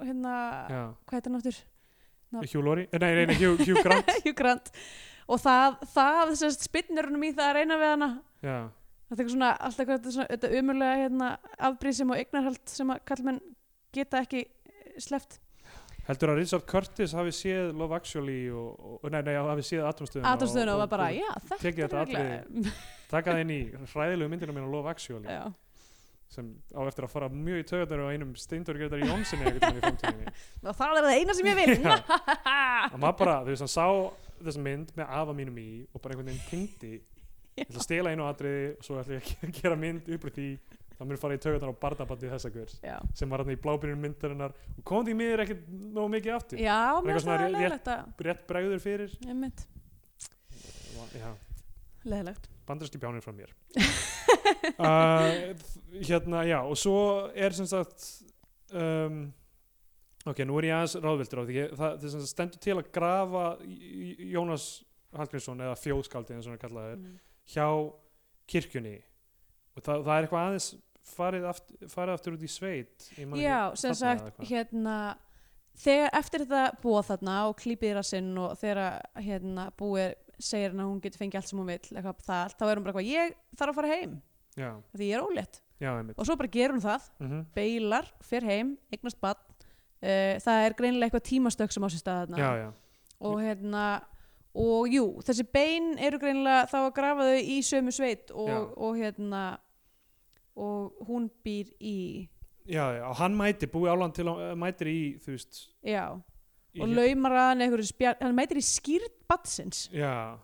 [SPEAKER 3] hérna
[SPEAKER 2] já,
[SPEAKER 3] hvað heitir hann áttur?
[SPEAKER 2] Hugh Laurie nei, nei, nei, Hugh, Hugh Grant
[SPEAKER 3] Hjú Grant og það, það sérst spinnurunum í það að reyna við hana
[SPEAKER 2] já,
[SPEAKER 3] þetta er svona, alltaf hvað þetta, er svona, þetta umurlega hérna, afbrýðsum og eignarhald sem að kallmenn geta ekki eh, sleft
[SPEAKER 2] heldur að Richard Curtis hafi séð Love Actually og, og nei, nei, hafi séð Atomstöðuna
[SPEAKER 3] aðdómstöðun og var bara, já,
[SPEAKER 2] tekið
[SPEAKER 3] þetta
[SPEAKER 2] þetta
[SPEAKER 3] er
[SPEAKER 2] atriði.
[SPEAKER 3] regla
[SPEAKER 2] taka það inn í hræðilegu myndina mína Love Actually
[SPEAKER 3] já,
[SPEAKER 2] sem á eftir að fara mjög í töðunar á einum Steindor Gretar Jónsson eða eitthvað í framtíðinni
[SPEAKER 3] og það er það eina sem ég vil
[SPEAKER 2] Já. að maður bara, þú veist, hann sá þessa mynd með afa mínum í og bara einhvern veginn tengdi ég ætla að stela einu atriði og svo ætla ég að gera mynd upp úr því það mér fara í taugarnar á barnabandi þessa hvers
[SPEAKER 3] já,
[SPEAKER 2] sem var hann í blábyrjunum myndarinnar og kom því miður ekkert nógu mikið aftur
[SPEAKER 3] já
[SPEAKER 2] eitthvað
[SPEAKER 3] mér finnst
[SPEAKER 2] svona
[SPEAKER 3] það
[SPEAKER 2] rétt-
[SPEAKER 3] leðilegt að
[SPEAKER 2] rétt bregður fyrir
[SPEAKER 3] einmitt,
[SPEAKER 2] já,
[SPEAKER 3] leðilegt
[SPEAKER 2] bandarski bjánir frá mér uh, þ- hérna, já, og svo er sem sagt um, ok, nú er ég aðeins ráðvildur á því ég, það, það sem sagt stendur til að grafa Í- Í- Jónas Hallgrímsson eða fjóðskaldið eins og hann kallaði
[SPEAKER 3] Mm.
[SPEAKER 2] hjá kirkjunni og það, það er eitthvað aðeins farið aftur, farið aftur út í sveit ég man ekki,
[SPEAKER 3] já, sem
[SPEAKER 2] þarna
[SPEAKER 3] sagt,
[SPEAKER 2] eða eitthvað.
[SPEAKER 3] hérna þegar eftir þetta búa þarna og klípið rassinn og þegar að, hérna búið segir hann að hún getur fengið allt sem hún vill eitthvað það, allt, þá er hún bara eitthvað, ég þarf að fara heim
[SPEAKER 2] já,
[SPEAKER 3] því ég er ólétt
[SPEAKER 2] já, einmitt
[SPEAKER 3] og hérna. svo bara gerur hún það,
[SPEAKER 2] mm
[SPEAKER 3] beilar, fer heim eignast badn, uh, það er greinilega eitthvað tímastökk sem á sér stað þarna
[SPEAKER 2] já, já,
[SPEAKER 3] og hérna og jú, þessi bein eru greinilega þá að grafa þau í sömu sveit og,
[SPEAKER 2] Já.
[SPEAKER 3] og hérna og hún býr í
[SPEAKER 2] já, já, og hann mætir búi áland til að mætir í, þú veist
[SPEAKER 3] já,
[SPEAKER 2] í,
[SPEAKER 3] og laumar að hann einhverju spjall, hann mætir í skýrt batsins
[SPEAKER 2] já,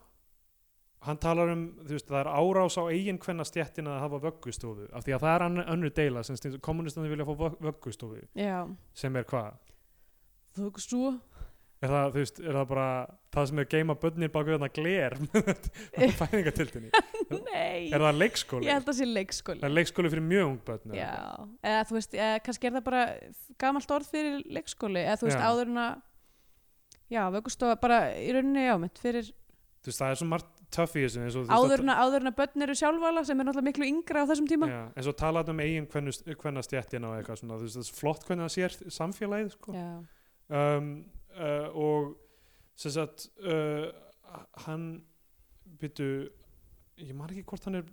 [SPEAKER 2] hann talar um, þú veist, það er árás á eigin hvenna stjettin að hafa vöggustofu af því að það er ann- önnur deila sem stundum- kommunistandi vilja fá vögg- vöggustofu
[SPEAKER 3] já,
[SPEAKER 2] sem er hvað?
[SPEAKER 3] þú veist svo
[SPEAKER 2] Er það, þú veist, er það bara það sem er geima börnin bak við þarna gler með fæðingatildinni?
[SPEAKER 3] nei,
[SPEAKER 2] Er það leikskóli?
[SPEAKER 3] ég held að það sé leikskóli
[SPEAKER 2] Það er leikskóli fyrir mjög ung börn. eða?
[SPEAKER 3] Já, eða þú veist, eða, kannski er það bara gamalt orð fyrir leikskóli eða þú veist
[SPEAKER 2] Já.
[SPEAKER 3] áður en að já, vöggustofa bara í rauninni jámitt fyrir
[SPEAKER 2] Þú veist, það er svo margt töff í þessu eins og þú veist,
[SPEAKER 3] áður en, að, áður en að börn eru sjálfvala sem er náttúrulega miklu yngra á þessum tíma
[SPEAKER 2] Já, eins og talaði um eigin hvenna stjettina og eitthvað svona, þú veist, það er flott hvernig það sér samfélagið, sko.
[SPEAKER 3] Já,
[SPEAKER 2] um, uh, og sem sagt uh, hann byrju ég man ekki hvort hann er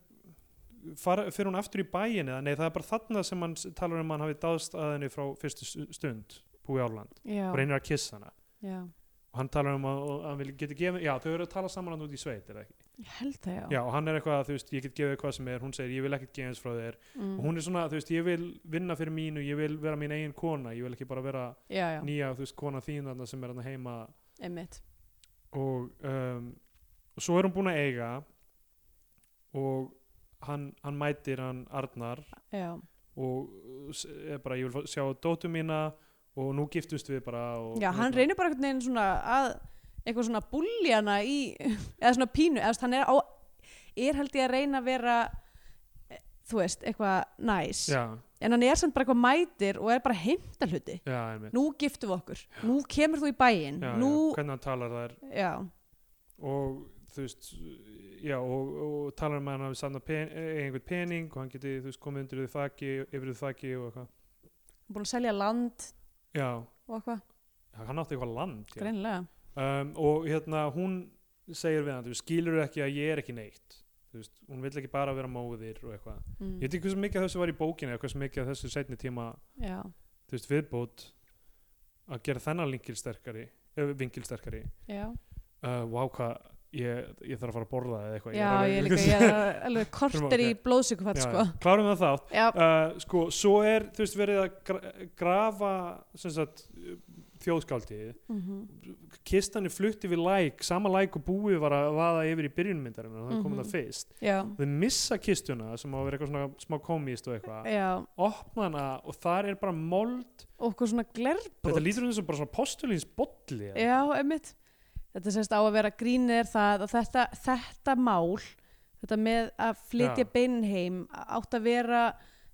[SPEAKER 2] fara, fyrir hún aftur í bæin eða nei það er bara þarna sem hann s- talar um að hann hafi dáðst að henni frá fyrstu stu- stund búi Árland
[SPEAKER 3] já,
[SPEAKER 2] og reynir að kissa hana
[SPEAKER 3] já.
[SPEAKER 2] og hann talar um að, að hann vil geta gefið já þau eru að tala saman hann út í sveit er það ekki
[SPEAKER 3] Ég held það já,
[SPEAKER 2] já og hann er eitthvað að þú veist ég get gefið hvað sem er hún segir ég vil ekkert gefið eins frá þér
[SPEAKER 3] Mm.
[SPEAKER 2] og hún er svona þú veist ég vil vinna fyrir mínu ég vil vera mín eigin kona ég vil ekki bara vera
[SPEAKER 3] já, já,
[SPEAKER 2] nýja þú veist kona þín þarna sem er hann heima
[SPEAKER 3] einmitt
[SPEAKER 2] og um, svo er hún búin að eiga og hann, hann mætir hann Arnar
[SPEAKER 3] Já,
[SPEAKER 2] og uh, s- er bara ég vil fá- sjá dóttu mína og nú giftust við bara og, hérna."
[SPEAKER 3] já hann reynir bara einhvern veginn svona að eitthvað svona búljana í eða svona pínu, eða þú veist, hann er á er held ég að reyna að vera eh, þú veist, eitthvað næs
[SPEAKER 2] já,
[SPEAKER 3] en hann er samt bara eitthvað mætir og er bara heimta hluti
[SPEAKER 2] já, einmitt
[SPEAKER 3] nú giftum við okkur, nú kemur þú í bæinn
[SPEAKER 2] já,
[SPEAKER 3] nú,
[SPEAKER 2] já, hvernig hann talar þær
[SPEAKER 3] já,
[SPEAKER 2] og þú veist já, og, og talar um að hann hafi sann pen, einhvern pening og hann geti þú veist komið undir því þaki, yfir því þaki og eitthvað
[SPEAKER 3] búin að selja land
[SPEAKER 2] já,
[SPEAKER 3] og eitthvað,
[SPEAKER 2] hann átti eitthvað land já.
[SPEAKER 3] greinilega
[SPEAKER 2] um, og hérna hún segir við hann, þú skilur ekki að ég er ekki neitt þú veist, hún vill ekki bara vera móðir og eitthvað,
[SPEAKER 3] mm,
[SPEAKER 2] ég veit ekki hversu mikið af þessu var í bókinu eða hversu mikið af þessu setni tíma
[SPEAKER 3] já,
[SPEAKER 2] þú veist, viðbót að gera þennan linkil sterkari eh, vinkil sterkari
[SPEAKER 3] já,
[SPEAKER 2] uh, wow, hvað, ég, ég þarf að fara að borða eða eitthvað
[SPEAKER 3] já,
[SPEAKER 2] alveg-
[SPEAKER 3] ég er líka ég er alveg korter í
[SPEAKER 2] Þurfum
[SPEAKER 3] blóðsykufall
[SPEAKER 2] Já,
[SPEAKER 3] sko,
[SPEAKER 2] já, klárum það þátt
[SPEAKER 3] já,
[SPEAKER 2] uh, sko, svo er, þú veist, verið að gra- grafa sem sagt, þjóðskáldið
[SPEAKER 3] mhm,
[SPEAKER 2] kistan er flutt yfir læk sama læk og búið var að vaða yfir í byrjunmyndarinn og það
[SPEAKER 3] Mhm.
[SPEAKER 2] kom það fyrst
[SPEAKER 3] já,
[SPEAKER 2] þau missa kistuna sem á að vera eitthvað svona smá komist og eitthvað
[SPEAKER 3] já
[SPEAKER 2] opna hana og þar er bara mold
[SPEAKER 3] og okkur svona glerbrot
[SPEAKER 2] þetta lítur um þessu bara svona postulins bolli eða-
[SPEAKER 3] já, einmitt þetta sést á að vera grínið er það að þetta, þetta mál þetta með að flytja
[SPEAKER 2] Já.
[SPEAKER 3] beinin heim átt að vera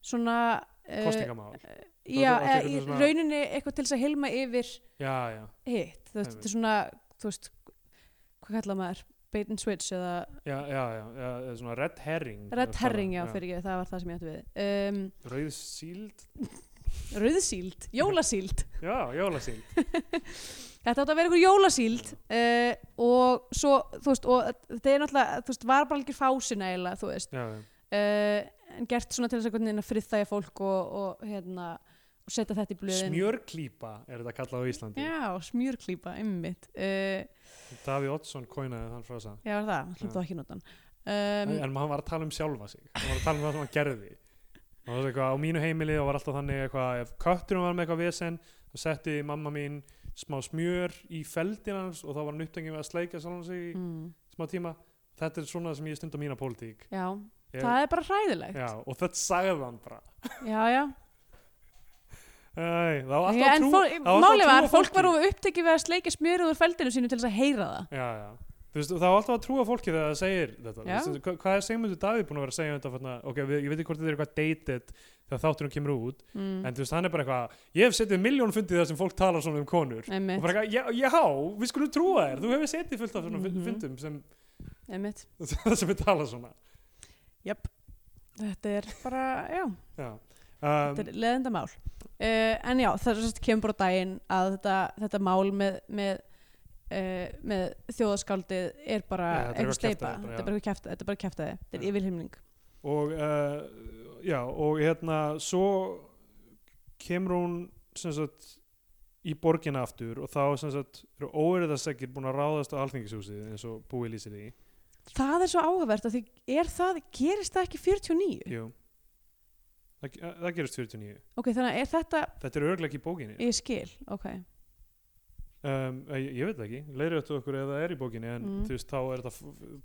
[SPEAKER 3] svona eh,
[SPEAKER 2] kosningamál
[SPEAKER 3] já,
[SPEAKER 2] Þetta- þetta
[SPEAKER 3] eða
[SPEAKER 2] er
[SPEAKER 3] í
[SPEAKER 2] eitthvað svona-
[SPEAKER 3] rauninni eitthvað til þess að hilma yfir
[SPEAKER 2] já, já,
[SPEAKER 3] hitt þú veist, þetta er svona, þú veist hvað kallar maður, bait and switch eða
[SPEAKER 2] já, já, já, já eða svona red herring
[SPEAKER 3] red herring, já, fyrir ég, það var það sem ég ætti við um,
[SPEAKER 2] rauð síld,
[SPEAKER 3] rauðsíld, jólasíld
[SPEAKER 2] já, jólasíld
[SPEAKER 3] þetta átt að vera ykkur jólasíld uh, og svo, þú veist og þetta er náttúrulega, þú veist, var bara algjör fásin eiginlega, þú veist
[SPEAKER 2] já, já,
[SPEAKER 3] uh, en gert svona til þess að einhvern veginn að friðþæja fólk og, og hérna og setja þetta í blöðin
[SPEAKER 2] smjörklípa er þetta kallað á Íslandi
[SPEAKER 3] já, smjörklípa, ymmit uh,
[SPEAKER 2] Davíð Oddsson koinaði þann frá það
[SPEAKER 3] já, var það, hlýttu
[SPEAKER 2] Já.
[SPEAKER 3] það ekki notan um,
[SPEAKER 2] en maður var að tala um sjálfa sig maður var að tala um það sem hann gerði og það var eitthvað á mínu heimili og var alltaf þannig eitthvað ef kötturinn var með eitthvað vesen þá setti mamma mín smá smjör í feldin hans og þá var hann upptengið með að sleika sjálfan sig í
[SPEAKER 3] mm,
[SPEAKER 2] smá tíma þetta er svona sem ég stund á mína pólitík
[SPEAKER 3] já,
[SPEAKER 2] Ég-
[SPEAKER 3] það er bara hræðilegt
[SPEAKER 2] já, og þetta sagði hann bara
[SPEAKER 3] já, já
[SPEAKER 2] Æ, það var alltaf
[SPEAKER 3] Já, en
[SPEAKER 2] trú,
[SPEAKER 3] fól-
[SPEAKER 2] það var alltaf
[SPEAKER 3] málið
[SPEAKER 2] trú á
[SPEAKER 3] var, fólk var
[SPEAKER 2] fólki.
[SPEAKER 3] of upptekið við að sleika smjörið úr feldinu sínu til þess að heyra það
[SPEAKER 2] já, já Þú veist, það var alltaf að trúa fólki þegar það segir þetta.
[SPEAKER 3] Já.
[SPEAKER 2] Þú Veist, hva- hvað er segmundur Davíð búin að vera að segja um þetta? Fannig, ok, við, ég veit ekki hvort þetta er eitthvað dated þegar þátturinn kemur út,
[SPEAKER 3] mm,
[SPEAKER 2] en þú veist, hann er bara eitthvað, ég hef setið miljón fundið þar sem fólk talar svona um konur. Og
[SPEAKER 3] Mm, einmitt,
[SPEAKER 2] bara eitthvað, já, já, við skulum trúa þér, þú hefur setið fullt af svona mm
[SPEAKER 3] Mhm.
[SPEAKER 2] fundum sem,
[SPEAKER 3] einmitt
[SPEAKER 2] sem við tala svona.
[SPEAKER 3] Jöp. þetta er bara, já
[SPEAKER 2] Já. Um,
[SPEAKER 3] þetta er leðenda mál en já, það er sérst kemur bara á daginn að þetta, þetta mál með, með, uh, með þjóðaskáldið er bara
[SPEAKER 2] Já, þetta er
[SPEAKER 3] einhver
[SPEAKER 2] eitthvað
[SPEAKER 3] steipa
[SPEAKER 2] kjaftaði bara, já.
[SPEAKER 3] þetta er bara eitthvað kjaftaði, þetta er bara kjaftaði þetta er
[SPEAKER 2] Já.
[SPEAKER 3] yfirhimning
[SPEAKER 2] og uh, já og hérna svo kemur hún sem sagt í borgina aftur og þá sem sagt eru óerðasækir búin að ráðast á alþingishúsið eins og búið lýsir því
[SPEAKER 3] það er svo áhugavert að því er það, gerist það ekki 49?
[SPEAKER 2] Jú. Það, það gerist 49
[SPEAKER 3] ok, þannig að er þetta,
[SPEAKER 2] þetta er örglega ekki í bókinni
[SPEAKER 3] ég skil ok,
[SPEAKER 2] um, ég, ég veit það ekki, leiðréttu okkur ef það er í bókinni en
[SPEAKER 3] Mm.
[SPEAKER 2] þú veist, þá er þetta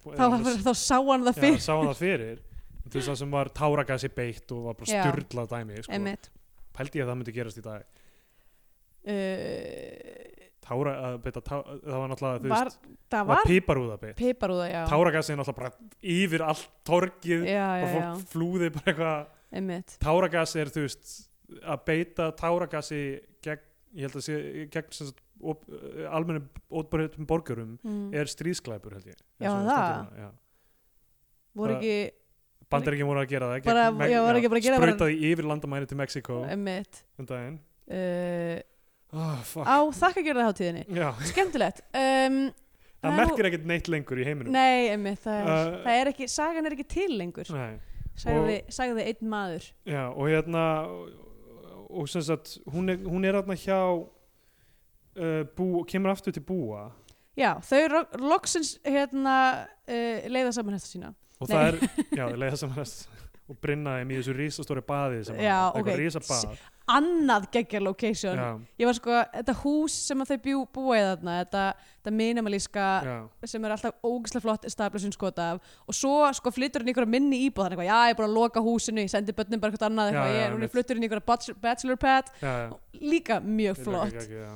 [SPEAKER 3] þá, var, þá sá hann það
[SPEAKER 2] fyrir
[SPEAKER 3] fyrr
[SPEAKER 2] sá hann það fyrir En þú veist það sem var táragasi beitt og var bara
[SPEAKER 3] Já.
[SPEAKER 2] styrla dæmi sko.
[SPEAKER 3] einmitt
[SPEAKER 2] pældi ég að það myndi gerast í dag
[SPEAKER 3] uh,
[SPEAKER 2] Tára, að, beita, tá, það var náttúrulega þú
[SPEAKER 3] var,
[SPEAKER 2] veist,
[SPEAKER 3] það
[SPEAKER 2] var
[SPEAKER 3] var
[SPEAKER 2] piparúða beitt
[SPEAKER 3] piparúða, já
[SPEAKER 2] táragasi er náttúrulega bara yfir allt torgið
[SPEAKER 3] já, já,
[SPEAKER 2] bara
[SPEAKER 3] já,
[SPEAKER 2] fólk flúði bara eitthvað
[SPEAKER 3] einmitt
[SPEAKER 2] táragas er þú veist að beita táragasi gegn, ég held að sé, gegn sem sagt, op, eh, almennum ótbæriðum borgurum
[SPEAKER 3] mm.
[SPEAKER 2] er stríðsklæpur held ég
[SPEAKER 3] Já,
[SPEAKER 2] eins og
[SPEAKER 3] það.
[SPEAKER 2] stendur hérna, já.
[SPEAKER 3] voru
[SPEAKER 2] það-
[SPEAKER 3] ekki,
[SPEAKER 2] Bandaríkjum voru að gera það
[SPEAKER 3] Bara-
[SPEAKER 2] gegn Me-
[SPEAKER 3] já, voru ekki bara að gera bara-
[SPEAKER 2] sprautaði yfir landamæri til Mexiko
[SPEAKER 3] einmitt
[SPEAKER 2] um daginn
[SPEAKER 3] uh,
[SPEAKER 2] oh, fuck.
[SPEAKER 3] á þakkagerða hátíðinni
[SPEAKER 2] Já,
[SPEAKER 3] skemmtilegt um,
[SPEAKER 2] það
[SPEAKER 3] er nú-
[SPEAKER 2] merkir ekkert neitt lengur í heiminum
[SPEAKER 3] Nei, einmitt, það er,
[SPEAKER 2] Uh,
[SPEAKER 3] það er ekki, sagan er ekki til lengur,
[SPEAKER 2] Nei.
[SPEAKER 3] sagði, sagði einn maður.
[SPEAKER 2] Já, og hérna og- og sem sagt, hún er, hún er hérna hjá uh, bú, kemur aftur til búa
[SPEAKER 3] Já, þau ro- loksins hérna uh, leiða saman hesta sína.
[SPEAKER 2] og
[SPEAKER 3] Nei.
[SPEAKER 2] það er, já, leiða saman hest og brinna þeim í þessu risastóri baði sem hann
[SPEAKER 3] Já,
[SPEAKER 2] á, eitthvað
[SPEAKER 3] ok.
[SPEAKER 2] risabað
[SPEAKER 3] Annað geggjar location.
[SPEAKER 2] já,
[SPEAKER 3] Ég var sko, þetta hús sem að þau bjú, búa í þarna, þetta, þetta minimalíska
[SPEAKER 2] já,
[SPEAKER 3] sem er alltaf ógeðslega flott establishment skota af og svo sko flyttur hún í einhverja minni íbúð þannig að já, ég er bara að loka húsinu, ég sendi börnum bara eitthvað annað,
[SPEAKER 2] Já,
[SPEAKER 3] eitthvað,
[SPEAKER 2] já,
[SPEAKER 3] ég, hún
[SPEAKER 2] einmitt.
[SPEAKER 3] er flyttur inn í einhverja bachelor, bachelor pad,
[SPEAKER 2] já, já.
[SPEAKER 3] líka mjög
[SPEAKER 2] Ég
[SPEAKER 3] flott.
[SPEAKER 2] tek ekki, já.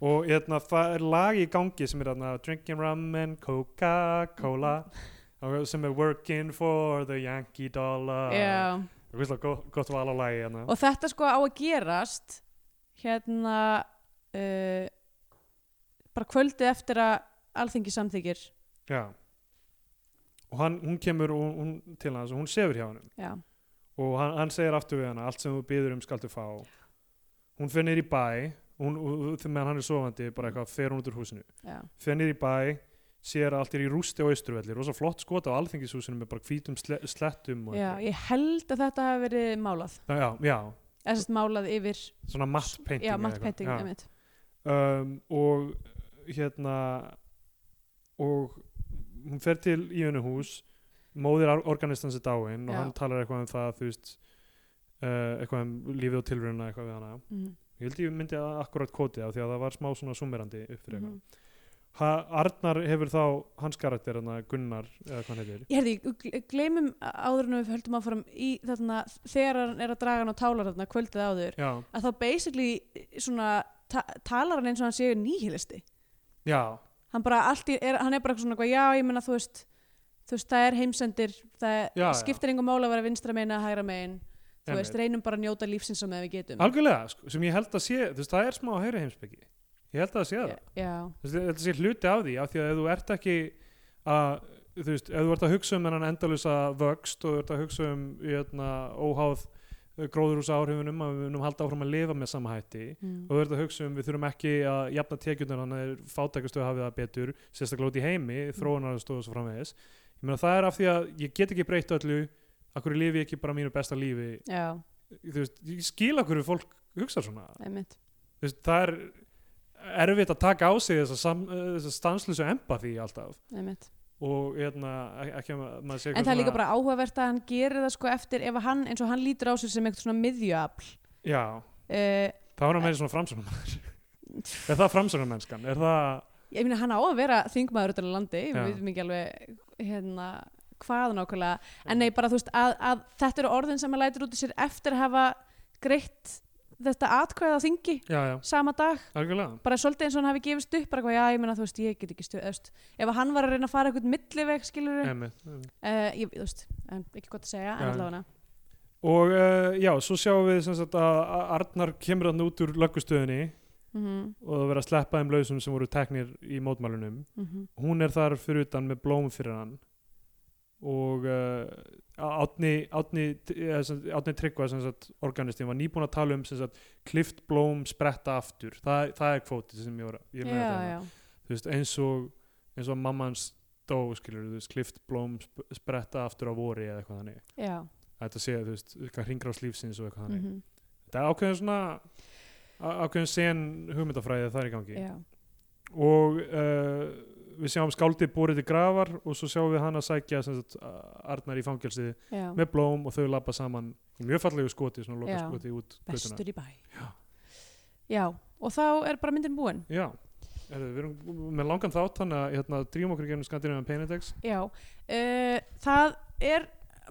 [SPEAKER 2] og hérna það er lag í gangi sem er hérna drinking rum and coca-cola og sem er working for the yankee dollar
[SPEAKER 3] Já.
[SPEAKER 2] og hverslega gott, gott val á lagi hérna
[SPEAKER 3] og þetta sko á að gerast hérna uh, bara kvöldið eftir að alþingi samþykir
[SPEAKER 2] já. og hann, hún kemur og, hún, til hans og hún sefur hjá hann
[SPEAKER 3] já,
[SPEAKER 2] og hann, hann segir aftur við hana allt sem þú byður um skaltu fá hún fer niður í bæ hún, og, og, meðan hann er sofandi bara eitthvað fer hún út úr húsinu
[SPEAKER 3] já,
[SPEAKER 2] fer niður í bæ sér að allt er í rústi á austurvelli rosa flott skot á alþingishúsinu með bara hvítum sle, slettum og
[SPEAKER 3] já
[SPEAKER 2] eitthvað.
[SPEAKER 3] ég held að þetta hafi verið málað
[SPEAKER 2] Já, já, já,
[SPEAKER 3] eða sérst málað yfir
[SPEAKER 2] svona matte painting
[SPEAKER 3] já,
[SPEAKER 2] eða
[SPEAKER 3] matt
[SPEAKER 2] eitthvað.
[SPEAKER 3] painting,
[SPEAKER 2] Já.
[SPEAKER 3] einmitt
[SPEAKER 2] um, og hérna og hún fer til í hennu hús móðir or- organistans er dáin og
[SPEAKER 3] Já.
[SPEAKER 2] hann talar eitthvað um það þú veist uh, eitthvað um lífið og tilruna eitthvað við hana
[SPEAKER 3] mm.
[SPEAKER 2] ég held ég myndi að akkurat koti á því að það var smá svona summerandi upp fyrir mm
[SPEAKER 3] Mhm.
[SPEAKER 2] ha, Arnar hefur þá hans karakter hana Gunnar eða hvað hann heitir
[SPEAKER 3] ég herði, gl- gleymum áður en við höldum áfram í þarna þegar hann er að draga hann á tálar þarna kvöldið áður
[SPEAKER 2] já,
[SPEAKER 3] að þá basically svona ta talar hann eins og hann séu nýhilisti
[SPEAKER 2] já,
[SPEAKER 3] hann bara allt í, er, hann er bara eitthvað svona eitthvað, já ég meina þú veist þú veist það er heimsendir það
[SPEAKER 2] Já,
[SPEAKER 3] skiptir engum mála að vera vinstra meina hægra megin þú
[SPEAKER 2] Einmitt.
[SPEAKER 3] veist reynum bara að njóta lífsins sem við getum
[SPEAKER 2] algjörlega sko, sem ég held að sé, þú veist það er smá að heyra heimsbyggi ég held að það sé það
[SPEAKER 3] já, já,
[SPEAKER 2] Þú veist, þetta sé hluti af því af því að ef þú ert ekki að þú veist, ef þú ert að hugsa um hennan endalusa vöxt og þú ert að hugsa um jötna, óháð gróðurúsa áhrifunum að við munum halda áfram að lifa með sama hætti og
[SPEAKER 3] mm,
[SPEAKER 2] þú ert að hugsa um við þurfum ekki að jafna tekjurnar þannig að fátækastu hafið það betur sérstaklega út í heimi, þróunarstofu og svo framvegis ég meina það er af því að ég get ekki breytt öllu akkur lifi ég ekki bara mínu besta lífi
[SPEAKER 3] já,
[SPEAKER 2] þú veist, ég skil akkur fólk hugsa svona
[SPEAKER 3] einmitt
[SPEAKER 2] Þú veist, það er erfitt að taka á sig þessa, sam, eh, þessa stanslösu empati alltaf
[SPEAKER 3] Einmitt.
[SPEAKER 2] og hérna, ek- ekki að ma- maður sé
[SPEAKER 3] En það er líka bara áhugavert að hann gerir það sko eftir ef að hann, eins og hann lítur á sér sem eitthvað svona miðjuafl
[SPEAKER 2] já,
[SPEAKER 3] uh,
[SPEAKER 2] það var meira svona framsögnumennir er það framsögnumennskan? er það,
[SPEAKER 3] ég meina hann á að vera þingmaður út af landi,
[SPEAKER 2] Já.
[SPEAKER 3] við veitum ekki alveg hérna, hvað nákvæmlega en nei, bara þú veist, að, að þetta eru orðin sem hann lætur út í sér eftir að hafa greitt þetta atkvæða þingi
[SPEAKER 2] já, já,
[SPEAKER 3] sama dag,
[SPEAKER 2] algjörlega
[SPEAKER 3] bara svolítið eins og hann hafi gefist upp, bara hvað, já, ég meina, þú veist, ég get ekki stuð, öst. ef að hann var að reyna að fara eitthvað milliveg, skilur við,
[SPEAKER 2] Einmitt, einmitt.
[SPEAKER 3] ég, þú veist, en ekki gott að segja,
[SPEAKER 2] Já.
[SPEAKER 3] en allavega
[SPEAKER 2] og uh, já, svo sjáum við sem sagt að að Arnar kemur hann út úr löggustöðinni
[SPEAKER 3] mhm,
[SPEAKER 2] og það verið að sleppa þeim lausum sem voru teknir í mótmælunum
[SPEAKER 3] mhm,
[SPEAKER 2] hún er þar fyrir utan með blóm fyrir hann og uh, Átni Átni, eða eh, sem sagt- Átni Tryggva sem sagt, organistin var nýbúin að tala um sem sagt, klift blóm spretta aftur það, það er kvóti sem ég var ég er með þetta
[SPEAKER 3] já,
[SPEAKER 2] hérna.
[SPEAKER 3] já,
[SPEAKER 2] Þú veist, eins og eins og mamma hans dó skilur, veist, klift blóm sp spretta aftur á vori eða eitthvað þannig
[SPEAKER 3] já,
[SPEAKER 2] þetta sé þú veist, eitthvað hringrás lífsins og eitthvað þannig
[SPEAKER 3] mhm,
[SPEAKER 2] þetta er ákveðin svona á- ákveðin sen hugmyndafræði það er í gangi
[SPEAKER 3] já,
[SPEAKER 2] og uh, við sjáum skáldið búrið til grafar og svo sjáum við hann að sækja sem sagt, Arnar í fangelsið
[SPEAKER 3] já,
[SPEAKER 2] með blóm og þau lappa saman í mjög fallegu skoti, svona loka
[SPEAKER 3] Já.
[SPEAKER 2] skoti út göttuna.
[SPEAKER 3] vestur í bæ, já, og þá er bara myndin búin.
[SPEAKER 2] Já, Herðu, við erum með langan þátt þannig að hérna, drífum okkur í gegnum Skandinavian Penindex
[SPEAKER 3] Já, uh, það er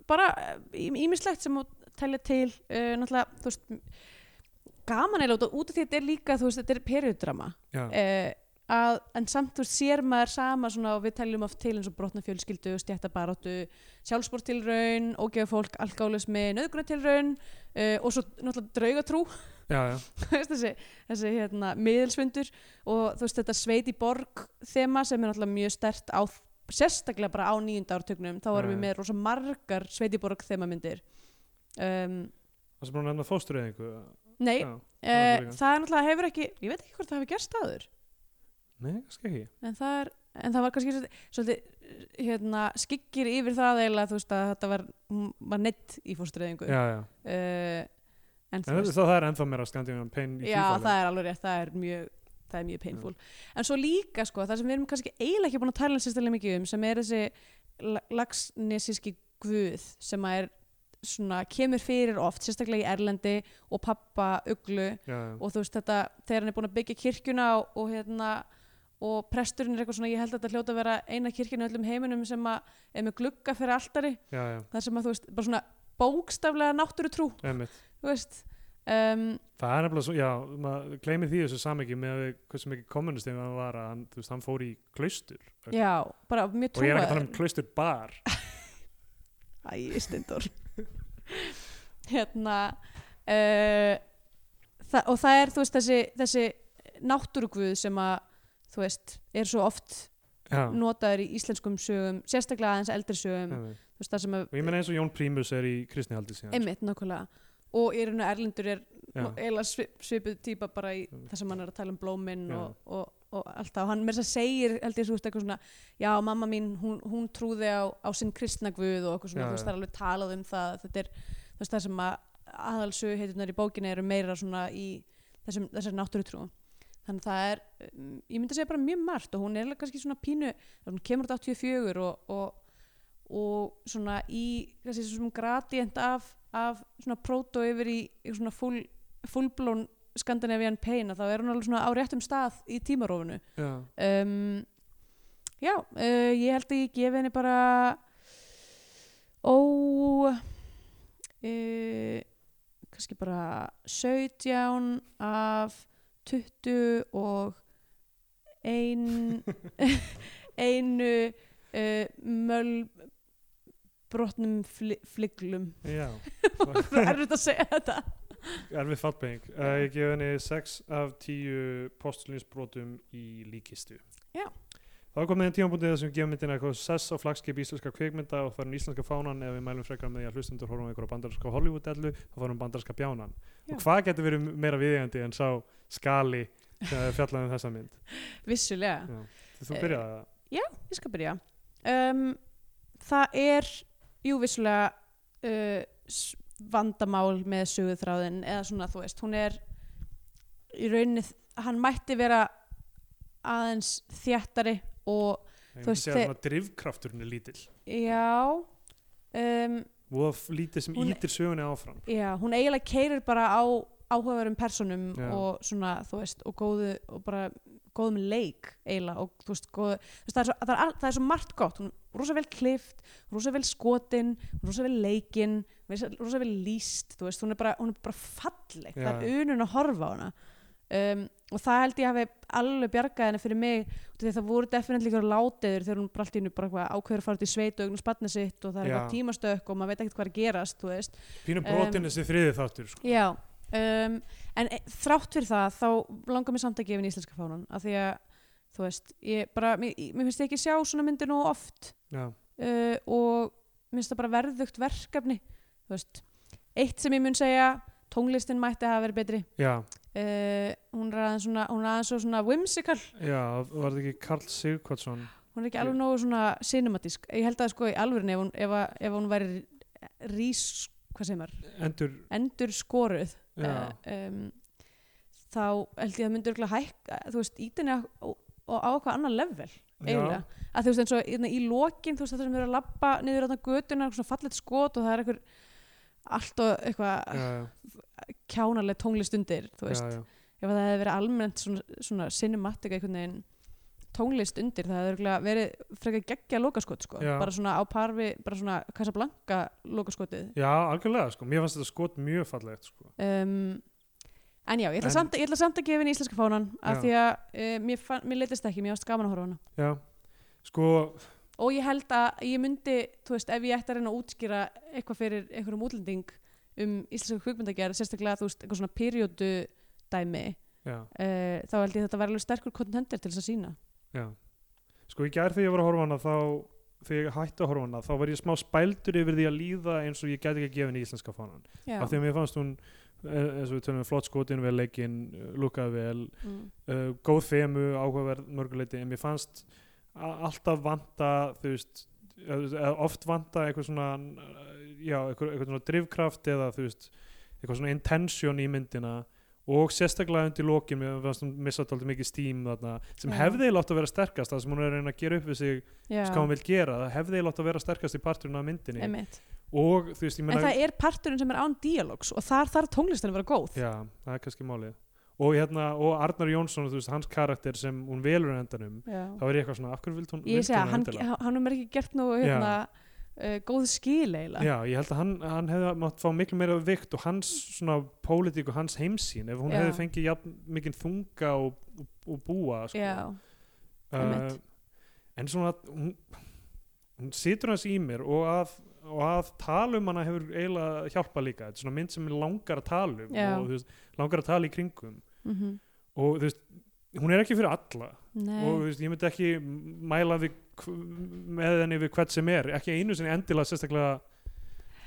[SPEAKER 3] bara ímislegt sem að telja til uh, náttúrulega, þú veist m- gaman eða út af því að þetta er líka þú veist, þetta er periódrama
[SPEAKER 2] Já,
[SPEAKER 3] uh, að, en samt þú veist, sér maður sama svona og við teljum oft til eins og brotna fjölskyldu stjættabaróttu, sjálfsbórtilraun ógefa fólk, alkálismi, nöðgunatilraun uh, og svo náttúrulega draugatrú
[SPEAKER 2] já, já,
[SPEAKER 3] Þú veist, þessi, þessi hérna, miðilsfundur og þú veist þetta sveit í borg þema sem er náttúrulega mjög stert á sérstaklega bara á nýjunda ártugnum þá erum
[SPEAKER 2] Já,
[SPEAKER 3] við
[SPEAKER 2] já.
[SPEAKER 3] með rosa margar sveit í borg þema myndir um,
[SPEAKER 2] það sem bara nefna fóstureyðingu
[SPEAKER 3] nei,
[SPEAKER 2] Já, það er
[SPEAKER 3] uh,
[SPEAKER 2] líka.
[SPEAKER 3] það er náttúrulega hefur ekki ég veit ekki hvort það hefur gerst áður
[SPEAKER 2] nei, kannski ekki
[SPEAKER 3] en það, er, en það var kannski svolítið, svolítið hérna, skiggir yfir það eiginlega þú veist að þetta var, hún var neitt í fórstræðingu
[SPEAKER 2] Já, já,
[SPEAKER 3] en þú
[SPEAKER 2] en
[SPEAKER 3] veist
[SPEAKER 2] það, það er ennþá meira Skandinavian Pen í
[SPEAKER 3] Já,
[SPEAKER 2] því
[SPEAKER 3] það er alveg rétt, það er mjög það er mjög painful. En svo líka sko, það sem við erum kannski eiginlega ekki búin að tala sérstæðlega mikið um, sem er þessi la- laxnesíski guð sem að er svona, kemur fyrir oft, sérstaklega í Erlendi og pappa Uglu
[SPEAKER 2] Já, já,
[SPEAKER 3] og þú veist þetta, þegar hann er búin að byggja kirkjuna og, og hérna og presturinn er eitthvað svona, ég held að þetta hljóta að vera eina kirkjuna í öllum heiminum sem að er með glugga fyrir altari,
[SPEAKER 2] já, já,
[SPEAKER 3] þar sem að þú veist, bara svona bókstaflega náttúrutrú,
[SPEAKER 2] einmitt
[SPEAKER 3] þú veist um,
[SPEAKER 2] Það er nefnilega svo, já, maður gleymir því þessu samhengi með að við, hversu mikið kommunistið hann var að hann, þú veist, hann fór í klaustur
[SPEAKER 3] Já, bara mjög
[SPEAKER 2] og ég er ekki að tala
[SPEAKER 3] trúaður
[SPEAKER 2] um klaustur bar
[SPEAKER 3] Æ, stendur Hérna uh, þa og það er þú veist þessi, þessi náttúrugvuð sem að þú veist, er svo oft
[SPEAKER 2] Já,
[SPEAKER 3] notaður í íslenskum sögum sérstaklega aðeins eldri sögum
[SPEAKER 2] einmitt.
[SPEAKER 3] þú veist það sem að,
[SPEAKER 2] og ég meina eins og Jón Prímus er í kristnihaldi síðan sko.
[SPEAKER 3] einmitt nákvæmlega og í raun og Erlendur er
[SPEAKER 2] Já,
[SPEAKER 3] eila svipuð típa bara í það sem hann er að tala um blóminn
[SPEAKER 2] Já.
[SPEAKER 3] og, og, og allt það og hann með þess að segir held ég svo eitthvað svona já mamma mín hún, hún trúði á, á sinn kristna guð og eitthvað svona
[SPEAKER 2] Já,
[SPEAKER 3] þú veist
[SPEAKER 2] já.
[SPEAKER 3] það er alveg talað um það þetta er þú veist það sem að aðalsu heitirnar í bókinni eru meira svona í þessum, þessar náttúrutrú þannig að það er um, ég myndi að segja bara mjög margt og hún er eiginlega kannski svona pínu hún kemur út 84 og, og, og svona í kannski svona gradient af, af svona proto yfir í, í svona full, fullblón Scandinavian pain að þá er hún alveg svona á réttum stað í tímarófinu
[SPEAKER 2] já,
[SPEAKER 3] um, já, uh, ég held að ég gefi henni bara ó uh, kannski bara 17 af 20 og ein einu uh, möl brotnum fli, fliglum
[SPEAKER 2] já
[SPEAKER 3] það er erfitt að segja þetta
[SPEAKER 2] Erfið fallbeng. Uh, ég gef henni 6 af 10 postulinsbrotum í líkistu.
[SPEAKER 3] Já.
[SPEAKER 2] Þá er komið einn tímabúndið sem gefum myndina eitthvað sess á flagskip íslenska kvikmynda og farum íslenska fánan eða við mælum frekar með því að hlustendur horfum á einhverja bandarska Hollywood-ellu og farum bandarska bjánan.
[SPEAKER 3] Já.
[SPEAKER 2] Og hvað getur verið meira viðjandi en sá skali sem fjallaði um þessa mynd?
[SPEAKER 3] vissulega
[SPEAKER 2] Já.
[SPEAKER 3] Eh,
[SPEAKER 2] Þú byrjaði það.
[SPEAKER 3] ég skal byrja um, það er jú vissulega uh, s- vandamál með söguþráðin eða svona þú veist, hún er í rauninni, hann mætti vera aðeins þjættari og
[SPEAKER 2] Ég
[SPEAKER 3] Þú
[SPEAKER 2] myndi
[SPEAKER 3] veist,
[SPEAKER 2] segja
[SPEAKER 3] þe-
[SPEAKER 2] að drifkrafturinn er lítill.
[SPEAKER 3] já um,
[SPEAKER 2] Og lítið sem
[SPEAKER 3] Hún-
[SPEAKER 2] ítir sögunni áfram.
[SPEAKER 3] já, hún eiginlega keirir bara á áhugaverum personum
[SPEAKER 2] Já.
[SPEAKER 3] og svona, þú veist, og góðu og bara góðum leik eiginlega og þú veist, góðu, þú veist það, er svo, það, er, all- það er svo margt gott, hún er rosa vel klift rosa vel skotin, rosa vel leikin rosa vel líst þú veist, hún er bara, hún er bara falleg
[SPEAKER 2] Já.
[SPEAKER 3] það er unun að horfa á hana um, og það held ég hafi alveg bjargað henni fyrir mig, út af því að það voru definitely ykkur látiður þegar hún bara allt í hennu bara eitthvað ákveður að fara út í sveit og eignu spanna sitt og það er
[SPEAKER 2] Já.
[SPEAKER 3] eitthvað tímastökk og maður veit ekkert hvað er að gerast, þú veist
[SPEAKER 2] Pínu
[SPEAKER 3] Um,
[SPEAKER 2] brotin þessi þriði þáttur, sko.
[SPEAKER 3] Já, um, en e- þrátt fyrir það þá langar mér samt að gefa henni íslenska fánan af því að, þú veist, ég bara, mér, mér finnst ég ekki sjá svona myndir nóg oft
[SPEAKER 2] Já.
[SPEAKER 3] uh, og mér finnst það bara verðugt verkefni, þú veist. Eitt sem ég mun segja, tónlistin mætti hafa verið betri.
[SPEAKER 2] Já.
[SPEAKER 3] Uh, hún er aðeins svona, hún er aðeins svo svona whimsical,
[SPEAKER 2] Já, var þetta ekki Karl Sigurkvartsson?
[SPEAKER 3] hún er ekki alveg nógu svona cinematísk. Ég held að sko í alvörinni ef hún, ef, að- ef hún væri rís, hvað segir maður,
[SPEAKER 2] Endur,
[SPEAKER 3] endur skoruð
[SPEAKER 2] já,
[SPEAKER 3] um, þá held ég að myndur örugglega hækka, þú veist, ítinni og, og á eitthvað annar level eiginlega, að þú veist eins og hérna, í lokin þú veist þetta sem eru að labba niður á götuna svona fallet skot og það er einhver allt og
[SPEAKER 2] já,
[SPEAKER 3] eitthvað
[SPEAKER 2] já,
[SPEAKER 3] kjánaleg tónlist undir þú
[SPEAKER 2] já,
[SPEAKER 3] veist,
[SPEAKER 2] já,
[SPEAKER 3] ef það hefði verið almennt svona, svona cinematic einhvern veginn tónlist undir, það hefði örugglega verið frekar geggja lokaskot sko,
[SPEAKER 2] Já.
[SPEAKER 3] bara svona á parvi bara svona Casablanca lokaskotið
[SPEAKER 2] Já, algjörlega, sko. Mér fannst þetta skot mjög fallegt, sko.
[SPEAKER 3] um, en já, ég ætla,
[SPEAKER 2] En-
[SPEAKER 3] samt, ég ætla samt að gefa henni íslenska fánan af
[SPEAKER 2] Já.
[SPEAKER 3] því að uh, mér, fann, mér leittist ekki, mér varst gaman að horfa á hana
[SPEAKER 2] Já, sko,
[SPEAKER 3] og ég held að ég myndi, þú veist, ef ég ætti að reyna að útskýra eitthvað fyrir einhverjum útlending um íslenska kvikmyndagerð, sérstaklega þú veist, eitthvað svona periodu dæmi
[SPEAKER 2] já,
[SPEAKER 3] uh, þá held ég þetta væri alveg sterkur contender til þess að sína
[SPEAKER 2] já. Sko, í gær þegar ég var að horfa á hana þá, þegar ég hætti að horfa á hana, þá var ég smá spældur yfir því að líða eins og ég gæti ekki að gefa henni íslenska fánan.
[SPEAKER 3] já,
[SPEAKER 2] Af því að mér fannst hún, eh, eins og við tölum, flott skotin, vel leikinn, lukkaði vel,
[SPEAKER 3] mm,
[SPEAKER 2] uh, góð þemu, áhugaverð mörguleiti en mér fannst a- alltaf vanta þú veist eða oft vanta eitthvað svona já, eitthvað, eitthvað svona drifkraft eða þú veist, eitthvað svona intention í myndina og sérstaklega undir lokin mér fannst hún missa tóldi mikið steam þarna sem
[SPEAKER 3] Já.
[SPEAKER 2] hefði látt að vera sterkast það sem hún er að reyna að gera upp við sig
[SPEAKER 3] já,
[SPEAKER 2] hvað hún vil gera, það hefði látt að vera sterkast í parturinn af myndinni
[SPEAKER 3] einmitt
[SPEAKER 2] og þú veist, ég
[SPEAKER 3] en
[SPEAKER 2] meina
[SPEAKER 3] það er parturinn sem er án dialogs og þar þarf tónlistin að vera góð
[SPEAKER 2] já, það er kannski málið og, hérna, og Arnar Jónsson, þú veist, hans karakter sem hún velur á endanum
[SPEAKER 3] Já.
[SPEAKER 2] þá er ég eitthvað svona, af hverju vildi hún
[SPEAKER 3] ég
[SPEAKER 2] vildi
[SPEAKER 3] segja,
[SPEAKER 2] hún
[SPEAKER 3] hann,
[SPEAKER 2] endilega?
[SPEAKER 3] hann er ekki gert nú hérna, uh, góð skil eiginlega
[SPEAKER 2] Já, ég held að hann, hann hefði mátt fá miklu meira vikt og hans svona pólitík og hans heimsýn ef hún
[SPEAKER 3] Já.
[SPEAKER 2] hefði fengið jafn mikinn þunga og, og, og búa sko.
[SPEAKER 3] Já,
[SPEAKER 2] Eh,
[SPEAKER 3] einmitt.
[SPEAKER 2] en svona hún, hún situr hans í mér og að, og að tala um hana hefur eiginlega hjálpa líka, þetta er svona mynd sem mig langar að tala um
[SPEAKER 3] Já.
[SPEAKER 2] og þú veist, langar að tala í kringum
[SPEAKER 3] mhm,
[SPEAKER 2] og þú veist, hún er ekki fyrir alla
[SPEAKER 3] nei,
[SPEAKER 2] og þú veist, ég myndi ekki mæla við, hv- með henni við hvert sem er ekki einu sinni endilega sérstaklega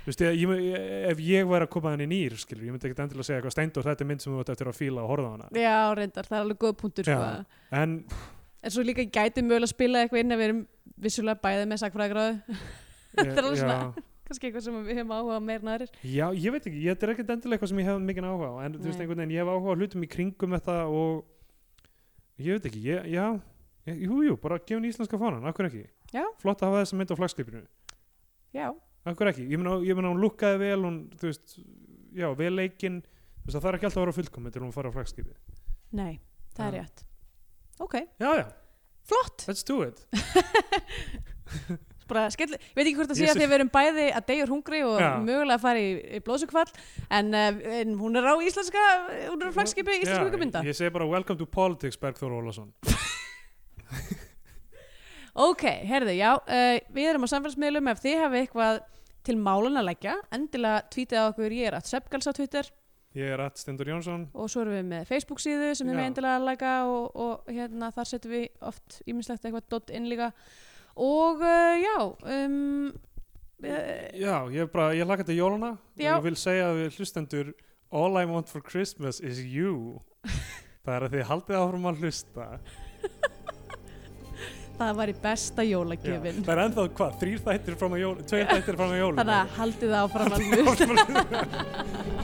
[SPEAKER 2] þú veist, ég, ég, ef ég væri að koma henni nýr skilur, ég myndi ekki endilega segja eitthvað steindur þetta er mynd sem þú ætti eftir að fíla og horfa á hana
[SPEAKER 3] já, reyndar, það er alveg góð punktur sko.
[SPEAKER 2] Já. en
[SPEAKER 3] en svo líka gæti mögulega að spila eitthvað inn að við erum vissulega bæðið með sakfræðgráðu er alveg
[SPEAKER 2] já,
[SPEAKER 3] svona. kannski eitthvað sem við hefum áhuga á meira en aðrir
[SPEAKER 2] já, ég veit ekki, ég- þetta er ekkert endilega eitthvað sem ég hef mikinn áhuga á, en þú veist
[SPEAKER 3] Nei.
[SPEAKER 2] einhvern veginn ég hef áhuga á hlutum í kringum þetta og ég veit ekki, ég, já ég- jú, jú, bara gefa henni íslenska fánan, akkur ekki
[SPEAKER 3] Já.
[SPEAKER 2] flott að hafa þessa mynd á flagskipinu
[SPEAKER 3] já,
[SPEAKER 2] Akkur ekki, ég meina, ég meina hún lukkaði vel hún, þú veist, já, vel leikinn þú veist, það þarf ekki alltaf að vera fullkomin til hún fara á flagskipi
[SPEAKER 3] nei, það
[SPEAKER 2] Já.
[SPEAKER 3] er rétt ok,
[SPEAKER 2] Já, já,
[SPEAKER 3] flott
[SPEAKER 2] let's do it
[SPEAKER 3] bara skell, ég veit ekki hvort það sé
[SPEAKER 2] Ég
[SPEAKER 3] að
[SPEAKER 2] sé-
[SPEAKER 3] því að við erum bæði að deyjur hungri og
[SPEAKER 2] Já.
[SPEAKER 3] mögulega að fara í, í blóðsökvall en, eh, en hún er á íslenska hún er á flagskipi íslenska
[SPEAKER 2] Já,
[SPEAKER 3] kvikmynda
[SPEAKER 2] Ég segi bara welcome to politics, Bergþór Ólason
[SPEAKER 3] Ok, herði, já, uh, við erum á samfélagsmiðlum ef þið hafið eitthvað til málan að leggja, endilega tweetið á okkur, ég er að Seppgals á Twitter
[SPEAKER 2] Ég er Rat Stendur Jónsson
[SPEAKER 3] og svo erum við með Facebook síðu sem þið
[SPEAKER 2] Já.
[SPEAKER 3] með endilega að leggja og, og hérna þar setjum við oft ímislegt eitthvað dot inn líka og uh, já, um, uh,
[SPEAKER 2] Já, ég er bara, ég laka til jólana og
[SPEAKER 3] Já.
[SPEAKER 2] ég vil segja við hlustendur All I want for Christmas is you Það er að þið haldið áfram að hlusta
[SPEAKER 3] það var í besta
[SPEAKER 2] Já.
[SPEAKER 3] jólagjöfin.
[SPEAKER 2] Það er ennþá hvað, þrýr þættir fram að jólum Tveir þættir fram að jólum
[SPEAKER 3] Þannig að haldið það áfram alveg.
[SPEAKER 2] að